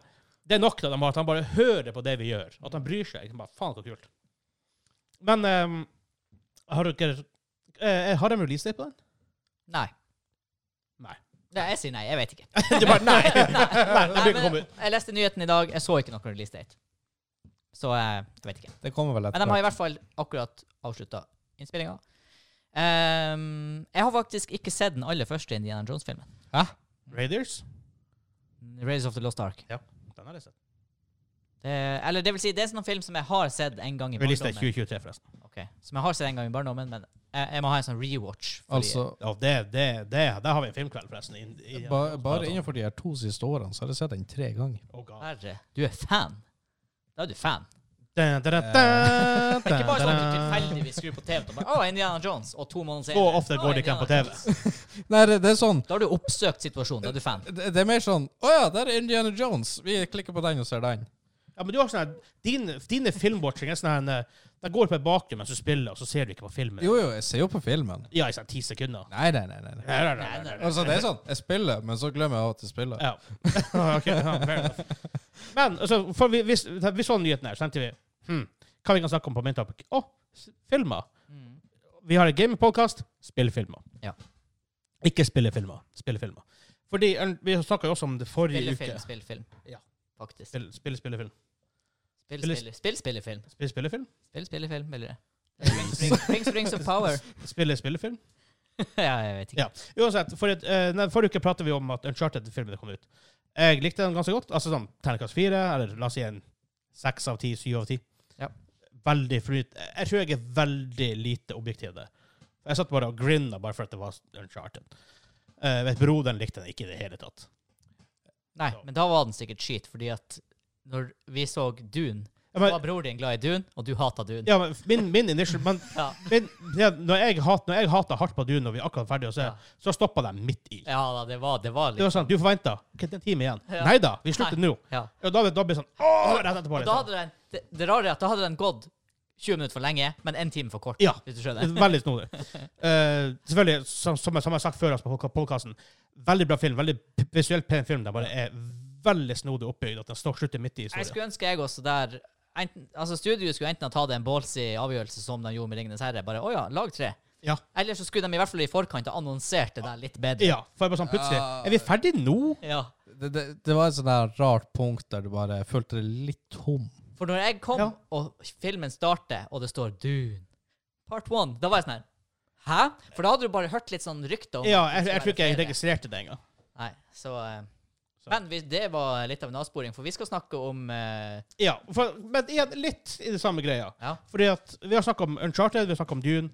Speaker 1: det er nok til at de har, at han bare hører på det vi gjør. At han bryr seg. Bare, Faen, så kult. Men ehm, har dere eh, Har de releasedate på den?
Speaker 3: Nei.
Speaker 1: Nei.
Speaker 3: Nei, Jeg sier nei. Jeg vet ikke.
Speaker 1: Det er bare, nei! nei, den blir
Speaker 3: Nei,
Speaker 1: ikke
Speaker 3: men
Speaker 1: kommet ut.
Speaker 3: jeg leste nyheten i dag. Jeg så ikke noen release date. Så eh, jeg vet ikke.
Speaker 2: Det kommer vel
Speaker 3: Men de har i
Speaker 2: etter.
Speaker 3: hvert fall akkurat avslutta innspillinga. Ehm, jeg har faktisk ikke sett den aller første Indiana Jones-filmen.
Speaker 1: Raiders?
Speaker 3: Raiders of the Lost Ark.
Speaker 1: Den har jeg sett.
Speaker 3: Det, eller det vil si, det er en sånn film som jeg har sett en gang i
Speaker 1: Releasedate
Speaker 3: barndommen.
Speaker 1: 2023, forresten.
Speaker 3: Ok, Som jeg har sett en gang i barndommen, men jeg, jeg må ha en sånn rewatch. fordi-
Speaker 2: Altså,
Speaker 1: Ja, det, det, det, der har vi en filmkveld, forresten. I, i, Altså,
Speaker 2: ba, bare innenfor de her to siste årene så har jeg sett den tre ganger.
Speaker 1: Oh God.
Speaker 3: Herre, du er fan. Da er du fan. Det er ikke bare sånn at du tilfeldigvis skrur på TV og bare Å, Indiana Jones. Og to måneder senere
Speaker 1: Så ofte
Speaker 3: «Å,
Speaker 1: går det ikke an på
Speaker 3: Indiana
Speaker 1: TV.
Speaker 3: Jones».
Speaker 2: Nei, det, det er sånn
Speaker 3: Da har du oppsøkt situasjonen. Da er du fan.
Speaker 2: det, det er mer sånn Å ja, der er Indiana Jones. Vi klikker på den og ser den.
Speaker 1: Ja, men du har sånn her, din, Dine filmwatching er sånn her en, eh, De går på et bakgrunn mens du spiller, og så ser du ikke på filmen.
Speaker 2: Jo, jo, jeg ser jo på filmen.
Speaker 1: Ja, i sånn ti sekunder.
Speaker 2: Nei, nei, nei. nei, nei.
Speaker 1: Nei, nei, nei, nei, nei.
Speaker 2: Altså, det er sånn. Jeg spiller, men så glemmer jeg at jeg spiller.
Speaker 1: Ja. ok, ja, fair enough. Men altså, for vi, hvis, vi så nyheten her, så tenkte vi hm, Hva vi kan snakke om på min topic? Å, s- filmer.
Speaker 3: Mm.
Speaker 1: Vi har en gamingpodkast. Spillefilmer.
Speaker 3: Ja.
Speaker 1: Ikke spillefilmer. Spillefilmer. Fordi en, Vi snakka jo også om det forrige
Speaker 3: Spillefilm,
Speaker 1: uke.
Speaker 3: spillefilm.
Speaker 1: Ja.
Speaker 3: Faktisk.
Speaker 1: Spill, spill, spillefilm.
Speaker 3: Spill,
Speaker 1: Spille-
Speaker 3: spille, spill, spillefilm.
Speaker 1: Spill, spillefilm?
Speaker 3: Spill, spillefilm, eller Rings, rings, rings, rings of power.
Speaker 1: Spille, spillefilm?
Speaker 3: ja, jeg vet ikke.
Speaker 1: Ja. Uansett, for et, eh, nei, forrige uke pratet vi om at Uncharted-filmen kom ut. Jeg likte den ganske godt. Altså sånn terningkast fire, eller la oss si en seks av ti, syv av ti.
Speaker 3: Ja.
Speaker 1: Veldig fornytt. Jeg tror jeg er veldig lite objektiv der. Jeg satt bare og grinna bare for at det var Uncharted. Eh, vet Broderen likte den ikke i det hele tatt.
Speaker 3: Nei, men da var den sikkert skit, fordi at når vi så Dune,
Speaker 1: Ja,
Speaker 3: var
Speaker 1: men,
Speaker 3: bror din glad i Dune, og du hata Dune.
Speaker 1: ja, men min, min initial men,
Speaker 3: Ja.
Speaker 1: min, ja, Når jeg hat- når jeg hata hardt på Dune når vi er akkurat ferdige, så,
Speaker 3: Ja.
Speaker 1: så stoppa de midt i.
Speaker 3: Ja da, det var, det var
Speaker 1: Det
Speaker 3: litt
Speaker 1: var sånn, Du forventa en time igjen.
Speaker 3: Ja.
Speaker 1: Nei da, vi slutter nå.
Speaker 3: ja.
Speaker 1: Ja, da, da blir det sånn Åh, rett etterpå.
Speaker 3: Og da hadde den, det, det rare er at da hadde den gått 20 minutter for lenge, men én time for kort.
Speaker 1: Ja.
Speaker 3: Hvis du skjønner.
Speaker 1: Veldig snodig. Eh, selvfølgelig, som, som, jeg, som jeg har sagt før altså, på podkasten, veldig bra film. Veldig p- visuelt pen film. Den bare er veldig snodig oppbygd. At den står slutter midt i
Speaker 3: Jeg
Speaker 1: historien.
Speaker 3: skulle ønske jeg også der enten, Altså Studioet skulle enten ha tatt en ballsy avgjørelse som de gjorde med 'Ringenes herre'. Bare 'Å ja, lag tre'.
Speaker 1: Ja.
Speaker 3: Eller så skulle de i hvert fall i forkant ha annonsert det der litt bedre.
Speaker 1: Ja, for jeg bare sånn plutselig
Speaker 3: Ah.
Speaker 2: Ja.
Speaker 1: Er vi ferdige nå?
Speaker 3: Ja.
Speaker 2: Det, det, det var et sånn der rart punkt der du bare følte deg litt tom.
Speaker 3: For når jeg kom,
Speaker 1: Ja.
Speaker 3: og filmen starter, og det står 'Dune Part 1', da var jeg sånn her Hæ? For da hadde du bare hørt litt sånn rykter om
Speaker 1: Ja,
Speaker 3: at det
Speaker 1: jeg, jeg tror
Speaker 3: skulle være
Speaker 1: ikke jeg
Speaker 3: flere.
Speaker 1: registrerte det engang.
Speaker 3: Nei, så, eh,
Speaker 1: Så.
Speaker 3: Men vi, det var litt av en avsporing, for vi skal snakke om eh,
Speaker 1: Ja, for, men igjen, litt i det samme greia.
Speaker 3: Ja.
Speaker 1: Fordi at Vi har snakket om Uncharted, vi har snakket om Dune.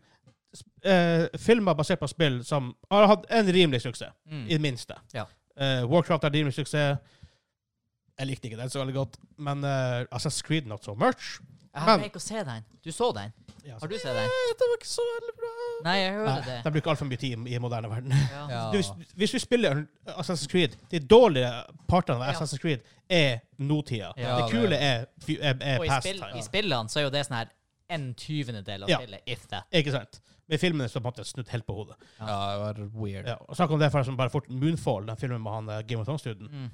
Speaker 1: S- eh, filmer basert på spill som har hatt en rimelig suksess,
Speaker 3: Mm.
Speaker 1: i det minste.
Speaker 3: Ja.
Speaker 1: Eh, Warcraft har rimelig suksess. Jeg likte ikke den så veldig godt. Men eh, Assassin's Creed not so much.
Speaker 3: Jeg har
Speaker 1: Men-
Speaker 3: ikke å se den. Du så den?
Speaker 1: Ja,
Speaker 3: Har du sett den?
Speaker 2: Det var ikke så veldig bra.
Speaker 3: Nei, jeg hører
Speaker 1: Nei,
Speaker 3: det.
Speaker 1: de bruker altfor mye tid i, i moderne verden.
Speaker 3: Ja.
Speaker 2: Ja.
Speaker 1: Du, hvis, hvis du spiller Assassin's Creed De dårlige partene av
Speaker 3: Ja.
Speaker 1: Assassin's Creed er nåtida.
Speaker 3: Ja,
Speaker 1: det
Speaker 2: det-
Speaker 1: kule er, fy- er, er
Speaker 3: Og i,
Speaker 1: past
Speaker 3: spill,
Speaker 1: time.
Speaker 3: i spillene så er jo det sånn her en tyvendedel av
Speaker 1: Ja.
Speaker 3: spillet, if that.
Speaker 1: Ikke sant? Med filmene så er det på en måte snudd helt på hodet.
Speaker 2: Ja, det var weird.
Speaker 1: Ja, og Snakk om det for som bare fort Moonfall, den filmen med han eh, Game of Thrones-duden.
Speaker 3: Mm.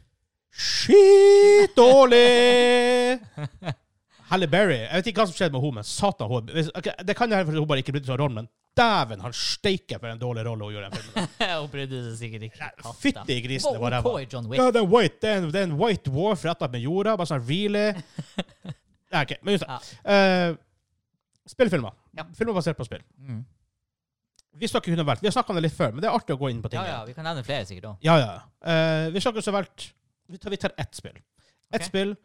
Speaker 1: Skit dårlig! Halle Berry. Jeg vet ikke hva som skjedde med henne, men satan hun, hvis, ok, Det kan jo hende fordi hun bare ikke brydde seg om rollen, men dæven, han steike for en dårlig rolle hun gjorde i den filmen.
Speaker 3: Hun brydde seg sikkert ikke.
Speaker 1: Nei,
Speaker 3: katta.
Speaker 1: Fytti grisen, det var
Speaker 3: Var
Speaker 1: ræva.
Speaker 3: OK i John Wick.
Speaker 1: Ja, det er en white, det er en, det er en white dwarf rett opp med jorda. Bare sånn really? Nei, OK. Men just det. Eh, spillfilmer.
Speaker 3: Ja.
Speaker 1: Filmer basert på spill.
Speaker 3: Mm.
Speaker 1: Vi skal ikke kunne valgt. Vi har snakka om det litt før, men det er artig å gå inn på ting.
Speaker 3: Ja, ja, vi kan nevne flere sikkert òg.
Speaker 1: Ja, ja. Eh, vi skal ikke så valgt Vi tar, vi tar ett spill. Ett
Speaker 3: Ok.
Speaker 1: spill.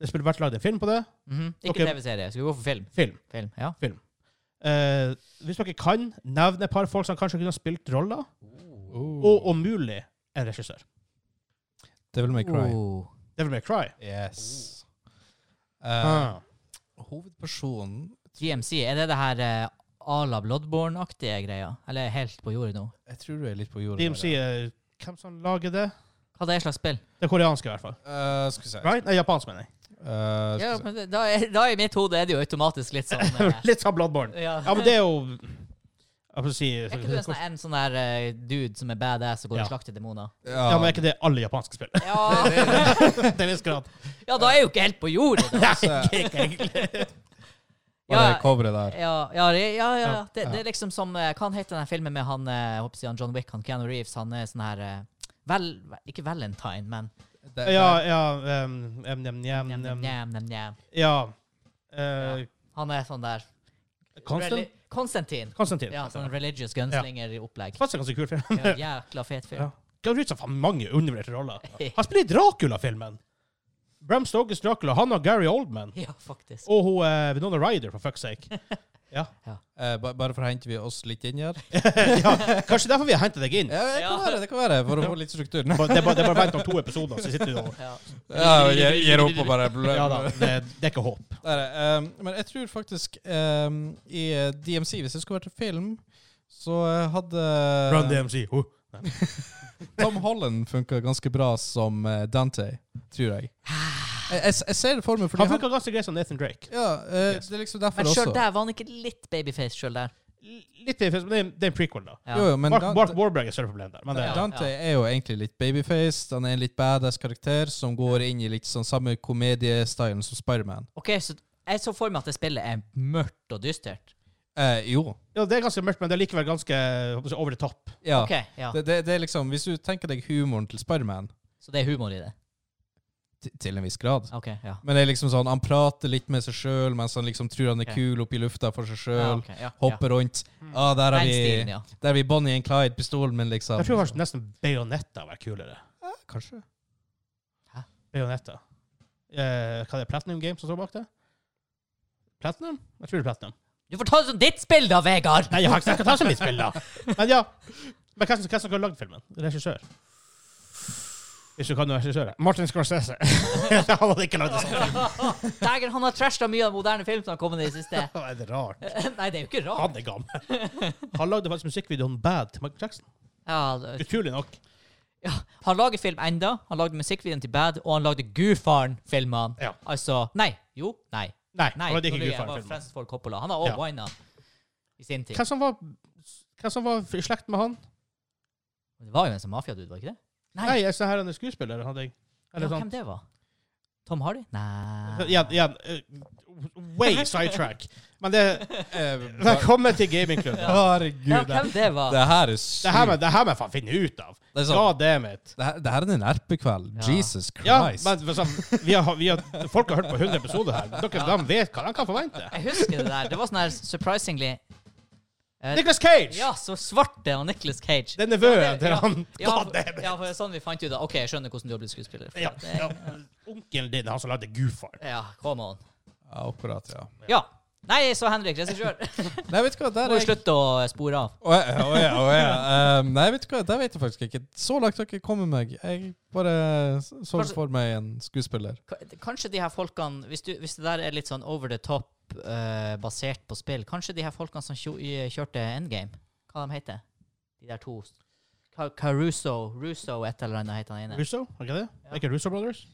Speaker 1: Det skulle vært lagd en film på det.
Speaker 3: Mhm. Ikke
Speaker 1: Ok.
Speaker 3: TV-serie. Skal vi gå for film?
Speaker 1: Film.
Speaker 3: Film, ja.
Speaker 1: Eh, hvis dere kan nevne et par folk som kanskje kunne ha spilt roller, og
Speaker 2: Oh.
Speaker 1: om mulig en regissør.
Speaker 2: Devil May Cry.
Speaker 3: Oh.
Speaker 1: Devil May Cry.
Speaker 2: Yes. Eh,
Speaker 1: Ah.
Speaker 2: hovedpersonen
Speaker 3: GMC, er det det her eh, à la Bloodborne-aktige greia? Eller er jeg helt på jordet nå?
Speaker 2: Jeg tror du er litt på jordet.
Speaker 1: De
Speaker 2: der, ja.
Speaker 1: sier Hvem som lager det?
Speaker 3: Hva det er slags spill?
Speaker 1: Det koreanske, i hvert fall.
Speaker 2: Eh, skal vi se.
Speaker 1: Right? Nei, japansk, mener jeg.
Speaker 2: Eh,
Speaker 3: Ja,
Speaker 2: skal vi se.
Speaker 3: men det- da, er, da i mitt hode er det jo automatisk litt sånn eh,
Speaker 1: Litt som Bloodborne.
Speaker 3: ja.
Speaker 1: Ja, men det er jo Jeg får si
Speaker 3: Er ikke du en sånn, en sånn der eh, dude som er badass og går
Speaker 1: Ja.
Speaker 3: og slakter demoner?
Speaker 1: Ja, men er ikke det alle japanske spill?
Speaker 3: Ja.
Speaker 2: Det- det-
Speaker 1: Til en viss grad.
Speaker 3: ja, da er jeg jo ikke helt på jordet! Da.
Speaker 2: det-
Speaker 1: Ikke egentlig.
Speaker 2: Bare
Speaker 3: Ja.
Speaker 2: det coveret der.
Speaker 3: Ja, ja, det- ja, ja,
Speaker 1: Ja.
Speaker 3: ja. Det, det er liksom som eh, Hva heter den filmen med han, eh, jeg håper å si han John Wick, han Keanu Reeves? Han er sånn her eh, vel, Ikke Valentine, men
Speaker 2: Det-
Speaker 1: Ja,
Speaker 2: det-
Speaker 1: ja um, um, um, um,
Speaker 2: Mm,
Speaker 3: njam, njam,
Speaker 1: um,
Speaker 3: njam, njam, njam.
Speaker 1: Ja. Eh,
Speaker 3: Han er sånn der
Speaker 1: Konstant?
Speaker 3: Reli- Konstantin.
Speaker 1: Konstantin.
Speaker 3: Ja, sånn religious gunslinger-opplegg.
Speaker 1: Faktisk en ganske kul film.
Speaker 3: Ja, jækla fet film.
Speaker 1: Ja. Gav ut så faen mange undervurderte roller. Han spiller i Dracula-filmen! Bram Stokes Dracula. Han og Gary Oldman.
Speaker 3: Ja, faktisk.
Speaker 1: Og hun eh, Winona Ryder, for fuck's sake. Ja.
Speaker 2: Eh, ba- bare for å hente vi oss litt inn her.
Speaker 1: ja. Kanskje derfor vi har henta deg inn.
Speaker 2: Ja, det kan
Speaker 3: Ja.
Speaker 2: være, det kan være, for å få litt struktur.
Speaker 1: Bare- Det er bare, det er bare vent om to episoder, så sitter du og
Speaker 3: Ja.
Speaker 2: Ja, gir, gir opp og bare
Speaker 1: Ja da. Det, det er ikke håp.
Speaker 2: Det er det. Ehm, men jeg tror faktisk ehm, i eh, DMC, hvis det skulle vært en film, så eh, hadde
Speaker 1: Run DMC. Huh.
Speaker 2: Tom Holland funka ganske bra som eh, Dante, tror jeg. Jeg, jeg, jeg ser det for meg, fordi
Speaker 1: Han funka ganske greit som Nathan Drake.
Speaker 2: Ja, eh,
Speaker 1: Yes.
Speaker 2: det er liksom derfor
Speaker 3: Men sjøl
Speaker 2: også.
Speaker 3: der var han ikke litt babyface sjøl der.
Speaker 1: Litt til, for det er en- det er en prequel, da.
Speaker 3: Ja.
Speaker 2: Jo, jo, men
Speaker 1: Mark,
Speaker 2: Dan-
Speaker 1: Mark Warburg er større problem der. Men det,
Speaker 3: Ja.
Speaker 2: Dante er jo egentlig litt babyfaced. Han er en litt badass karakter som går inn i litt sånn samme komediestylen som Spiderman.
Speaker 3: Ok, så jeg så for meg at det spillet er mørkt og dystert.
Speaker 2: Eh, jo.
Speaker 1: ja, det er ganske mørkt, men det er likevel ganske jeg håper å si, over the top.
Speaker 2: Ja.
Speaker 3: Ok, ja.
Speaker 2: Det, det, det er liksom, hvis du tenker deg humoren til Spiderman,
Speaker 3: Så det er humor i det.
Speaker 2: t- til en viss grad
Speaker 3: Ok, ja.
Speaker 2: Men det er liksom sånn, han prater litt med seg sjøl mens han liksom tror han er
Speaker 3: Ok.
Speaker 2: kul oppi lufta for seg sjøl.
Speaker 3: ja, ok, ja,
Speaker 2: Hopper rundt.
Speaker 1: Mm.
Speaker 2: Ah, der
Speaker 3: ja.
Speaker 2: har
Speaker 3: Den stilen,
Speaker 2: vi,
Speaker 3: ja.
Speaker 2: der har vi Bonnie and Clyde-pistolen min, liksom.
Speaker 1: Jeg tror sånn, kanskje nesten Bayonetta var kulere.
Speaker 2: Kanskje.
Speaker 1: Bayonetta. Eh, hva er det Platinum Games som står bak det? Platinum? Jeg tror det er Platinum.
Speaker 3: Du får ta det som ditt spill, da, Vegard!
Speaker 1: Nei, jeg har ikke jeg skal ta så mye spill, da. Men ja. Men hvem som, hvem som har lagd filmen? Regissør? Hvis du kan noen regissører. Martin Scorsese. Han hadde ikke lagd det sånn.
Speaker 3: Dæger, han har trasha mye av moderne film som har kommet i det siste.
Speaker 1: Det er det rart.
Speaker 3: Nei, det er jo ikke rart.
Speaker 1: Han er gammel. Han lagde faktisk musikkvideoen Bad til Michael Jackson.
Speaker 3: Ja, det-
Speaker 1: Utrolig nok.
Speaker 3: han lager film enda. Han lagde musikkvideoen til Bad, og han lagde Goofaren-filmene.
Speaker 1: Ja.
Speaker 3: Altså Nei. Jo. Nei.
Speaker 1: Nei,
Speaker 3: Nei,
Speaker 1: han lagde ikke
Speaker 3: nå blir jeg bare
Speaker 1: Gudfaren-filmen.
Speaker 3: Francis Ford Coppola. Han har også
Speaker 1: Ja.
Speaker 3: wina i sin tid.
Speaker 1: Hvem som var hvem som var i slekt med han?
Speaker 3: Det var jo en sånn mafiadude, var det ikke det? Nei.
Speaker 1: Nei, jeg så her han er skuespiller. Hadde jeg. Eller
Speaker 3: Ja,
Speaker 1: sånn.
Speaker 3: hvem det var? Tom Hardy? Nei
Speaker 1: Igjen, igjen. eh, way sidetrack. Men det
Speaker 2: Eh, ba-
Speaker 1: Velkommen til gamingklubben.
Speaker 3: Ja,
Speaker 2: Herregud.
Speaker 3: hvem
Speaker 2: Det,
Speaker 3: det var?
Speaker 2: det her er
Speaker 1: Det her
Speaker 2: sykt.
Speaker 1: må det her må jeg faen finne ut av.
Speaker 2: Det er sånn,
Speaker 1: God damn it.
Speaker 2: det her, det her er en RP-kveld.
Speaker 3: Ja.
Speaker 2: Jesus
Speaker 1: Ja,
Speaker 2: Christ.
Speaker 1: men for sånn, vi har, vi har, folk har hørt på 100 episoder her. Dere de vet hva de kan forvente.
Speaker 3: Jeg husker det der. Det var sånn her surprisingly eh,
Speaker 1: Nicholas Cage!
Speaker 3: Ja, så svart det var Nicolas Cage.
Speaker 1: Det er nevøen
Speaker 3: Ja, det-
Speaker 1: til
Speaker 3: ja.
Speaker 1: han.
Speaker 3: Ja,
Speaker 1: God damn
Speaker 3: for-
Speaker 1: it.
Speaker 3: ja, for det er sånn vi fant ut av OK, jeg skjønner hvordan du har blitt skuespiller. For
Speaker 1: Ja,
Speaker 3: at
Speaker 1: ja.
Speaker 3: det-
Speaker 1: Onkelen din, han som lagde Goofar.
Speaker 3: ja, come on.
Speaker 2: Ja, akkurat, ja.
Speaker 3: Ja. Nei, så Henrik, regissør.
Speaker 2: Nei, vet du hva, der
Speaker 3: Må
Speaker 2: er
Speaker 3: jo slutte å spore av.
Speaker 2: Å ja, å ja, å ja. Ehm, nei, vet du hva, det vet jeg faktisk ikke. Så langt har jeg ikke kommet meg. Jeg bare så
Speaker 3: Kanskje-
Speaker 2: for meg en skuespiller.
Speaker 3: K- Kanskje de her folkene hvis, du, hvis det der er litt sånn over the top eh, basert på spill, kanskje de her folkene som kjo- i- kjørte Endgame, hva de heter de der to? Ca- Caruso, Russo et eller annet heter han ene.
Speaker 1: Russo, er ikke det? Er ikke Russo Brothers?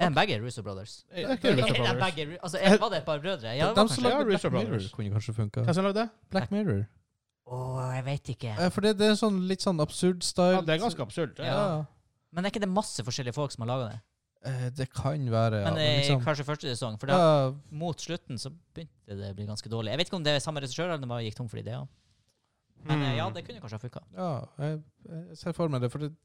Speaker 3: Er de begge Russo Brothers?
Speaker 1: Er ikke
Speaker 3: Er
Speaker 1: Russo
Speaker 3: de
Speaker 1: Brothers?
Speaker 3: begge, Ru- altså, er, var det et par brødre? Ja, det var
Speaker 2: De som
Speaker 3: kanskje.
Speaker 1: lagde
Speaker 2: lager Black
Speaker 1: Russo
Speaker 2: Mirror,
Speaker 1: Brothers.
Speaker 2: kunne kanskje funka.
Speaker 1: Hvem som lagde det?
Speaker 2: Black Mirror.
Speaker 3: Å, jeg vet ikke.
Speaker 2: Eh, for det, det er sånn litt sånn absurd style.
Speaker 1: Ja, det er ganske absurd.
Speaker 2: ja.
Speaker 1: Ja.
Speaker 3: Men er ikke det masse forskjellige folk som har laga det?
Speaker 2: Eh, det kan være, ja. liksom-
Speaker 3: Men eh, kanskje første sesong. For da,
Speaker 2: ja,
Speaker 3: mot slutten så begynte det å bli ganske dårlig. Jeg vet ikke om det er samme regissør, eller om det bare gikk tom for ideer. Men eh, ja,
Speaker 1: Hmm.
Speaker 3: det kunne kanskje ha funka.
Speaker 2: ja jeg, jeg ser for meg det. For det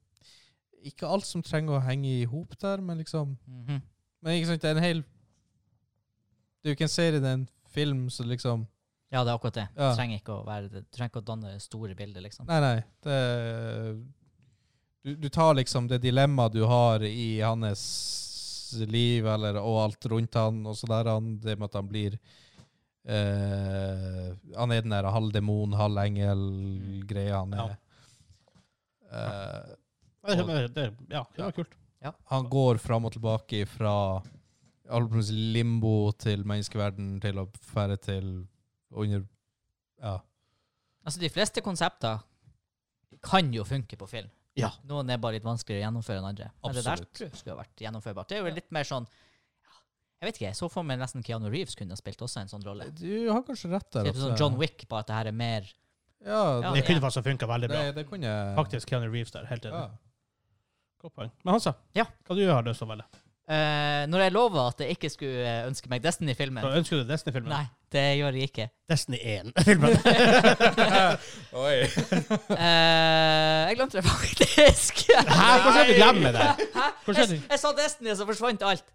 Speaker 2: ikke alt som trenger å henge i hop der, men liksom
Speaker 3: Mhm.
Speaker 2: Men ikke sant, det er en hel Det er jo ikke en serie, det er en film, så liksom
Speaker 3: Ja, det er akkurat det.
Speaker 2: Ja.
Speaker 3: Du trenger ikke å være det. Du trenger ikke å danne store bilder, liksom.
Speaker 2: Nei, nei. Det, du, du tar liksom det dilemmaet du har i hans liv eller, og alt rundt han, og så der han, det med at han blir eh, Han er den der halv demon, halv engel-greia han er. Eh,
Speaker 1: Det, det, det, ja, det var kult.
Speaker 2: han går fram og tilbake fra albums limbo til menneskeverden til å fære til under Ja.
Speaker 3: Altså, de fleste konsepter kan jo funke på film.
Speaker 1: Ja.
Speaker 3: Noen er bare litt vanskeligere å gjennomføre enn andre. Men
Speaker 2: Absolutt.
Speaker 3: det der tror jeg skulle ha vært gjennomførbart. Det er jo litt mer sånn ja, Jeg vet ikke, jeg så for meg nesten Keanu Reeves kunne ha spilt også en sånn rolle.
Speaker 2: Du har kanskje rett der.
Speaker 3: Typ sånn
Speaker 2: at-
Speaker 3: John Wick, bare at det her er mer
Speaker 2: Ja,
Speaker 3: Ja,
Speaker 1: Det
Speaker 2: det,
Speaker 1: kunne faktisk funka veldig bra.
Speaker 2: det, det kunne jeg
Speaker 1: Faktisk Keanu Reeves der. Helt enig.
Speaker 2: Ja.
Speaker 1: Godt poeng. Men Hansa,
Speaker 3: Ja.
Speaker 1: hva du har lyst til å velge?
Speaker 3: Eh, Når jeg lova at jeg ikke skulle eh, ønske meg Destiny-filmen
Speaker 1: Så ønsker du Destiny-filmen?
Speaker 3: Nei, det gjør jeg ikke.
Speaker 1: Destiny 1-filmen.
Speaker 2: Oi.
Speaker 3: Eh, jeg glemte det faktisk.
Speaker 1: Hæ? Hvordan kan du glemme det? Hvordan
Speaker 3: Jeg,
Speaker 1: er det?
Speaker 3: jeg sa Destiny, og så forsvant alt.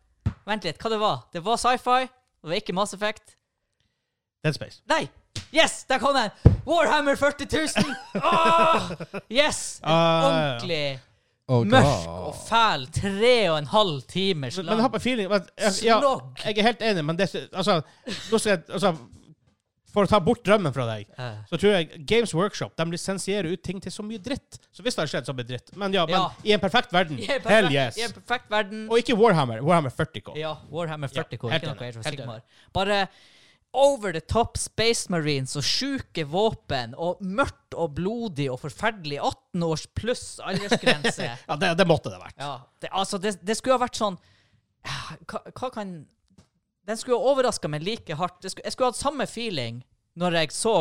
Speaker 3: Vent litt, hva det var? Det var sci-fi, det var ikke Mass Effect.
Speaker 1: Dead Space.
Speaker 3: Nei! Yes, der kom den! Warhammer 40 000! Åh! Yes! En
Speaker 1: Ah, ja,
Speaker 3: ordentlig
Speaker 2: Oh,
Speaker 3: mørk og fæl tre og en halv timers
Speaker 1: Men men jeg
Speaker 3: lang
Speaker 1: har på feeling men jeg, ja,
Speaker 3: Slog.
Speaker 1: jeg er helt enig, men det, altså, nå skal jeg, altså for å ta bort drømmen fra deg,
Speaker 3: Eh,
Speaker 1: så tror jeg Games Workshop de lisensierer ut ting til så mye dritt. Så hvis det har skjedd, så blir det dritt. Men ja, men
Speaker 3: Ja.
Speaker 1: i en perfekt verden,
Speaker 3: I en perfekt,
Speaker 1: hell yes.
Speaker 3: I en perfekt verden.
Speaker 1: Og ikke Warhammer. Warhammer 40K.
Speaker 3: Ja, Warhammer 40 k
Speaker 1: Ja, helt
Speaker 3: ikke noe
Speaker 1: enig,
Speaker 3: Age of
Speaker 1: helt
Speaker 3: Sigmar. Bare over the top Space Marines og sjuke våpen og mørkt og blodig og forferdelig 18 års pluss aldersgrense.
Speaker 1: Ja, det, det måtte det vært.
Speaker 3: ja, det, altså, det, det skulle ha vært sånn ah, Hva, hva kan Den skulle ha overraska meg like hardt. Det skulle, jeg skulle hatt samme feeling når jeg så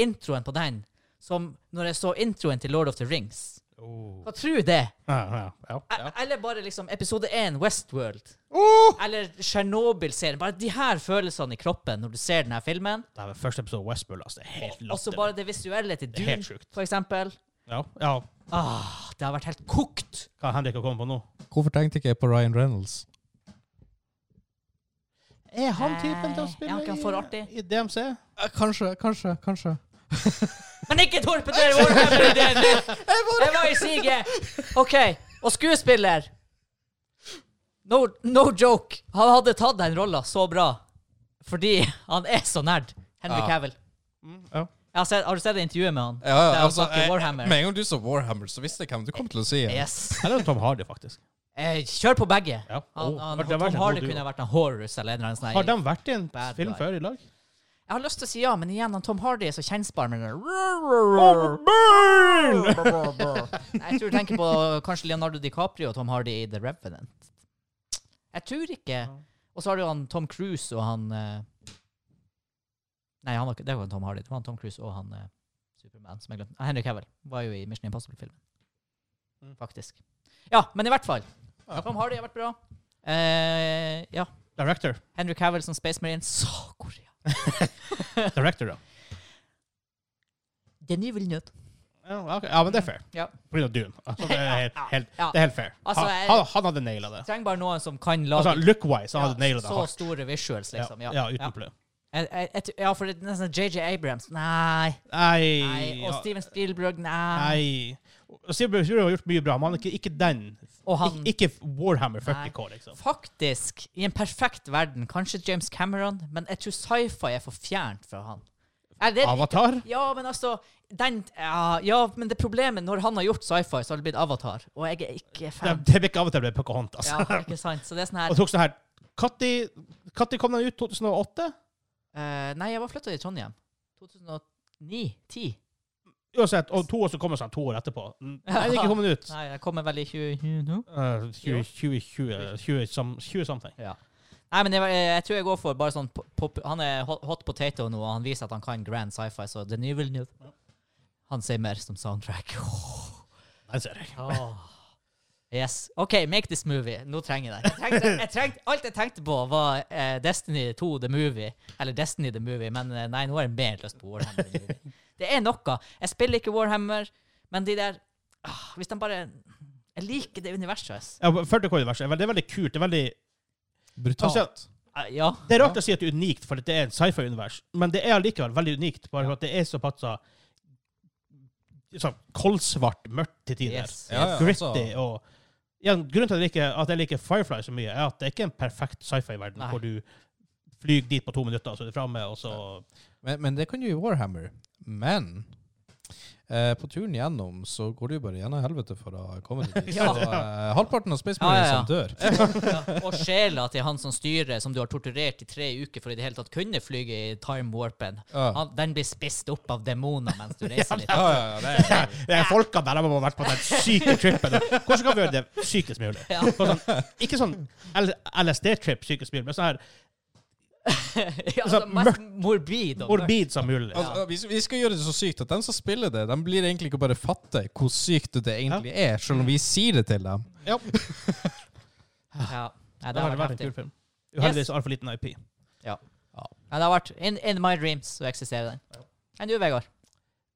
Speaker 3: introen på den, som når jeg så introen til Lord of the Rings.
Speaker 1: Oh.
Speaker 3: Hva tror det?
Speaker 1: Ja, ja, ja, ja.
Speaker 3: E- Eller bare liksom episode 1, Westworld.
Speaker 1: Oh!
Speaker 3: Eller Tsjernobyl-serien. Bare de her følelsene i kroppen når du ser denne filmen.
Speaker 1: Det er vel første episode av Westworld. Altså, det er helt
Speaker 3: Og så
Speaker 1: latterlig.
Speaker 3: bare det visuelle til
Speaker 1: er helt
Speaker 3: Dune,
Speaker 1: sjukt.
Speaker 3: for eksempel.
Speaker 1: Ja, ja.
Speaker 3: Ah, det har vært helt kokt!
Speaker 1: Hva Henrik har kommet på nå?
Speaker 2: Hvorfor tenkte ikke jeg på Ryan Reynolds?
Speaker 1: Er han
Speaker 3: Nei,
Speaker 1: typen til å
Speaker 3: er
Speaker 1: spille
Speaker 3: han ikke for artig?
Speaker 1: i, i DMC?
Speaker 2: Kanskje, kanskje, kanskje.
Speaker 3: Men ikke torpeder Warhammer-ideen din! Jeg var i siget! OK. Og skuespiller No, no joke. Han hadde tatt den rolla så bra fordi han er så nerd. Henry
Speaker 2: Ja.
Speaker 3: Cavill.
Speaker 1: Ja.
Speaker 3: Jeg Har, sett, har du sett intervjuet med han?
Speaker 2: Ja, ja,
Speaker 3: Der han
Speaker 2: altså,
Speaker 3: snakker
Speaker 2: jeg-
Speaker 3: Warhammer.
Speaker 2: Med en gang du sa Warhammer, så visste jeg hvem du kom til å si.
Speaker 3: Yes.
Speaker 1: Eller Tom Hardy, faktisk.
Speaker 3: Eh, kjør på begge.
Speaker 1: Ja.
Speaker 3: Han,
Speaker 1: Åh,
Speaker 3: han,
Speaker 1: det har vært en
Speaker 3: Tom Hardy
Speaker 1: god duo.
Speaker 3: kunne vært en Horus eller en eller annen sånn
Speaker 1: Har de
Speaker 3: her-
Speaker 1: vært i en
Speaker 3: Bad
Speaker 1: film
Speaker 3: guy.
Speaker 1: før i lag?
Speaker 3: Jeg har lyst til å si ja, men igjen, han Tom Hardy er så kjensbar med den Nei, Jeg tror du tenker på kanskje Leonardo DiCaprio og Tom Hardy i The Revenant. Jeg tror ikke Og så har du han Tom Cruise og han eh, Nei, han var ikke, det var Tom Hardy. Det var han Tom Cruise og han eh, Superman som jeg glemte. Ah, Henry Cavill var jo i Mission Impossible-filmen.
Speaker 1: Mm.
Speaker 3: Faktisk. Ja, men i hvert fall.
Speaker 1: Ja.
Speaker 3: Tom Hardy har vært bra. Eh, ja.
Speaker 1: Director.
Speaker 3: Henry Cavill som Space Marine. Så Korea.
Speaker 1: Director, ja.
Speaker 3: Den er vel nødt.
Speaker 1: Ja, ok. ja, men det er fair.
Speaker 3: Ja.
Speaker 1: På grunn av Dune. Altså, det, er helt, helt,
Speaker 3: Ja.
Speaker 1: det er helt fair.
Speaker 3: Altså,
Speaker 1: han,
Speaker 3: jeg-
Speaker 1: han, han hadde naila det.
Speaker 3: Trenger bare noen som kan
Speaker 1: Altså,
Speaker 3: lage
Speaker 1: Look-wise, han
Speaker 3: ja,
Speaker 1: hadde naila det
Speaker 3: så
Speaker 1: hardt.
Speaker 3: store visuals, liksom. Ja,
Speaker 1: ja, uten problem.
Speaker 3: Jeg- jeg- jeg tror- ja for det er nesten JJ Abrams. Nei.
Speaker 1: Nei,
Speaker 3: nei. Og
Speaker 1: ja.
Speaker 3: Steven Spielberg. Nei.
Speaker 1: Nei. Og Silver Surfer har gjort mye bra, men han er ikke, ikke den.
Speaker 3: Og han
Speaker 1: Ik ikke Warhammer 40K, liksom.
Speaker 3: Faktisk, i en perfekt verden, kanskje James Cameron, men jeg tror sci-fi er for fjernt fra han. Er det,
Speaker 1: Avatar?
Speaker 3: ja, men altså den, ja, ja, men det problemet når han har gjort sci-fi, så har det blitt Avatar. Og jeg er ikke
Speaker 1: Det,
Speaker 3: fan.
Speaker 1: det blir ikke Avatar, det blir Pocahontas.
Speaker 3: Ja, ikke sant? Så det er sånn her
Speaker 1: Og tok sånn her Når kom den ut? 2008?
Speaker 3: Eh, nei, jeg var flytta til Trondheim. 2009-10.
Speaker 1: Uansett, og to år så kommer sånn to år etterpå. Nei, den er ikke kommet ut.
Speaker 3: Nei, jeg kommer vel i 20... nå.
Speaker 1: Eh, 20, 20, 20, 20, som- 20 something.
Speaker 3: Ja. Nei, men jeg, jeg tror jeg går for bare sånn pop, pop, Han er hot, hot potato nå, og han viser at han kan grand sci-fi, så The New New Han sier mer som soundtrack.
Speaker 1: Den ser jeg.
Speaker 3: Yes. OK, make this movie. Nå trenger jeg det. Jeg trengte, jeg trengte, alt jeg tenkte på, var eh, Destiny 2 The Movie. Eller Destiny The Movie, men eh, nei, nå har jeg mer lyst på Warhammer. The Movie. Det er noe. Jeg spiller ikke Warhammer, men de der ah, Hvis de bare Jeg liker det universet. ass.
Speaker 1: Ja, 40K-universet er veldig, det er veldig kult. Det er veldig
Speaker 2: Brutalt.
Speaker 1: altså,
Speaker 3: Ah, ja.
Speaker 1: Det er rart å si at det er unikt, for at det er en sci-fi-univers, men det er allikevel veldig unikt, bare for at det er såpass så, sånn koldsvart mørkt til tider.
Speaker 3: Yes.
Speaker 2: Ja, ja,
Speaker 1: Gritty
Speaker 2: altså.
Speaker 1: og ja, Grunnen til at jeg, liker, at jeg liker Firefly så mye, er at det er ikke en perfekt sci-fi-verden
Speaker 3: Nei.
Speaker 1: hvor du flyr dit på to minutter, og så er du framme, og så
Speaker 2: Men, men det kan du i Warhammer. Men eh, på turen gjennom så går du jo bare gjennom helvete for å komme dit.
Speaker 3: Ja.
Speaker 2: Så eh, halvparten av Space
Speaker 3: Ja, ja,
Speaker 2: Marines
Speaker 3: ja.
Speaker 2: som dør.
Speaker 3: ja, og sjela til han som styrer, som du har torturert i tre uker for i det hele tatt kunne flyge i time warpen,
Speaker 2: Ja.
Speaker 3: han, den blir spist opp av demoner mens du reiser litt.
Speaker 2: Ja, ja, ja, det er,
Speaker 1: Det er folka der de har vært på den syke trippen. Hvordan kan vi gjøre det sykest mulig?
Speaker 3: Ja.
Speaker 1: På Sånn, ikke sånn LSD-trip sykest mulig, men sånn her
Speaker 3: Ja, altså, mest morbid og mørkt.
Speaker 1: morbid som mulig.
Speaker 2: altså, vi, vi skal gjøre det så sykt at de som spiller det, de blir egentlig ikke bare fatte hvor sykt det egentlig er, selv om vi sier det til dem.
Speaker 1: Ja.
Speaker 3: Ja. Nei,
Speaker 1: Det hadde
Speaker 3: det har vært
Speaker 1: vært en
Speaker 3: heftig.
Speaker 1: kul film. Uheldigvis altfor liten IP.
Speaker 3: Nei, det har vært in, in my dreams så eksisterer den. Enn du, Vegard?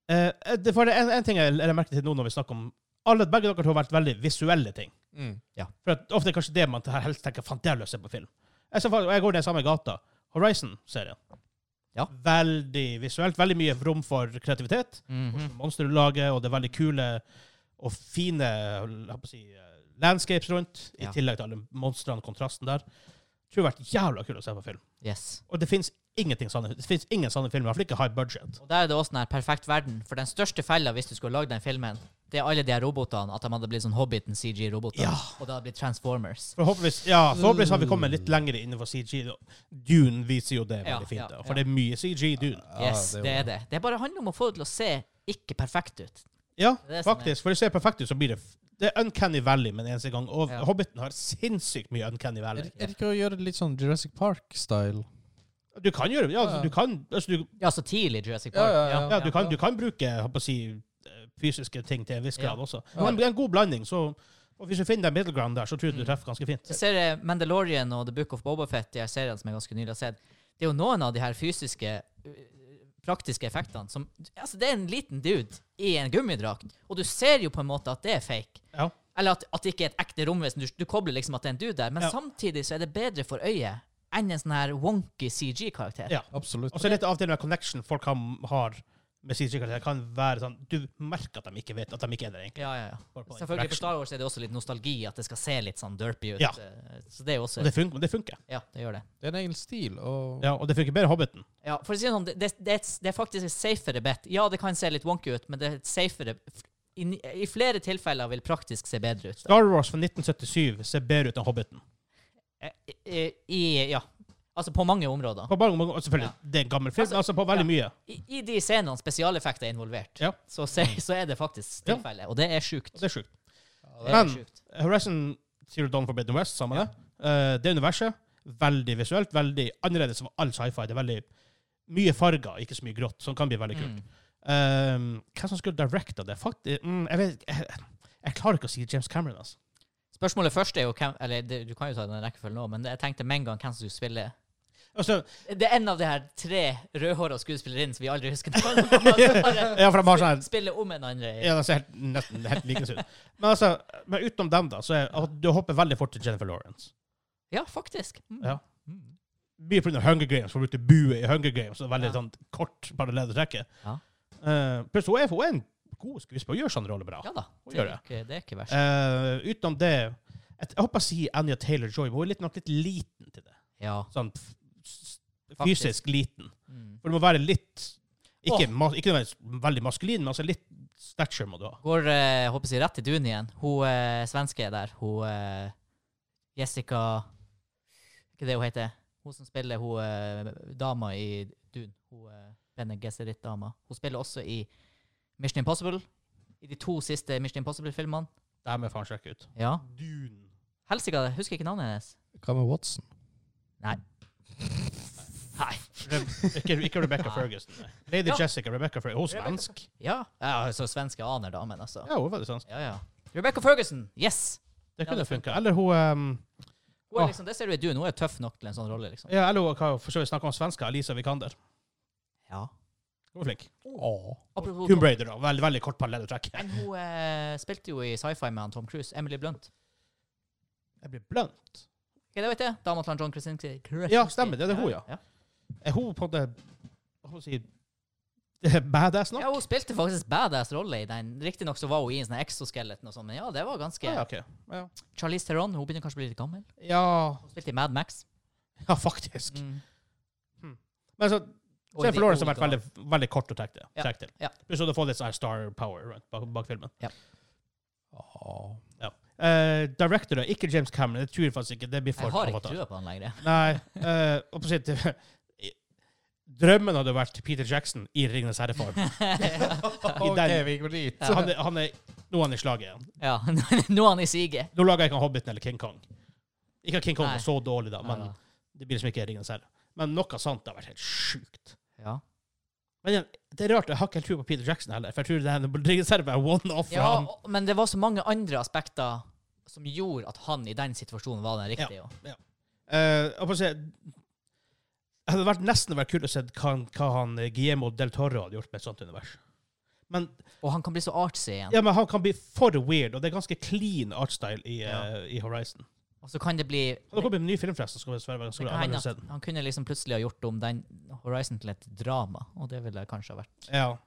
Speaker 1: Eh, det, for det er en, en ting jeg la merke til nå når vi snakker om alle, Begge dere to har vært veldig visuelle ting.
Speaker 3: Mm.
Speaker 1: For at ofte er kanskje det man tar- helst tenker Faen, det har jeg lyst til å se på film. Jeg, ser faktisk, og jeg går ned samme gata. Horizon-serien.
Speaker 3: Ja.
Speaker 1: Veldig visuelt. Veldig mye rom for kreativitet.
Speaker 3: Mhm.
Speaker 1: Hvordan Monster du lager, og det er veldig kule og fine la meg si, eh, landscapes rundt. I
Speaker 3: Ja.
Speaker 1: tillegg til alle monstrene og kontrasten der. Tror det har vært jævla kult å se på film.
Speaker 3: Yes.
Speaker 1: Og det fins ingenting sanne Det finnes ingen sanne filmer, i hvert fall ikke high budget.
Speaker 3: Og der er det også den her perfekt verden. For den største fella hvis du skulle lagd den filmen, det er alle de her robotene. At de hadde blitt sånn Hobbiten CG-roboter.
Speaker 1: Ja.
Speaker 3: Og det hadde blitt Transformers.
Speaker 1: Forhåpentligvis, ja, forhåpentligvis har vi kommet litt lenger innenfor CG. da. Dune viser jo det
Speaker 3: Ja,
Speaker 1: veldig fint,
Speaker 3: ja,
Speaker 1: da,
Speaker 3: ja.
Speaker 1: for det er mye CG i Dune.
Speaker 2: Ja,
Speaker 3: Yes,
Speaker 2: det er jo
Speaker 3: det er
Speaker 2: det.
Speaker 3: det. Det bare handler om å få det til å se ikke perfekt ut.
Speaker 1: Ja,
Speaker 3: Det er det som
Speaker 1: faktisk. For det ser perfekt ut, så blir det f- Det er Uncanny Valley med en eneste gang. Og
Speaker 3: Ja.
Speaker 1: Hobbiten har sinnssykt mye Uncanny Valley.
Speaker 2: Er, er det ikke å gjøre det litt sånn Jurassic Park-style?
Speaker 1: Du kan gjøre ja, altså,
Speaker 2: Ja.
Speaker 1: du kan, altså, du,
Speaker 3: Ja, så tidlig Jurassic
Speaker 2: Ja,
Speaker 3: Park.
Speaker 2: ja, ja.
Speaker 1: ja, du, kan, du kan bruke jeg holdt på å si, eh, fysiske ting til en viss
Speaker 3: Ja.
Speaker 1: grad også.
Speaker 2: Ja.
Speaker 1: Men det er en god blanding. Så, og hvis du finner den middle ground der, så tror jeg du
Speaker 3: Mm.
Speaker 1: treffer ganske fint.
Speaker 3: Jeg ser eh, Mandalorian og The Book of Bobafett, de her seriene som jeg ganske nylig har sett. Det er jo noen av de her fysiske, eh, praktiske effektene som Altså, det er en liten dude i en gummidrakt, og du ser jo på en måte at det er fake.
Speaker 1: Ja.
Speaker 3: Eller at, at det ikke er et ekte romvesen. Du, du kobler liksom at det er en dude der, men
Speaker 1: Ja.
Speaker 3: samtidig så er det bedre for øyet enn en sånn her wonky CG-karakter.
Speaker 1: Ja.
Speaker 2: Absolutt.
Speaker 1: Og så er det litt av og til med connection folk har, har med CG-karakterer. kan være sånn Du merker at de ikke vet at de ikke er der, egentlig.
Speaker 3: Ja, ja, ja.
Speaker 1: Bare på
Speaker 3: Selvfølgelig på
Speaker 1: interaction.
Speaker 3: Star Wars er det også litt nostalgi, at det skal se litt sånn derpy ut.
Speaker 1: Ja.
Speaker 3: Eh, Så det er jo også
Speaker 1: Og det funker. Det funker.
Speaker 3: Ja, det gjør det.
Speaker 2: Det er en egen stil, og
Speaker 1: Ja, og det funker bedre i Hobbiten.
Speaker 3: Ja, for å si det sånn, det, det, det, er et- det er faktisk et safere bet. Ja, det kan se litt wonky ut, men det er et safere i, ni- I flere tilfeller vil praktisk se bedre ut.
Speaker 1: Star Wars fra 1977 ser bedre ut enn Hobbiten.
Speaker 3: Eh, I, i, ja. Altså på mange områder.
Speaker 1: På mange, og selvfølgelig, det er en gammel film.
Speaker 3: Altså,
Speaker 1: Altså, på veldig mye.
Speaker 3: I, i de scenene spesialeffekter er involvert,
Speaker 1: Ja.
Speaker 3: så, se, så er det faktisk
Speaker 1: Ja.
Speaker 3: tilfellet. Og det er sjukt.
Speaker 1: Og det er sjukt.
Speaker 3: Det er
Speaker 1: Men-
Speaker 3: sjukt.
Speaker 1: Horizon Zero Dawn Forbidden West, sammen med det. Eh, det universet, veldig visuelt, veldig annerledes enn all sci-fi. Det er veldig mye farger, ikke så mye grått, som kan bli veldig kult.
Speaker 3: Mm.
Speaker 1: Eh, hvem som skulle directa det? Faktisk, mm, jeg vet jeg, jeg klarer ikke å si James Cameron, altså.
Speaker 3: Spørsmålet først er jo hvem Eller det, du kan jo ta den rekkefølgen nå, men jeg tenkte med en gang hvem som skulle spille
Speaker 1: altså
Speaker 3: Det er en av de her tre rødhåra skuespillerinnene som vi aldri husker navnet på. som bare
Speaker 1: ja, for de har sånn her-
Speaker 3: Spiller om en andre. i-
Speaker 1: ja, de ser helt, nesten helt like ut. Men altså, men utenom dem, da, så er at du hopper veldig fort til Jennifer Lawrence.
Speaker 3: Ja, faktisk. Mm.
Speaker 1: Ja.
Speaker 3: Mm.
Speaker 1: Mye pga. Hunger Games, for hun brukte bue i Hunger Games. Og veldig
Speaker 3: Ja.
Speaker 1: sånn kort parallell å trekke.
Speaker 3: Ja.
Speaker 1: Eh, pluss hun er, hun er en god skuespiller og gjør sånn rolle bra.
Speaker 3: Ja da.
Speaker 1: Hun
Speaker 3: Det
Speaker 1: gjør
Speaker 3: er, ikke, det er ikke verst.
Speaker 1: Eh, utenom det Jeg jeg håper å si Anja Taylor-Joy, men hun er litt, nok litt liten til det.
Speaker 3: Ja.
Speaker 1: Sånn f- s-
Speaker 3: Faktisk.
Speaker 1: fysisk liten.
Speaker 3: Mm.
Speaker 1: For du må være litt Ikke, ma ikke nødvendigvis veldig maskulin, men altså litt stature må du ha.
Speaker 3: Går eh, håper jeg, rett til dun igjen. Hun eh, svenske der, hun eh, Jessica Ikke det hun heter? Hun som spiller hun eh, dama i Dun. Hun eh, Bene Gesserit-dama. Hun spiller også i Mission Impossible. I de to siste Mission Impossible-filmene.
Speaker 1: Det her må jeg faen sjekke ut.
Speaker 3: Ja.
Speaker 1: Dune.
Speaker 3: Helsika, husker ikke navnet hennes.
Speaker 2: hva med Watson?
Speaker 3: Nei.
Speaker 1: Re- Ikke, ikke Rebecca Ferguson. nei. Lady
Speaker 3: Ja.
Speaker 1: Jessica Rebecca Ferguson. Hun er svensk.
Speaker 3: Ja. ja så svenske aner, da, men altså.
Speaker 1: Ja, hun er veldig svensk.
Speaker 3: Ja, ja. Rebecca Ferguson. Yes!
Speaker 1: Det
Speaker 3: Ja,
Speaker 1: kunne
Speaker 3: det
Speaker 1: funka. Eller hun ehm,
Speaker 3: Hun er
Speaker 1: Åh.
Speaker 3: liksom, det ser du i Dune. Hun er tøff nok til en sånn rolle, liksom.
Speaker 1: Ja, eller hun kan jo for så vidt snakke om svenska. Alisa Vikander.
Speaker 3: Ja.
Speaker 1: Hun er flink.
Speaker 2: Åh.
Speaker 3: Apropos
Speaker 1: Tomb Raider, da. Veldig, veldig kort parallell å trekke.
Speaker 3: Men hun eh, spilte jo i sci-fi med han Tom Cruise. Emily Blunt.
Speaker 1: Jeg blir blunt.
Speaker 3: Ok, det vet jeg. Dama til han John Krasinski.
Speaker 1: Ja, stemmer det. Det er hun, ja.
Speaker 3: Ja,
Speaker 1: Er hun på det Hva skal jeg si Badass
Speaker 3: ja.
Speaker 1: nok?
Speaker 3: hun spilte faktisk badass rolle i den. Riktignok så var hun i en sånn exoskeleton og sånn, men ja, det var ganske
Speaker 1: Ah, Ja, ok. ja.
Speaker 3: Charlize Theron, hun begynner kanskje å bli litt gammel.
Speaker 1: Ja,
Speaker 3: Hun spilte i Mad Max.
Speaker 1: ja faktisk.
Speaker 3: Mm.
Speaker 1: Men så
Speaker 3: Og i
Speaker 1: Jennifer
Speaker 3: de
Speaker 1: Lawrence har vært
Speaker 3: old
Speaker 1: veldig, veldig kort å trekke det-
Speaker 3: Ja,
Speaker 1: trekke til.
Speaker 3: ja.
Speaker 1: Pluss at du får litt sånn her star power rundt bak, bak filmen.
Speaker 2: Åh.
Speaker 1: Uh, director, da, ikke James Cameron. Det tror jeg faktisk ikke. Det blir for
Speaker 3: Jeg har ikke
Speaker 1: avatar.
Speaker 3: trua på han lenger.
Speaker 1: Nei. eh, og på sitt, drømmen hadde vært Peter Jackson i Ringenes herre-form.
Speaker 2: OK,
Speaker 1: den-
Speaker 2: vi går dit.
Speaker 1: Så han, er- han er nå er han i slaget igjen.
Speaker 3: ja, nå er han i siget.
Speaker 1: Nå lager jeg ikke han Hobbiten eller King Kong. Ikke at King Kong
Speaker 3: Nei.
Speaker 1: er så dårlig, da, men
Speaker 3: Ja, da.
Speaker 1: det blir liksom ikke Ringenes herre. Men noe sant det har vært helt sjukt.
Speaker 3: Ja.
Speaker 1: Men igjen, det er rart, jeg har ikke helt tro på Peter Jackson heller, for jeg tror det her med Ringenes herre er one-off for
Speaker 3: ja,
Speaker 1: han.
Speaker 3: og- men det var så mange andre aspekter som gjorde at han i den situasjonen var den riktige. Ja.
Speaker 1: Eh, jeg får se, det hadde vært nesten vært kult å se hva, han- hva han eh, Guillermo del Toro hadde gjort med et sånt univers. Men,
Speaker 3: Og han kan bli så artsy igjen.
Speaker 1: ja, men han kan bli for weird, og det er ganske clean artstyle i, eh, i Horizon.
Speaker 3: Og så kan det bli
Speaker 1: Og det kommer en ny film forresten, som skal være ganske
Speaker 3: Det
Speaker 1: bra. Jeg har
Speaker 3: kan hende
Speaker 1: aldri sett
Speaker 3: at
Speaker 1: den.
Speaker 3: han kunne liksom plutselig ha gjort om den Horizon til et drama, og det ville kanskje ha vært
Speaker 1: Ja.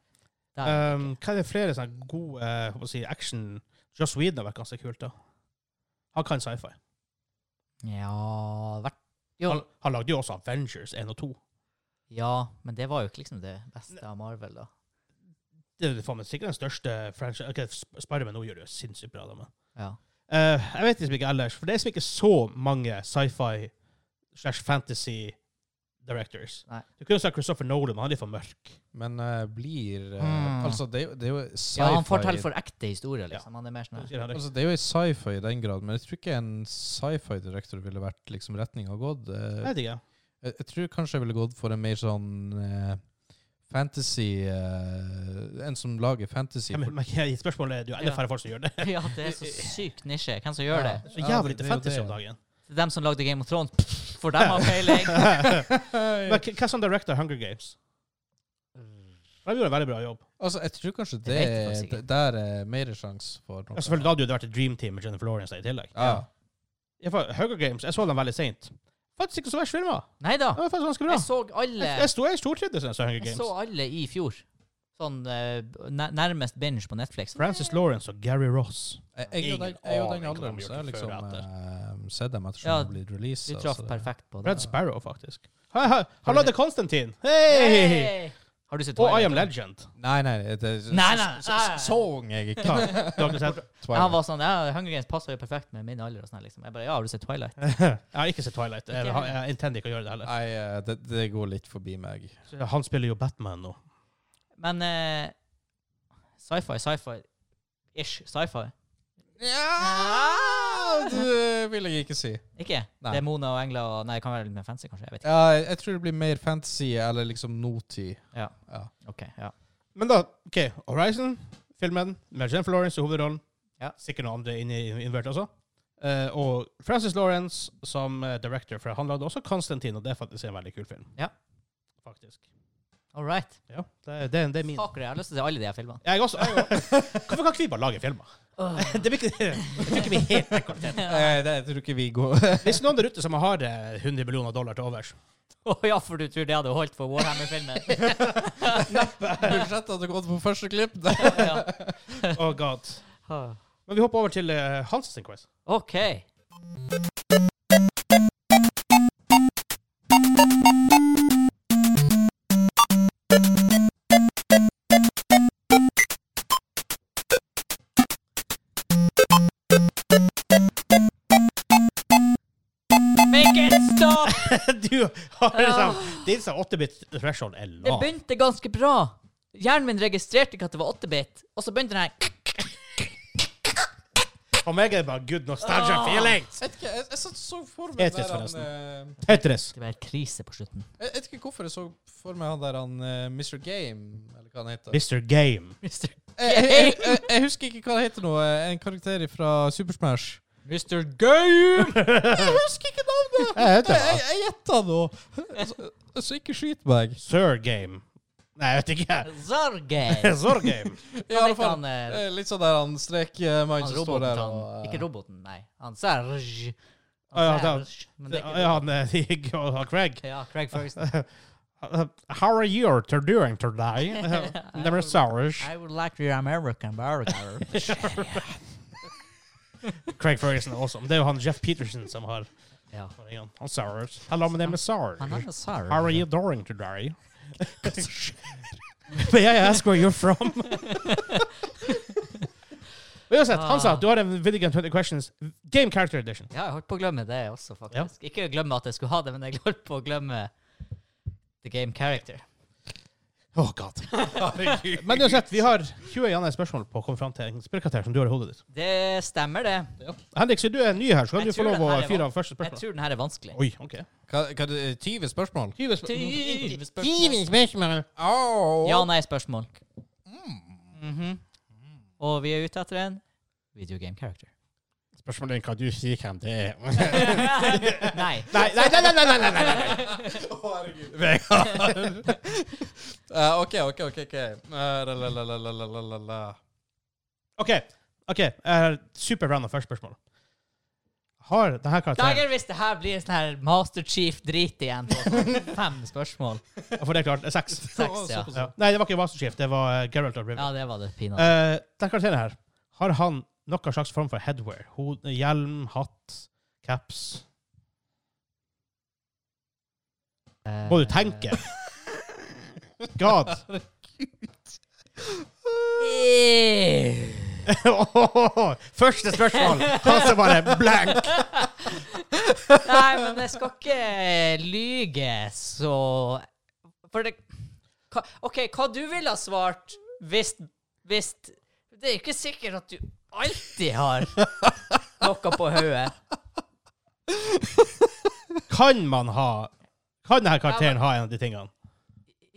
Speaker 3: der.
Speaker 1: Um, hva er det flere sånne gode eh, hva skal jeg si, action Joss Whedon har vært ganske kult, da. Han kan sci-fi.
Speaker 3: ja vært Jo.
Speaker 1: Han, han lagde jo også Avengers 1 og 2.
Speaker 3: Ja, men det var jo ikke liksom det beste av Marvel, da.
Speaker 1: Det er faen meg sikkert den største franchise... Okay, Sp- Spider-Man nå gjør det jo sinnssykt bra. Da, men.
Speaker 3: Ja.
Speaker 1: Eh, jeg vet liksom ikke ellers, for det er liksom ikke så mange sci-fi slash fantasy directors.
Speaker 3: Nei.
Speaker 1: Du kunne sagt Christopher Nolan, men han er litt for mørk.
Speaker 2: Men eh, blir eh,
Speaker 3: Mm.
Speaker 2: Altså, det, er jo- det er jo sci-fi.
Speaker 3: ja, han forteller for ekte historier, liksom. Han er mer sånn her.
Speaker 1: Sier han det?
Speaker 2: Altså, det er jo en sci-fi i den grad, men jeg tror ikke en sci-fi-direktor ville vært liksom retninga gått.
Speaker 1: Jeg
Speaker 2: Eh,
Speaker 1: vet ikke.
Speaker 2: Jeg, jeg tror kanskje jeg ville gått for en mer sånn eh, fantasy eh, En som lager fantasy.
Speaker 1: Ja, men, men jeg- spørsmålet er det er jo enda
Speaker 3: Ja.
Speaker 1: færre folk som gjør det.
Speaker 3: Ja, det er så sykt nisje. Hvem som gjør det?
Speaker 1: Så jævlig lite fantasy om
Speaker 2: dagen.
Speaker 1: dagen.
Speaker 3: Det er dem som lagde Game of Thrones. For dem har peiling.
Speaker 1: Men k- hva som director av Hunger Games? De gjorde en veldig bra jobb.
Speaker 2: Altså, jeg tror kanskje det,
Speaker 3: vet jeg faktisk
Speaker 2: det
Speaker 3: ikke.
Speaker 2: der er mer sjanse for noe.
Speaker 1: Ja, selvfølgelig, da hadde jo det vært et dream team med Jennifer Lawrence der i tillegg.
Speaker 2: Ja.
Speaker 1: Jeg får- Hunger Games, jeg så dem veldig sent. Faktisk ikke så verst filmer.
Speaker 3: Nei da.
Speaker 1: Det var faktisk ganske bra.
Speaker 3: Jeg så alle
Speaker 1: Jeg, jeg sto jeg stortrivdes da jeg så Hunger
Speaker 3: Jeg
Speaker 1: Games.
Speaker 3: så alle i fjor. Sånn eh, nær- nærmest binge på Netflix.
Speaker 1: Francis Lawrence og Gary Ross.
Speaker 2: Jeg, jeg, er jo
Speaker 1: Ingen
Speaker 2: den- jeg er jo den
Speaker 1: aning hva de
Speaker 2: alderen,
Speaker 1: gjorde
Speaker 2: så jeg har liksom
Speaker 1: før og
Speaker 2: eh, sett dem etter som
Speaker 3: Ja,
Speaker 2: de blir altså. releasa.
Speaker 3: Du traff
Speaker 1: altså.
Speaker 3: perfekt på det.
Speaker 1: Red Sparrow, faktisk. Hei, hei, Han
Speaker 3: du
Speaker 1: lagde Constantine! Hei!
Speaker 3: Hey! Har du sett
Speaker 1: Og I
Speaker 3: Twilight,
Speaker 1: Am
Speaker 3: da?
Speaker 1: Legend.
Speaker 2: Nei, nei, det, det-
Speaker 3: Nei, nei,
Speaker 2: s-
Speaker 3: nei.
Speaker 2: s- Sång jeg ikke.
Speaker 1: Ja, du har ikke sett?
Speaker 3: Ja, Han
Speaker 2: Twilight.
Speaker 3: var sånn, ja, Hunger Games passer jo perfekt med min alder. og sånn her, liksom. Jeg bare, ja, har du sett Twilight?
Speaker 1: Jeg har ikke sett Twilight. Jeg,
Speaker 3: Ikke
Speaker 1: har-
Speaker 3: heller.
Speaker 1: jeg intender ikke å gjøre det heller.
Speaker 2: Nei, eh, det, det går litt forbi meg.
Speaker 1: Han spiller jo Batman nå.
Speaker 3: Men eh, sci-fi, sci-fi Ish, sci-fi.
Speaker 2: Ja, det vil jeg ikke si.
Speaker 3: Ikke?
Speaker 2: Nei.
Speaker 3: Det er Mona og engler og Nei, det kan være litt mer fancy, kanskje. Jeg vet ikke.
Speaker 2: Ja, jeg jeg tror det blir mer fantasy eller liksom nåtid.
Speaker 3: Ja.
Speaker 2: Ja.
Speaker 3: Ok, ja.
Speaker 1: Men da, OK. Horizon, filmen med Jennifer Lawrence i hovedrollen.
Speaker 3: Ja.
Speaker 1: Sikkert noen andre inne i invert også. Eh, og Francis Lawrence som eh, director, for han lagde også Constantine, og det er faktisk en veldig kul film.
Speaker 3: Ja.
Speaker 1: Faktisk.
Speaker 3: All right.
Speaker 1: Ja, det, det, det er min.
Speaker 3: Fuck, jeg har lyst til å se alle de her filmene.
Speaker 1: Jeg også. Hvorfor kan ikke vi bare lage filmer? det blir ikke, jeg tror ikke vi er helt rekordtett.
Speaker 2: Eh, det, jeg tror ikke vi går
Speaker 1: Hvis noen der ute som har eh, 100 millioner dollar til overs
Speaker 3: Å ja, for du tror det hadde holdt for Warhammer-filmen?
Speaker 2: Budsjettet hadde gått på første klipp.
Speaker 3: ja. Ah.
Speaker 1: Oh god.
Speaker 3: ja.
Speaker 1: Men vi hopper over til eh, Hans sin quiz.
Speaker 3: OK. Make it stop!
Speaker 1: du har liksom Din som 8-bit threshold er
Speaker 3: Det
Speaker 1: lav.
Speaker 3: begynte ganske bra. Hjernen min registrerte ikke at det var 8-bit, og så begynte den her
Speaker 1: For meg er det bare good nostalgia
Speaker 3: Ah.
Speaker 1: feeling.
Speaker 2: Jeg, vet ikke, jeg, jeg satt så for meg
Speaker 1: Tetris,
Speaker 2: der han
Speaker 1: forresten.
Speaker 2: eh,
Speaker 1: Tetris.
Speaker 3: Det var helt krise på slutten.
Speaker 2: Jeg vet ikke hvorfor jeg så for meg han der han eh, Mr. Game, eller hva han heter.
Speaker 1: Mr. Game.
Speaker 3: Mr.
Speaker 2: Jeg, jeg, jeg, jeg, jeg husker ikke hva det heter nå. eh, En karakter fra Super Smash.
Speaker 3: Mr. Game!
Speaker 2: Jeg husker ikke navnet!
Speaker 1: Jeg heter
Speaker 2: Jeg
Speaker 1: hva?
Speaker 2: jeg- jeg gjetta nå. Så, så ikke skyt meg.
Speaker 1: Sir Game. Nei, jeg vet ikke.
Speaker 3: Zarge!
Speaker 1: Sir Game.
Speaker 2: I alle
Speaker 3: heter
Speaker 2: fall,
Speaker 3: han, eh,
Speaker 2: eh, litt sånn der han strekmann
Speaker 3: Han
Speaker 2: som står
Speaker 3: roboten,
Speaker 2: der
Speaker 3: han,
Speaker 2: og eh,
Speaker 3: ikke roboten, nei. Han Serge.
Speaker 1: Å, ja, da-
Speaker 3: Serge. Men det er ikke
Speaker 1: Ja, han eh, Craig. Uh,
Speaker 3: Ja, Craig Ferguson.
Speaker 1: How are you to Uh, doing today? Never sourish.
Speaker 3: I would like your American burger.
Speaker 1: Craig Ferguson er awesome. Det er jo han Jeff Peterson som har
Speaker 3: ja.
Speaker 1: Han sourish. Hello, my name is Sarge.
Speaker 3: Han er en Serge.
Speaker 1: How are you doing today? May I ask where you're from? Men uansett, han sa at du har en Video Game 20 Questions Game Character Edition.
Speaker 3: Ja, jeg holdt på å glemme det også, faktisk. Ikke glemme at jeg skulle ha det, men jeg holdt på å glemme The Game Character.
Speaker 1: Oh god. Men uansett, vi har 20 gjerne spørsmål på å komme fram til en spillkarakter som du har i hodet ditt.
Speaker 3: Det stemmer, det.
Speaker 1: Henrik, siden du er ny her, så kan
Speaker 3: Jeg
Speaker 1: du få
Speaker 3: tror
Speaker 1: lov å
Speaker 3: det her er
Speaker 1: fyre
Speaker 3: van-
Speaker 1: av første
Speaker 3: Jeg
Speaker 1: spørsmål.
Speaker 3: tror den her er vanskelig.
Speaker 1: Oi, ok.
Speaker 2: Hva, hva er det, 20 spørsmål?
Speaker 1: 20 spørsmål.
Speaker 3: Tyve spørsmål.
Speaker 1: spørsmål.
Speaker 2: Au.
Speaker 3: Ja-nei-spørsmål.
Speaker 1: Mm.
Speaker 3: Mhm. Og vi er ute etter en video game character.
Speaker 1: Spørsmålet er hva du sier hvem det er.
Speaker 3: Nei.
Speaker 1: Nei, nei, nei, nei, nei, nei, nei, nei.
Speaker 2: Å, herregud. Vegard. Eh, OK, OK, OK. ok. Eh, la, la, la, la, la, la, la, la.
Speaker 1: OK. ok, eh, Super random første spørsmål. Har denne karakteren
Speaker 3: Dagen hvis det her blir en sånn her Master Chief-drit igjen på sånn fem spørsmål.
Speaker 1: Ja, For det er klart, det er seks.
Speaker 3: Seks, ja.
Speaker 1: Ja. Nei, det var ikke Master Chief, det var uh, Geralt of Riven.
Speaker 3: Ja, det var det pinadø.
Speaker 1: Eh, denne karakteren her, har han noen slags form for headwear? Hode, hjelm, hatt, caps? Må du tenke? God.
Speaker 3: Eh.
Speaker 1: Første spørsmål! Han som bare blank.
Speaker 3: Nei, men jeg skal ikke lyge, så For det hva, OK, hva du ville ha svart hvis Hvis Det er jo ikke sikkert at du alltid har noe på hodet.
Speaker 1: Kan man ha Kan denne karakteren ha en av de tingene?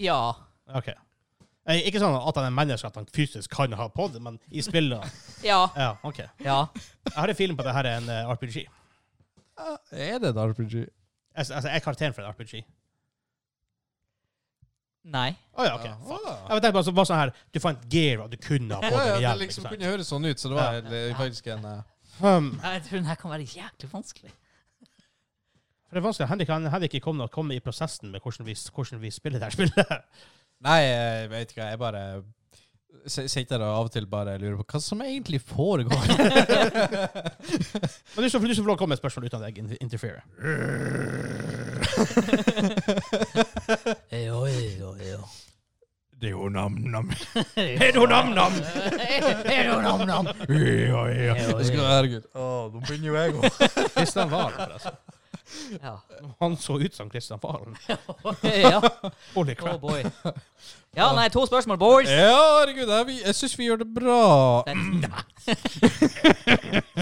Speaker 3: Ja.
Speaker 1: Ok. Eh, Ikke sånn at han er menneske, at han fysisk kan ha på det, men i spillet
Speaker 3: Ja.
Speaker 1: Ja, OK.
Speaker 3: Ja.
Speaker 1: Jeg har en film på at det her er en eh, RPG.
Speaker 2: Er det et RPG?
Speaker 1: Altså, altså, jeg er karakteren for en RPG.
Speaker 3: Nei.
Speaker 1: Å ja, OK.
Speaker 2: Ja.
Speaker 1: Fuck.
Speaker 2: Ah.
Speaker 1: Jeg vet, det bare, så- bare sånn her, du fant gear, og du kunne ha på
Speaker 2: Ja,
Speaker 1: det
Speaker 2: ja,
Speaker 1: med
Speaker 2: det
Speaker 1: hjelp.
Speaker 2: liksom
Speaker 1: ikke sant?
Speaker 2: kunne høres sånn ut, så det var eh, faktisk en eh,
Speaker 1: Hmm.
Speaker 3: Jeg tror den her kan være jæklig vanskelig.
Speaker 1: For det er vanskelig. Henrik han, Henrik ikke kom, kom i prosessen med hvordan vi, hvordan vi spiller det her spillet.
Speaker 2: Nei, jeg vet ikke. Jeg bare s- sitter og av og til bare lurer på hva som egentlig foregår.
Speaker 1: Men du skal, du skal få lov å komme med et spørsmål uten at jeg in- interferer.
Speaker 3: Jo, jo, jo.
Speaker 2: Det er jo nam-nam.
Speaker 1: Nam-nam!
Speaker 3: Nam-nam.
Speaker 2: Herregud. Å, nå begynner jo jeg òg.
Speaker 1: Kristian Valen, forresten.
Speaker 3: Ja.
Speaker 1: Han så ut som Kristian Valen.
Speaker 3: ja.
Speaker 1: Holy
Speaker 3: Oh
Speaker 1: crap.
Speaker 3: boy. Ja, nei, to spørsmål, boys.
Speaker 2: Ja, herregud. det er vi- Jeg syns vi gjør det bra.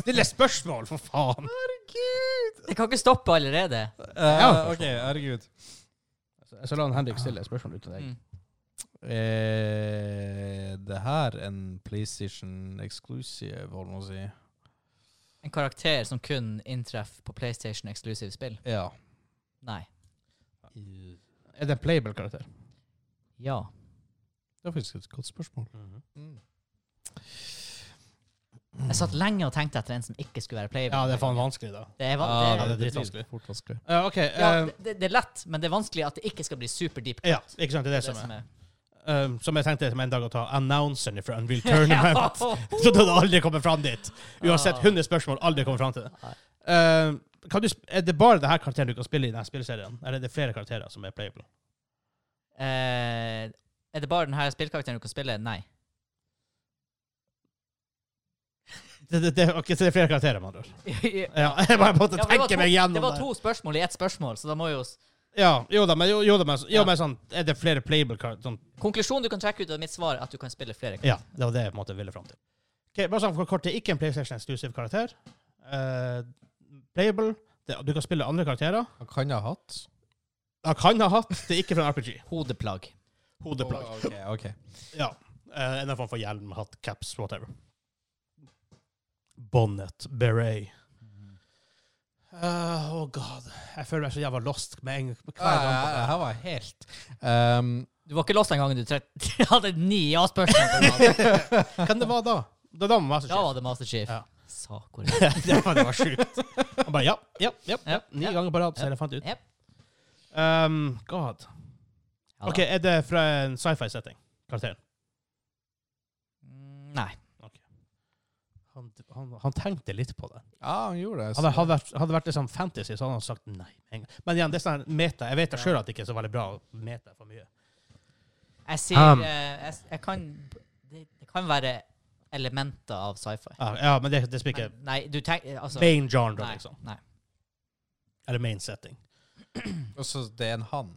Speaker 1: Stille spørsmål, for faen!
Speaker 2: Herregud.
Speaker 3: Jeg kan ikke stoppe allerede.
Speaker 1: Ja.
Speaker 2: Eh, OK, herregud.
Speaker 1: Så la Henrik stille spørsmål uten deg.
Speaker 3: Mm.
Speaker 2: Eh, det her en PlayStation exclusive, holdt man på å si.
Speaker 3: En karakter som kun inntreffer på PlayStation Exclusive spill?
Speaker 2: Ja.
Speaker 3: Nei.
Speaker 2: Det
Speaker 1: Mm. Er det en playable karakter?
Speaker 3: Ja.
Speaker 2: er faktisk et godt spørsmål.
Speaker 3: Mhm. Jeg satt lenge og tenkte etter en som ikke skulle være playable.
Speaker 1: Ja, det er faen vanskelig, da.
Speaker 3: Det er, van
Speaker 1: Ja,
Speaker 3: det er,
Speaker 1: det er
Speaker 2: blir
Speaker 1: dritvanskelig.
Speaker 2: fort vanskelig.
Speaker 1: Ja, OK.
Speaker 3: ja,
Speaker 1: eh,
Speaker 3: det, det er lett, men det er vanskelig at det ikke skal bli super deep.
Speaker 1: ja, ikke sant? Det er det som er. Um, som jeg tenkte som en dag å ta announceren fra Unreal Tournament. Så du hadde aldri kommet fram dit. Uansett
Speaker 3: Ah.
Speaker 1: 100 spørsmål, aldri kommet fram til det.
Speaker 3: Nei.
Speaker 1: Um, kan du, sp- er det bare denne karakteren du kan spille i denne spillserien? Eller er det flere karakterer som er playable?
Speaker 3: Eh, er det bare denne spillkarakteren du kan spille? Nei.
Speaker 1: Det, det, det, ok, så det er flere karakterer, med andre ord.
Speaker 3: ja,
Speaker 1: Ja, jeg bare måtte
Speaker 3: men det, var
Speaker 1: tenke
Speaker 3: to,
Speaker 1: meg
Speaker 3: det
Speaker 1: gjennom
Speaker 3: var
Speaker 1: det.
Speaker 3: to spørsmål i ett spørsmål, så da må jo s-
Speaker 1: Ja, jo da, men, jo, jo, da, men, jo,
Speaker 3: Ja.
Speaker 1: men sånn, er det flere playable karakterer? Sånn,
Speaker 3: Konklusjonen du kan trekke ut av mitt svar, er at du kan spille flere.
Speaker 1: ja, det var det jeg på en måte ville fram til. Ok, bare sånn for kort, det er ikke en PlayStation exclusive karakter. Eh, playable. Det, du kan spille andre karakterer.
Speaker 2: Han kan ha hatt.
Speaker 1: Han kan ha hatt, det er ikke fra en RPG.
Speaker 3: Hodeplagg.
Speaker 1: Hodeplagg.
Speaker 2: Å, ok, ok.
Speaker 1: Ja. Eh, en eller annen form for hjelm, hatt, caps, whatever. Bonnet, beret. Mm. Eh, oh god. Jeg føler meg så jævla lost med en med hver gang.
Speaker 2: Ja, ja, ja, Her var jeg helt um,
Speaker 3: Du var ikke lost den gangen du tre- hadde ni ja-spørsmål.
Speaker 1: Hvem det var da? Det var da med
Speaker 3: Da
Speaker 1: Masterchef.
Speaker 3: var det Master Chief.
Speaker 1: Ja.
Speaker 3: Sakor.
Speaker 1: det var, det var sjukt. Han bare ja, ja, ja. ja.
Speaker 3: Ja,
Speaker 1: Ni
Speaker 3: ja,
Speaker 1: ganger på rad, så
Speaker 3: ja,
Speaker 1: jeg fant ut.
Speaker 3: ja.
Speaker 1: Um, god.
Speaker 3: Ja, da.
Speaker 1: OK, er det fra en sci-fi-setting? Karakteren?
Speaker 3: Mm, Nei.
Speaker 1: Han, han, han tenkte litt på det.
Speaker 2: Ja, han gjorde det.
Speaker 1: Hadde, hadde, vært, hadde vært liksom fantasy, så hadde han sagt nei. med en gang. Men igjen, det er sånn her meta. Jeg vet da sjøl at det ikke er så veldig bra å meta for mye.
Speaker 3: Jeg sier
Speaker 1: Um.
Speaker 3: eh, jeg, s- jeg kan det, det kan være elementer av sci-fi.
Speaker 1: Ja, ja men det, det spiller ikke
Speaker 3: Men Nei, du tenker altså,
Speaker 1: main genre,
Speaker 3: nei,
Speaker 1: liksom.
Speaker 3: nei.
Speaker 1: Eller main setting.
Speaker 2: Og så det er en han.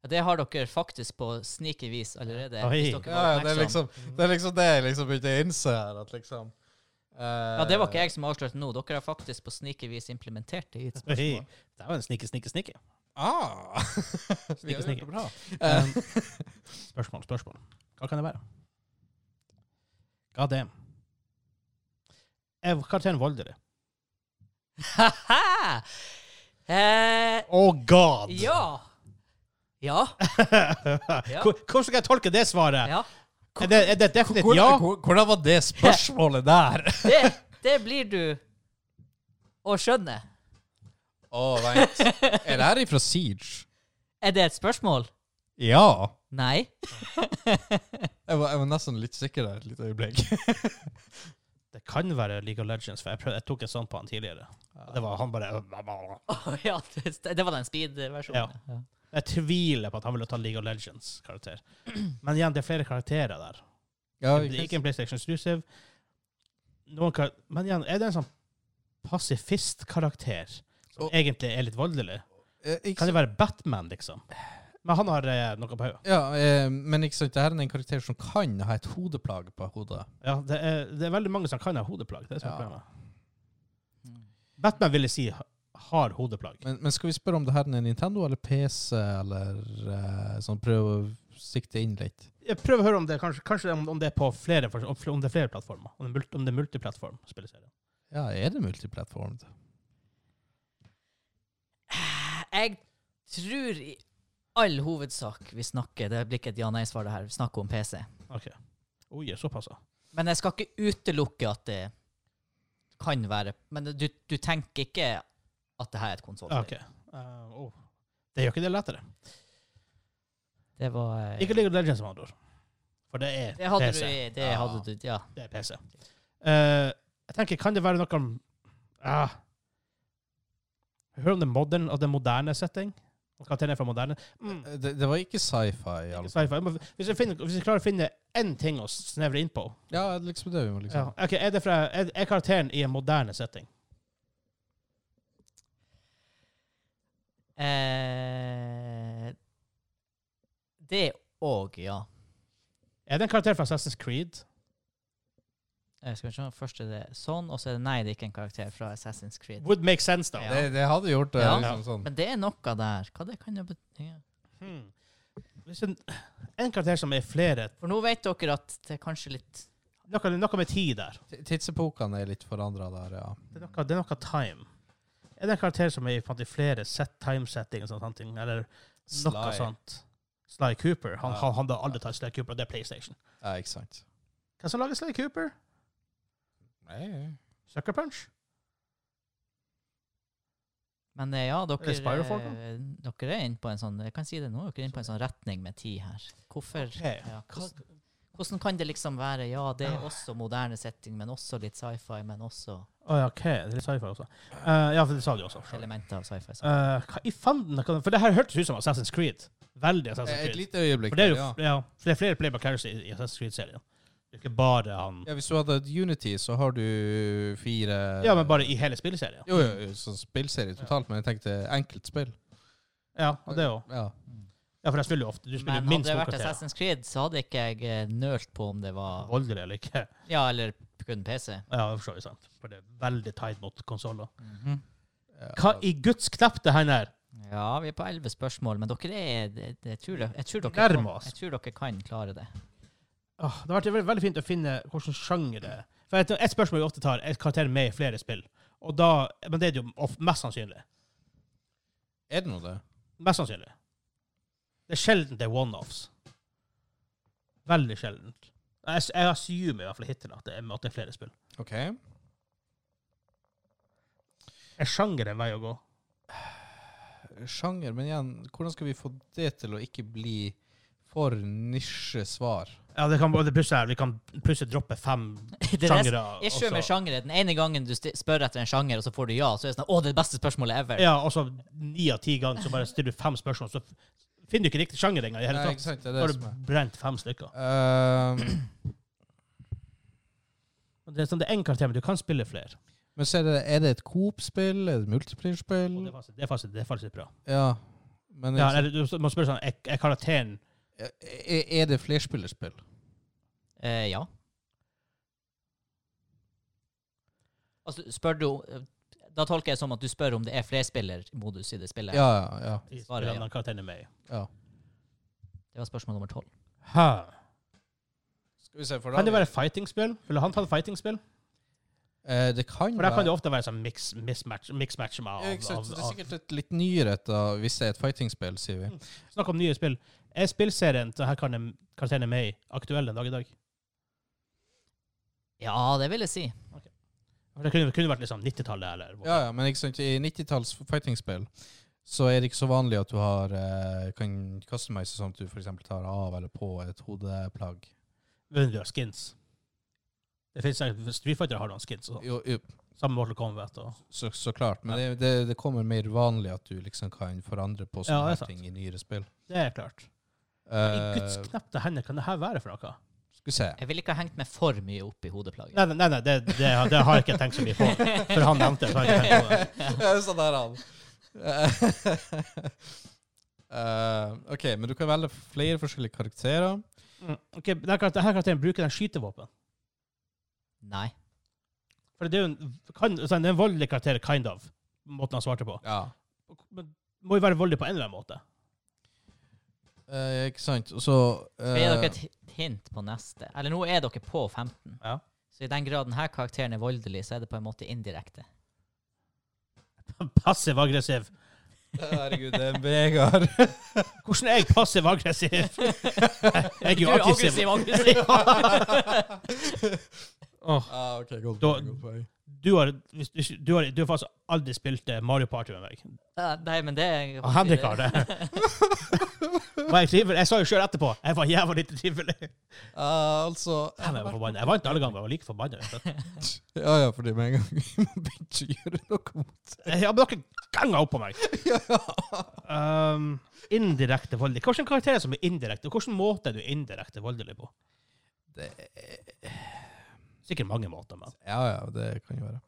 Speaker 3: Ja, Det har dere faktisk på sneaky vis allerede.
Speaker 1: Oi.
Speaker 3: hvis dere var
Speaker 2: Ja, ja, det, er
Speaker 3: oppmerksom.
Speaker 2: liksom, det er liksom det jeg liksom begynte å innse her. At liksom
Speaker 3: ja, det var
Speaker 2: eh,
Speaker 3: ikke jeg som avslørte nå. Dere har faktisk på sneaky vis implementert det. i et spørsmål.
Speaker 1: Oi, Det var en snike, snike, snike.
Speaker 2: Ah. Vi har gjort
Speaker 1: snike.
Speaker 2: det bra.
Speaker 1: Um, spørsmål, spørsmål. Hva kan det være? God damn. Er karakteren voldelig?
Speaker 3: Haha! eh,
Speaker 1: Oh god!
Speaker 3: ja. Ja. Ja.
Speaker 1: Hvor- Hvordan skal jeg tolke det svaret?
Speaker 3: ja.
Speaker 1: Er det, er det et definitivt ja?
Speaker 2: hvordan var det spørsmålet der?
Speaker 3: Det, det blir du å skjønne.
Speaker 2: Å, vent. Er det her ifra Siege?
Speaker 3: Er det et spørsmål?
Speaker 2: Ja.
Speaker 3: Nei.
Speaker 2: Jeg var, jeg var nesten litt sikker der et lite øyeblikk.
Speaker 1: Det kan være League of Legends, for jeg, prøvde, jeg tok en sånn på han tidligere. Det var han bare
Speaker 3: Å ja, det, det var den speed-versjonen. Ja.
Speaker 1: Jeg tviler på at han ville ta League of Legends-karakter. Men igjen, det er flere karakterer der.
Speaker 2: Ja,
Speaker 1: det er ikke en PlayStation Exclusive. Noen kar Men igjen, er det en sånn pasifist-karakter som
Speaker 2: Og-
Speaker 1: egentlig er litt voldelig?
Speaker 2: Eh, ikke
Speaker 1: Kan det være Batman, liksom? Men han har eh, noe på hodet.
Speaker 2: Ja, eh, men ikke sant, det her er en karakter som kan ha et hodeplage på hodet.
Speaker 1: Ja, det er, det er veldig mange som kan ha hodeplagg. Det er som er
Speaker 2: Ja.
Speaker 1: problemet. Batman ville si ha- har hodeplagg.
Speaker 2: Men, men skal vi spørre om det her er Nintendo eller PC, eller eh, sånn prøve å sikte inn litt?
Speaker 1: Jeg prøver å høre om det kanskje, kanskje om, om det er på flere, om om det er flere plattformer. Om det er mult- om det er multiplattform. spilleserie.
Speaker 2: Ja, er det multiplattformed?
Speaker 3: Jeg tror i all hovedsak vi snakker Det blir ikke et ja-nei-svar, det her. Vi snakker om PC.
Speaker 1: Ok. Oi, såpass. ja.
Speaker 3: Men jeg skal ikke utelukke at det kan være Men du, du tenker ikke at det her er et konsoll?
Speaker 1: Ja, ok. Eh, oh. Det gjør ikke det lettere.
Speaker 3: Det var eh,
Speaker 1: Ikke League of Legends, med andre ord. For det er
Speaker 3: Det hadde
Speaker 1: PC.
Speaker 3: du Det
Speaker 2: Ja.
Speaker 3: hadde du, ja.
Speaker 1: Det er PC. Eh, jeg tenker, kan det være noe om ah. Jeg hører om det er modern, at det er moderne setting. Og Karakteren er fra moderne. Mm.
Speaker 2: Eh, Det, det var ikke sci-fi.
Speaker 1: Ikke
Speaker 2: altså.
Speaker 1: sci-fi. Men Hvis jeg, finner, hvis jeg klarer å finne én ting å snevre inn på
Speaker 2: Ja, liksom det vi må
Speaker 1: ja.
Speaker 2: liksom.
Speaker 1: Ok, er, det fra, er, er karakteren i en moderne setting?
Speaker 3: Eh, det òg, ja.
Speaker 1: Er det en karakter fra Assassin's Creed?
Speaker 3: Eh, Skal vi se, Først er det sånn, og så er det nei, det er ikke en karakter fra Assassin's Creed.
Speaker 1: Would make sense, da.
Speaker 3: Ja.
Speaker 2: Det, det hadde gjort det
Speaker 3: Ja.
Speaker 2: liksom sånn.
Speaker 3: Men det er noe der. Hva det kan det bety?
Speaker 1: Hmm. Hvis en, en karakter som er flere
Speaker 3: For nå vet dere at det er kanskje litt
Speaker 1: Noe, noe med tid der.
Speaker 2: T- Tidsepokene er litt forandra der, ja.
Speaker 1: Det er noe, det er noe time. Er det en karakter som er i på en måte i flere set time-setting, og sånne ting, eller noe
Speaker 2: Sly.
Speaker 1: sånt? Sly Cooper. Han,
Speaker 2: Ja.
Speaker 1: han, han hadde aldri tatt Sly Cooper, og det er PlayStation.
Speaker 2: Ja, ikke sant.
Speaker 1: Hvem som lager Sly Cooper?
Speaker 2: Nei.
Speaker 1: Sucker Punch?
Speaker 3: Men eh, ja, dere,
Speaker 1: det Spyro folk da?
Speaker 3: eh, dere er inne på en sånn Jeg kan si det nå, dere er inne på en sånn retning med tid her. Hvorfor
Speaker 1: Ok.
Speaker 3: ja,
Speaker 1: Hva-
Speaker 3: hvordan, hvordan kan det liksom være Ja, det er
Speaker 1: Ja.
Speaker 3: også moderne setting, men også litt sci-fi, men også
Speaker 1: Å ja, OK. Det er litt sci-fi også. Eh, ja, for det sa de også. Eh,
Speaker 3: elementer av sci-fi. Så.
Speaker 1: hva i fanden kan- For det her hørtes ut som Assassin's Creed. Veldig Assassin's
Speaker 2: Eh, Et
Speaker 1: Creed.
Speaker 2: lite øyeblikk.
Speaker 1: For Altså, det er jo
Speaker 2: ja.
Speaker 1: ja, for det er flere playback characters i, i Assassin's Creed-serien. Det er ikke bare han
Speaker 2: ja, Hvis du hadde et Unity, så har du fire
Speaker 1: Ja, men bare i hele spillserien.
Speaker 2: Jo, jo, jo, sånn spillserie totalt, men jeg tenkte enkeltspill.
Speaker 1: Ja, og det òg.
Speaker 2: Ja.
Speaker 1: Ja, for jeg spiller jo ofte. Du spiller
Speaker 3: Men
Speaker 1: minst
Speaker 3: hadde det
Speaker 1: to
Speaker 3: vært
Speaker 1: karakterer.
Speaker 3: Assassin's Creed, så hadde ikke jeg eh, nølt på om det var
Speaker 1: Voldelig eller ikke.
Speaker 3: Ja, eller kun PC.
Speaker 1: Ja, det forstår jeg sant. For det er veldig tight mot konsoller.
Speaker 3: Mhm.
Speaker 1: Hva i guds knapp det her er?
Speaker 3: Ja, vi er på elleve spørsmål, men dere er det, det, jeg, tror, det- jeg, tror dere
Speaker 1: Nærmer
Speaker 3: kan,
Speaker 1: oss.
Speaker 3: jeg tror dere kan klare det.
Speaker 1: Åh, det har vært veldig, veldig fint å finne hvilken sjanger det er. For et, et spørsmål vi ofte tar, er karakteren med i flere spill. Og da, men det er det jo of, mest sannsynlig.
Speaker 2: Er det noe det?
Speaker 1: Mest sannsynlig. Det er sjelden det er one-offs. Veldig sjeldent. Jeg, s- jeg assumer i hvert fall hittil at det er, at det er flere spill.
Speaker 2: OK.
Speaker 1: Er sjanger en vei å gå?
Speaker 2: eh, Sjanger, men igjen, hvordan skal vi få det til å ikke bli for nisjesvar?
Speaker 1: Ja, det kan, det plutselig, er- vi kan plutselig droppe fem
Speaker 3: Det er
Speaker 1: sjangere.
Speaker 3: Issue
Speaker 1: og
Speaker 3: med
Speaker 1: så-
Speaker 2: Altså-
Speaker 3: sjangere. Den ene gangen du sti- spør etter en sjanger, og så får du ja, så er det sånn Å, det er det beste spørsmålet ever.
Speaker 1: Ja, og så ni av ti ganger så bare stiller du fem spørsmål, så f- finner du ikke riktig sjanger engang. i hele
Speaker 2: Nei,
Speaker 1: tatt.
Speaker 2: ikke sant, det
Speaker 1: Da
Speaker 2: er
Speaker 1: har
Speaker 2: det
Speaker 1: du
Speaker 2: som er.
Speaker 1: brent fem stykker.
Speaker 2: Ehm,
Speaker 1: Og Det er sånn, det er én karakter, men du kan spille flere.
Speaker 2: men så er det, er det et Coop-spill? Er det et
Speaker 1: Og det
Speaker 2: multiplierspill?
Speaker 1: er faktisk, det er faktisk, det er faktisk bra.
Speaker 2: Ja. Men
Speaker 1: Ja,
Speaker 2: er,
Speaker 1: eller, du må spørre sånn, er, er karakteren
Speaker 2: er, er det flerspillerspill?
Speaker 3: Eh, ja. Altså, spør du Da tolker jeg som at du spør om det er flerspillermodus i det spillet.
Speaker 2: Ja, ja, ja.
Speaker 1: i
Speaker 3: Svaret
Speaker 1: spillet
Speaker 3: er ja.
Speaker 1: den karakteren er med i?
Speaker 2: ja.
Speaker 3: Det var spørsmål nummer tolv.
Speaker 2: Skal vi se, for da
Speaker 1: Kan det
Speaker 2: har vi-
Speaker 1: være fightingspill? Ville han tatt fightingspill?
Speaker 2: Eh, Det kan
Speaker 1: For der kan det
Speaker 2: være.
Speaker 1: ofte være sånn mix, mismatch, mismatch med
Speaker 2: Ja, ikke
Speaker 1: av,
Speaker 2: sant,
Speaker 1: av,
Speaker 2: så Det er
Speaker 1: av.
Speaker 2: sikkert et litt nyere et, da, hvis det er et fightingspill, sier vi.
Speaker 1: Snakk om nye spill. Er spillserien så her kan den- karakteren er med i aktuell den dag i dag?
Speaker 3: Ja, det vil jeg si.
Speaker 1: For Det kunne, kunne vært liksom 90-tallet eller
Speaker 2: Ja, ja, men ikke sant, i 90-talls fightingspill så er det ikke så vanlig at du har, eh, kan customize sånn at du f.eks. tar av eller på et hodeplagg.
Speaker 1: Men du har skins. Det finnes Street Fighter har noen skins. Og sånt.
Speaker 2: Jo, jo,
Speaker 1: Sammen med Mortal Kombat. Og.
Speaker 2: Så, så klart. Men det, det, det kommer mer vanlig at du liksom kan forandre på
Speaker 1: Ja,
Speaker 2: sånne
Speaker 1: det er
Speaker 2: her ting i nyere spill.
Speaker 1: Det er klart. I
Speaker 2: Eh,
Speaker 1: Guds knepte hender kan det her være fra hva?
Speaker 2: skal vi se.
Speaker 3: Jeg ville ikke ha hengt meg for mye opp i hodeplagget.
Speaker 1: Nei, nei, nei, nei det, det, det har jeg ikke tenkt så mye på. For han nevnte det. så har jeg ikke tenkt på det.
Speaker 2: sånn der han. Eh, OK, men du kan velge flere forskjellige karakterer.
Speaker 1: Mm. Ok, denne karakteren, denne karakteren bruker den skytevåpen.
Speaker 3: Nei.
Speaker 1: For det er jo en, kan, altså, det er en voldelig karakter, kind of, måten han svarte på.
Speaker 2: Ja.
Speaker 1: Men må jo være voldelig på en eller annen måte.
Speaker 2: Eh, ikke sant? Og så eh,
Speaker 3: Skal jeg gi dere et hi- hint på neste? Eller nå er dere på 15.
Speaker 1: Ja.
Speaker 3: Så i den grad denne karakteren er voldelig, så er det på en måte indirekte.
Speaker 1: Passiv-aggressiv.
Speaker 2: Herregud, det er en Vegard.
Speaker 1: Hvordan er jeg passiv-aggressiv? Jeg er jo aggressiv.
Speaker 3: aggressiv.
Speaker 1: Åh,
Speaker 2: ah, OK, godt
Speaker 1: Da-
Speaker 2: poeng. godt poeng.
Speaker 1: Du har, hvis du- du, har, du har faktisk aldri spilt eh, Mario Party med meg.
Speaker 3: Ja, Nei, men det er
Speaker 1: Og Henrik har det. Var jeg trivelig? Jeg sa jo sjøl etterpå jeg var jævlig ikke trivelig.
Speaker 2: Eh, altså
Speaker 1: Jeg var forbannet. Jeg vant alle ganger, men jeg var like forbanna.
Speaker 2: Ja ja, fordi med en gang vi må begynne å gjøre noe mot
Speaker 1: Ja, men dere ganga opp på meg. Um, indirekte voldelig. Hvilken karakter er det som er indirekte? og Hvilken måte er du indirekte voldelig på?
Speaker 2: det.
Speaker 1: Sikkert mange måter, men
Speaker 2: Ja ja, det kan jo være.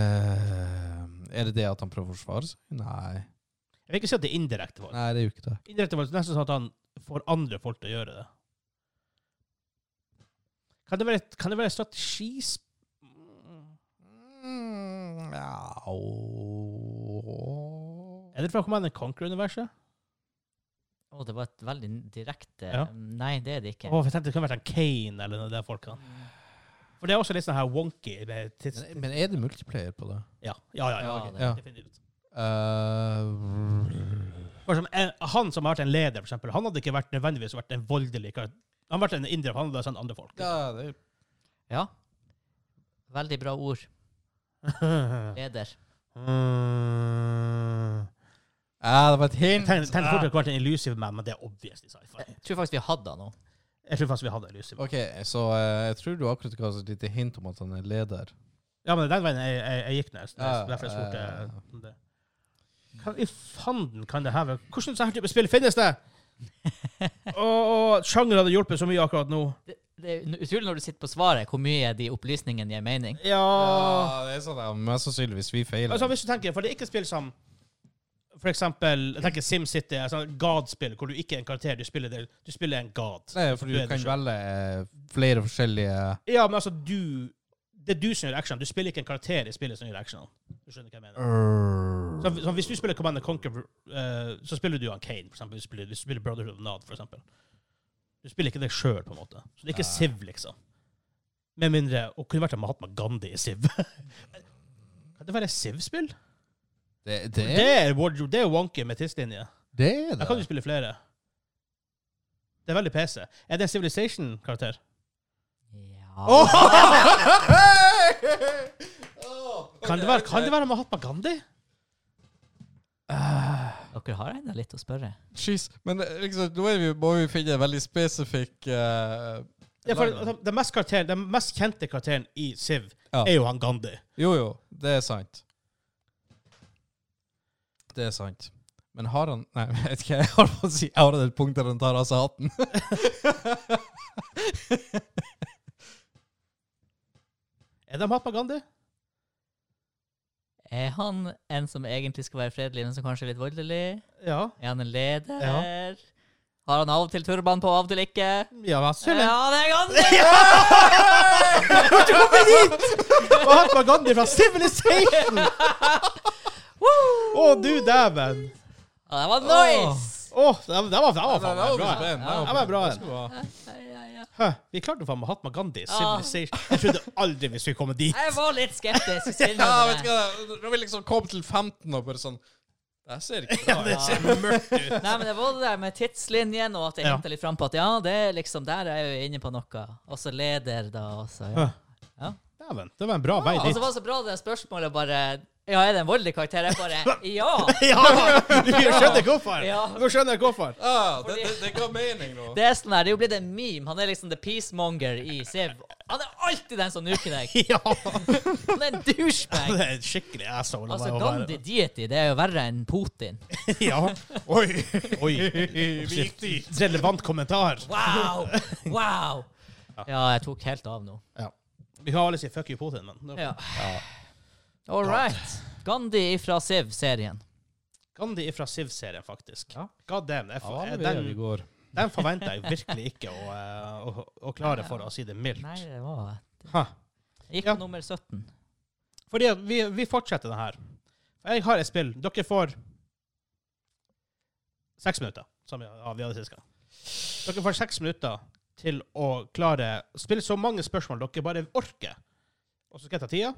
Speaker 2: Eh, er det det at han prøver å forsvare seg? Nei.
Speaker 1: jeg vil ikke si at det er indirekte vold.
Speaker 2: Nei, det er jo ikke det.
Speaker 1: Indirekte vold er nesten sånn at han får andre folk til å gjøre det. Kan det være, et- kan det være et strategispill?
Speaker 2: Mm, ja, åh.
Speaker 1: Er det fra Command Conquer-universet?
Speaker 3: Å, det var et veldig direkte
Speaker 1: Ja.
Speaker 3: Nei, det er det ikke.
Speaker 1: Åh, for jeg tenkte det kunne vært en Kane eller noe der folk kan. For det er også litt sånn her wonky med tids...
Speaker 2: Men- Men er det multiplayer på det?
Speaker 1: Ja, ja, ja. ja,
Speaker 3: Ja,
Speaker 1: ok,
Speaker 3: det-
Speaker 2: Ja.
Speaker 1: Definitivt.
Speaker 2: Eh,
Speaker 1: For som, en, han som har vært en leder, for eksempel, han hadde ikke vært nødvendigvis vært en voldelig kar- Han hadde vært en indre, for han hadde sendt andre folk.
Speaker 2: ja, det er
Speaker 3: Ja. Veldig bra ord. Leder.
Speaker 1: Mm.
Speaker 2: Ja, det var et
Speaker 1: Jeg
Speaker 2: hint.
Speaker 1: tenkte tenkte fort at det kunne vært en Illusive Man, men det er obviously sci-fi.
Speaker 3: Jeg tror faktisk vi hadde han nå.
Speaker 1: Jeg tror faktisk vi hadde Illusive Man.
Speaker 2: OK, så eh, jeg tror du akkurat ga oss et lite hint om at han er leder.
Speaker 1: Ja, men den veien jeg, jeg, jeg gikk nesten.
Speaker 2: Ja,
Speaker 1: Derfor jeg spurte
Speaker 2: ja, ja.
Speaker 1: eh, om det. Hva i fanden kan det her være? Hvordan sånn her type spill finnes det? Og sjanger hadde hjulpet så mye akkurat nå.
Speaker 3: Det, det er utrolig når du sitter på svaret, hvor mye de opplysningene gir mening.
Speaker 1: Ja
Speaker 2: Ja, det er sånn ja, Mest sannsynligvis vi feiler.
Speaker 1: Ah. Altså, hvis du tenker, for det er ikke spill som for eksempel, jeg tenker SimCity, altså God-spill, hvor du ikke er en karakter, du spiller, det, du spiller en God.
Speaker 2: Nei, for du
Speaker 1: du er
Speaker 2: kan
Speaker 1: det
Speaker 2: velge eh, flere forskjellige
Speaker 1: Ja, men altså, du, det er du som gjør action, du spiller ikke en karakter i spillet som gjør action. Du skjønner hva jeg mener? Så, så hvis du spiller Command and Conquer, eh, så spiller du han Kane, for eksempel. Du spiller, du spiller Brotherhood of Nod, for eksempel. Du spiller ikke deg sjøl, på en måte. Så det er ikke
Speaker 2: Nei.
Speaker 1: Siv, liksom. Med mindre Og kunne vært en Mahatma Gandhi i Siv. kan det være Siv-spill?
Speaker 2: Det, det,
Speaker 1: Det
Speaker 2: det,
Speaker 1: er wardrobe, det er wonky med tidslinje.
Speaker 2: det er
Speaker 1: Da kan du
Speaker 2: det.
Speaker 1: spille flere. Det er veldig PC. Er det en Civilization-karakter?
Speaker 3: Ja.
Speaker 2: Åh!
Speaker 1: Kan, det være- kan det være Mahatma Gandhi?
Speaker 3: Dere har ennå litt å spørre.
Speaker 2: Jeez. Men eh, liksom, nå er vi, må vi finne en veldig spesifikk eh,
Speaker 1: Ja, for altså, den, mest karakteren, den mest kjente karakteren i Siv
Speaker 2: Ja.
Speaker 1: er jo han Gandhi.
Speaker 2: Jo, jo. Det er sant. Det er sant. Men har han Nei, jeg vet ikke. Jeg har på å si jeg har et punkt der han tar av seg hatten.
Speaker 1: Er det Mahatma Gandhi?
Speaker 3: Er han en som egentlig skal være fredelig, men som kanskje er litt voldelig?
Speaker 1: Ja.
Speaker 3: Er han en leder?
Speaker 1: Ja.
Speaker 3: Har han av og til turban på, av og til ikke?
Speaker 1: Ja, men
Speaker 3: Ja,
Speaker 1: selv en
Speaker 3: det er ganske
Speaker 1: Mahatma Gandhi fra Civilization! Å, du dæven.
Speaker 3: Ja, det var nice!
Speaker 1: Å, den den var, den var faen meg bra.
Speaker 2: Den
Speaker 1: Den var bra, den.
Speaker 3: Ja, ja, ja.
Speaker 1: Hæ, Vi klarte å få Mahatma Gandhi i
Speaker 3: Ja.
Speaker 1: Civilization. Jeg trodde aldri vi skulle komme dit.
Speaker 3: Jeg var litt skeptisk. til
Speaker 2: Ja,
Speaker 3: det.
Speaker 2: vet du hva. Når vi liksom kom til 15 og bare sånn Det her ser ikke bra ut.
Speaker 1: Det ser mørkt ut.
Speaker 3: Nei, men det var det der med tidslinjen, og at jeg
Speaker 1: Ja.
Speaker 3: hinta litt fram på at ja, det er liksom der er jeg jo inne på noe. Og så leder, da, og så ja.
Speaker 1: Ja. Dæven, det var en bra vei
Speaker 3: Og
Speaker 1: dit.
Speaker 3: så var det så bra det spørsmålet bare Ja, er det en voldelig karakter? Jeg bare Ja!
Speaker 1: Ja! Du skjønner hvorfor.
Speaker 3: Ja.
Speaker 1: Nå skjønner jeg hvorfor.
Speaker 2: Ah, det, det, det ga mening nå.
Speaker 3: Det er sånn der, det er jo blitt en meme. Han er liksom the peacemonger i Siv. Han er alltid den som nuker deg.
Speaker 1: ja!
Speaker 3: Han er en douchebag.
Speaker 1: Det er en skikkelig asshole.
Speaker 3: Altså,
Speaker 1: å være-
Speaker 3: Gandhi deity, det er jo verre enn Putin.
Speaker 1: ja. Oi! Oi. Altså, Relevant kommentar.
Speaker 3: Wow! Wow! Ja, jeg tok helt av nå.
Speaker 1: Vi kan alle si fuck you, Putin, men
Speaker 3: Ja. All right. Gandhi ifra Siv-serien.
Speaker 1: Gandhi fra Siv-serien, faktisk.
Speaker 2: Ja.
Speaker 1: God damn. Jeg,
Speaker 2: Ja, hva
Speaker 1: for,
Speaker 2: var det vi gjorde i
Speaker 1: den,
Speaker 2: går?
Speaker 1: den forventer jeg virkelig ikke å, eh, å, å klare, for å si det mildt.
Speaker 3: Nei, det var
Speaker 1: Ha.
Speaker 3: Jeg gikk
Speaker 1: Ja.
Speaker 3: på nummer 17.
Speaker 1: Fordi at vi, vi fortsetter den her. For Jeg har et spill. Dere får seks minutter, som vi ja, vi hadde sist gang. Dere får seks minutter til å klare Spille så mange spørsmål dere bare orker. Og så skal jeg ta tida.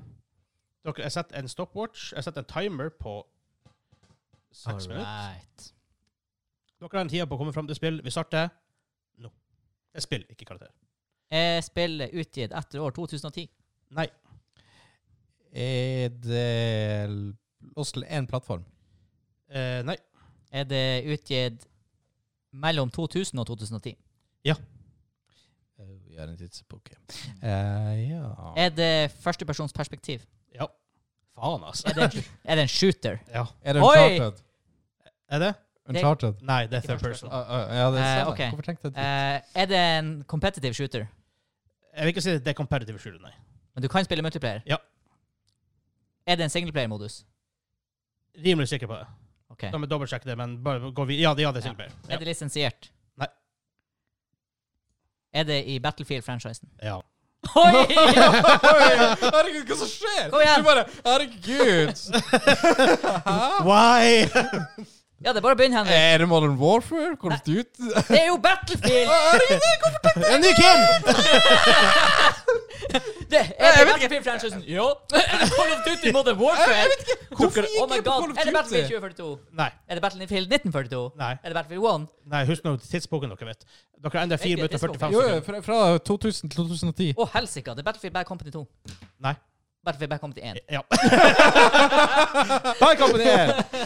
Speaker 1: Dere, jeg setter en stopwatch. Jeg setter en timer på seks minutter.
Speaker 3: right.
Speaker 1: Dere har en tid på å komme fram til spill. Vi starter nå. Det er spill, ikke karakter.
Speaker 3: Er Eh, spillet utgitt etter år 2010?
Speaker 1: Nei.
Speaker 2: Er det l- oss til én plattform?
Speaker 1: Eh, nei.
Speaker 3: Er det utgitt mellom 2000 og 2010?
Speaker 2: Eh, Vi har en tidsbok. Eh, ja
Speaker 3: Er det førstepersonsperspektiv?
Speaker 1: Ja. Faen, altså.
Speaker 3: Er det, er det en shooter?
Speaker 1: Ja.
Speaker 2: Er det
Speaker 3: Oi!
Speaker 2: Uncharted?
Speaker 1: Er det?
Speaker 2: Uncharted?
Speaker 1: Nei, det er
Speaker 3: Ikke
Speaker 1: third person.
Speaker 2: Ah, ah, ja, det
Speaker 3: Eh,
Speaker 2: stemmer.
Speaker 3: ok.
Speaker 2: Hvorfor tenkte jeg det?
Speaker 3: Eh, er det en competitive shooter?
Speaker 1: Jeg vil ikke si at det er competitive shooter, nei.
Speaker 3: Men du kan spille multiplayer?
Speaker 1: Ja.
Speaker 3: Er det en singleplayer-modus?
Speaker 1: Rimelig sikker på det.
Speaker 3: Ok.
Speaker 1: Da må vi dobbeltsjekke det, men bare gå videre. Ja, det, ja, det er sikkert mer.
Speaker 3: Er det lisensiert?
Speaker 1: Nei.
Speaker 3: Er det i Battlefield-franchisen?
Speaker 1: Ja.
Speaker 3: Oi!
Speaker 2: Herregud, hva som skjer?
Speaker 3: Kom igjen.
Speaker 2: Du bare Herregud! Hæ?
Speaker 1: Why?
Speaker 3: Ja, det er bare å begynne, Henrik.
Speaker 2: Er det Modern Warfare? Call of Duty?
Speaker 1: Eh.
Speaker 3: Det er jo Battlefield!
Speaker 2: Herregud,
Speaker 1: En ny Kim!
Speaker 3: Det, er det Battlefield-franchisen? Ja. Er det Call of Duty Modern Warfare?
Speaker 2: Hvorfor
Speaker 3: Oh
Speaker 2: gikk
Speaker 3: my
Speaker 2: jeg på
Speaker 3: god.
Speaker 2: Call
Speaker 3: Er det
Speaker 2: of Duty?
Speaker 3: Battlefield 2042?
Speaker 1: Nei.
Speaker 3: Er det Battlefield 1942?
Speaker 1: Nei.
Speaker 3: Er det Battlefield 1?
Speaker 1: Nei, husk nå tidsboken dere vet. Dere har enda 4
Speaker 3: Hvilken
Speaker 1: minutter og
Speaker 3: tidsbok?
Speaker 1: 45
Speaker 2: Jo, jo,
Speaker 1: sekunder.
Speaker 2: fra, fra 2000 til 2010.
Speaker 3: Å, helsike. Det er Battlefield Bad Company 2.
Speaker 1: Nei.
Speaker 3: Battlefield Bad Company 1.
Speaker 1: Ja.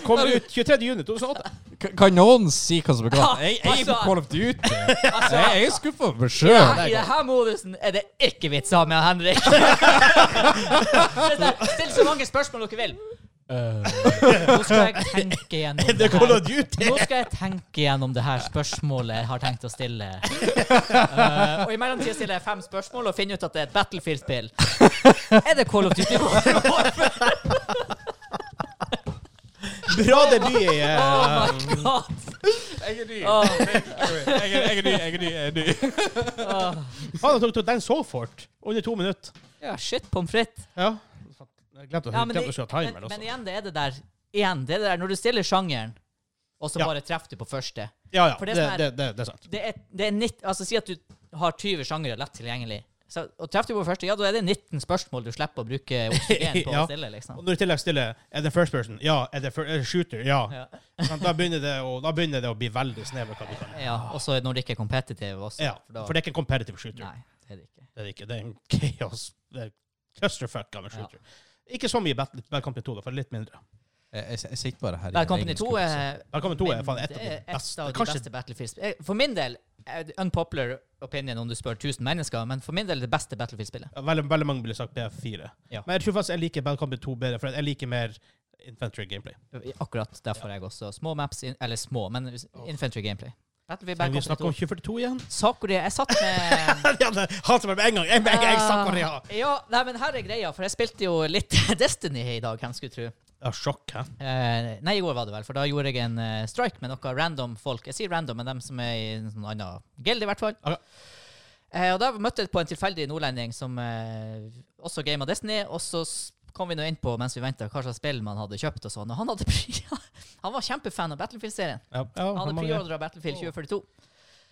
Speaker 1: Kommer ut 23. juni 2008.
Speaker 2: K- Kan noen si hva som er galt?
Speaker 3: Ja,
Speaker 2: Jeg jeg er på
Speaker 3: altså.
Speaker 2: Call of Duty. Jeg
Speaker 3: Altså,
Speaker 2: jeg er skuffa over meg sjøl.
Speaker 3: I denne modusen er det ikke vits å ha med Henrik. Det er sånn, Still så mange spørsmål dere vil.
Speaker 2: Eh.
Speaker 3: Nå skal jeg tenke gjennom det her.
Speaker 1: Duty.
Speaker 3: Nå skal jeg tenke gjennom det her spørsmålet jeg har tenkt å stille. Eh, og i mellomtida stiller jeg fem spørsmål og finner ut at det er et Battlefield-spill. Er det Call of Duty?
Speaker 1: Bra debut i
Speaker 3: Oh
Speaker 1: eh,
Speaker 3: my god!
Speaker 2: Jeg er ny.
Speaker 3: Åh,
Speaker 2: Jeg er ny. Jeg er ny. Jeg er ny.
Speaker 3: åh.
Speaker 1: Faen, dere tok den så fort. Under to minutter.
Speaker 3: Ja, shit pommes frites.
Speaker 1: Ja. Jeg glemte å
Speaker 3: Ja, men
Speaker 1: glemte å
Speaker 3: det-
Speaker 1: skru av
Speaker 3: Men,
Speaker 1: timeren
Speaker 3: men
Speaker 1: også.
Speaker 3: igjen, det er det der. Igjen, det er det der når du stiller sjangeren, og så
Speaker 1: Ja.
Speaker 3: bare treffer du på første.
Speaker 1: Ja, ja.
Speaker 3: for
Speaker 1: Det,
Speaker 3: det
Speaker 1: det,
Speaker 3: som er-
Speaker 1: det, det er sant.
Speaker 3: Det er, det er 90, altså Si at du har 20 sjangere lett tilgjengelig. Så, og treffer du på første, ja, da er det 19 spørsmål du slipper å bruke oksygen på
Speaker 1: Ja.
Speaker 3: å stille. liksom.
Speaker 1: Og når du i tillegg stiller Er det first person? Ja. Er det fir- er det shooter? Ja.
Speaker 3: Ja.
Speaker 1: Sant, Da begynner det å, da begynner det å bli veldig snevert hva du kan.
Speaker 3: Ja, og så når det ikke er competitive også.
Speaker 1: Ja,
Speaker 3: for da-
Speaker 1: for det er ikke en competitive shooter.
Speaker 3: Nei, det er det ikke.
Speaker 1: Det er det ikke. Det er en chaos. Det er clusterfuck av en shooter. Ikke så mye Battle Bad Company 2, da, for det er litt mindre.
Speaker 2: Jeg, jeg, jeg sitter bare her. i
Speaker 3: Bad
Speaker 2: min
Speaker 3: Company
Speaker 2: egen
Speaker 3: 2
Speaker 2: skuffelse.
Speaker 3: er
Speaker 1: Bad Company 2 er faen et
Speaker 3: det
Speaker 1: av de
Speaker 3: er et
Speaker 1: beste.
Speaker 3: av de
Speaker 1: Kanskje-
Speaker 3: beste Battlefield-spill. Eh, For min del eh, Unpopular opinion om du spør 1000 mennesker, men for min del det beste Battlefield-spillet.
Speaker 1: Ja, Veldig, veldig mange ville sagt B4.
Speaker 3: Ja.
Speaker 1: Men jeg tror faktisk jeg liker Bad Company 2 bedre, for jeg liker mer infantry gameplay.
Speaker 3: Akkurat derfor jeg også. Små maps, in, eller små, men infantry gameplay. Battlefield
Speaker 1: Kan
Speaker 3: Bad
Speaker 1: vi snakke om
Speaker 3: Company 2.
Speaker 1: 2042 igjen?
Speaker 3: Sakuria Jeg satt med
Speaker 1: ja, det hater meg med en gang! Jeg, jeg, jeg, snakker om det, ja.
Speaker 3: Ja, nei, men her er greia, for jeg spilte jo litt Destiny i dag, hvem skulle tro.
Speaker 1: ja, sjokk, hæ?
Speaker 3: Eh, nei, i går var det vel, for da gjorde jeg en eh, strike med noen random folk. Jeg sier random, men dem som er i en sånn annen guild, i hvert fall.
Speaker 1: Ok.
Speaker 3: Eh, og da møtte jeg på en tilfeldig nordlending som eh, også gama Destiny, og så s- kom vi nå inn på mens vi venta hva slags spill man hadde kjøpt og sånn, og han hadde pri Han var kjempefan av Battlefield-serien.
Speaker 1: Ja, ja,
Speaker 3: Han hadde
Speaker 1: mange-
Speaker 3: preordra Battlefield 2042.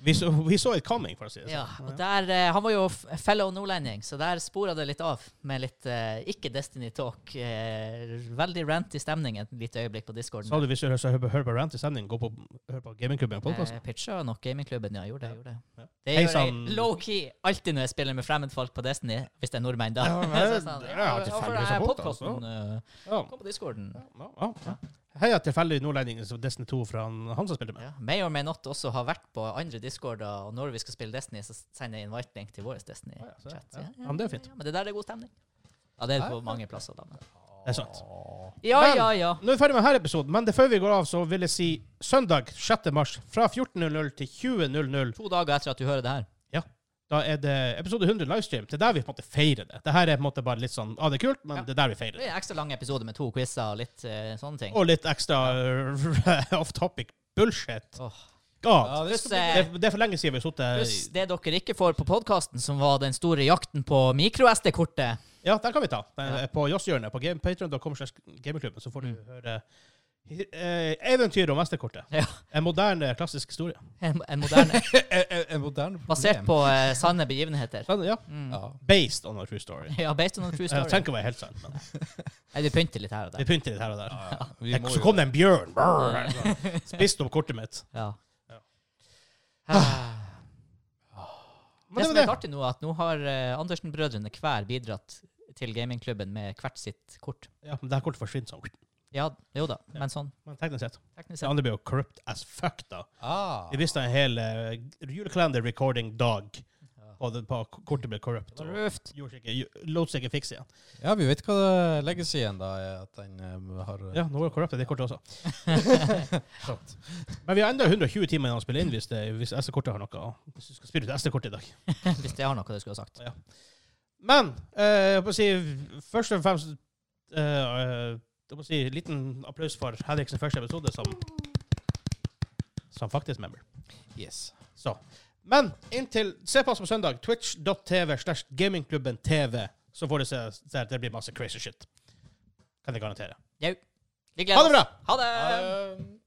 Speaker 1: vi, så, vi så it coming, for å si det sånn.
Speaker 3: Ja, og der, eh, Han var jo f- fellow nordlending, så der spora det litt av med litt eh, ikke Destiny talk. Eh, veldig ranty stemning et lite øyeblikk på discorden.
Speaker 1: Sa du hvis du hører hører på, hører på rant i stemning, gå på, hør på Gamingklubben podcast?
Speaker 3: Jeg pitcha nok gamingklubben, ja. jeg Gjorde det. jeg Gjorde det.
Speaker 1: Ja. altså.
Speaker 3: det
Speaker 1: Hei,
Speaker 3: gjør jeg
Speaker 1: sann.
Speaker 3: low-key alltid når jeg spiller med fremmedfolk på Destiny, hvis det er nordmenn, da.
Speaker 1: Ja, men
Speaker 3: Så er det sånn,
Speaker 1: det er
Speaker 3: ja,
Speaker 1: tilfeldigvis
Speaker 3: hvorfor er
Speaker 1: så fort,
Speaker 3: podcasten, eh,
Speaker 1: Ja.
Speaker 3: Kom på discorden.
Speaker 1: Ja, ja, ja. Heia tilfeldig nordlending som Destiny 2 fra han, han som spilte med.
Speaker 3: Ja. May or may not også har vært på andre discorder, og når vi skal spille Destiny, så sender jeg invite-link til
Speaker 1: Ah,
Speaker 3: vår
Speaker 1: ja, så-
Speaker 3: Destiny-chat.
Speaker 1: ja. Ja, men det er fint.
Speaker 3: men det der er god stemning. Ja, det er det på
Speaker 2: Ja.
Speaker 3: mange plasser. da. men-
Speaker 1: Det er sant.
Speaker 3: Ja,
Speaker 1: Men-
Speaker 3: ja, ja.
Speaker 1: Nå er vi ferdig med denne episoden, men det før vi går av, så vil jeg si søndag 6. mars fra 14.00 til 20.00.
Speaker 3: To dager etter at du hører det her.
Speaker 1: Da er det episode 100 livestream. Det er der vi på en måte feirer det. Det her er på en måte bare litt sånn ah, det er kult, men
Speaker 3: Ja.
Speaker 1: det er der vi feirer
Speaker 3: Det
Speaker 1: det.
Speaker 3: er en ekstra lang episode med to quizer og litt eh, sånne ting.
Speaker 1: Og litt ekstra eh, off topic bullshit.
Speaker 3: Åh.
Speaker 1: God.
Speaker 2: det
Speaker 3: Pluss,
Speaker 1: Det,
Speaker 2: skal bli-
Speaker 3: eh,
Speaker 1: er- det er for lenge siden vi har
Speaker 3: pluss
Speaker 1: sittet
Speaker 3: det dere ikke får på podkasten, som var den store jakten på mikro-SD-kortet.
Speaker 1: Ja, den kan vi ta. Den
Speaker 3: Ja.
Speaker 1: er På jazzhjørnet på game- patreon.com slash gamerklubben, så får du høre eh, eventyret om mesterkortet.
Speaker 3: Ja.
Speaker 1: En moderne, klassisk historie.
Speaker 3: En, en moderne.
Speaker 2: En- en- en moderne problem.
Speaker 3: Basert på eh, sanne begivenheter.
Speaker 1: Sånn, ja.
Speaker 3: Mm.
Speaker 2: Ja.
Speaker 1: Based on a true story.
Speaker 3: Ja, based on a true
Speaker 1: Jeg
Speaker 3: story.
Speaker 1: tenker å være helt sant, men
Speaker 3: Nei, du pynter litt her og
Speaker 1: vi
Speaker 3: der.
Speaker 1: pynter litt her og der.
Speaker 2: Ja, vi
Speaker 1: Jeg,
Speaker 2: må
Speaker 1: så
Speaker 2: jo-
Speaker 1: kom det en bjørn. Brr. Spiste opp kortet mitt.
Speaker 3: Ja.
Speaker 1: Ja.
Speaker 3: Ah.
Speaker 1: Men
Speaker 3: Det
Speaker 1: det var
Speaker 3: som er
Speaker 1: det.
Speaker 3: litt artig nå, er at nå har eh, Andersen-brødrene hver bidratt til gamingklubben med hvert sitt kort.
Speaker 1: Ja, men det her kortet forsvinner sånn.
Speaker 3: Ja, jo da, men sånn.
Speaker 1: Men teknisk sett.
Speaker 3: Teknisk
Speaker 1: Det
Speaker 3: sett.
Speaker 1: andre blir jo corrupt as fuck, da.
Speaker 2: Ah.
Speaker 1: Vi visste en hel uh, julekalender recording dag, og det, på, kortet ble corrupt. og
Speaker 3: Røft.
Speaker 1: gjorde seg ikke- ju- Lot seg ikke fikse igjen.
Speaker 2: Ja, vi vet hva det legges igjen, da. er At den eh, har
Speaker 1: Ja, nå er det corrupt, det kortet også. Sant. Men vi har enda 120 timer igjen å spille inn hvis, det- hvis SD-kortet har noe. Hvis du skal spille ut SD-kortet i dag.
Speaker 3: Hvis jeg har noe du skulle ha sagt.
Speaker 1: Men eh, jeg holdt på å si, først og fremst eh, eh, jeg holdt på å si, Liten applaus for Henriksen første episode som, som faktisk member.
Speaker 2: Yes.
Speaker 1: Så. Men inntil Se på oss på søndag. Twitch.tv slash gamingklubben TV. Så får du se, se at det blir masse crazy shit. Kan jeg garantere.
Speaker 3: Jau.
Speaker 1: Ha
Speaker 3: Vi gleder
Speaker 1: det bra!
Speaker 3: Ha det!
Speaker 2: Um,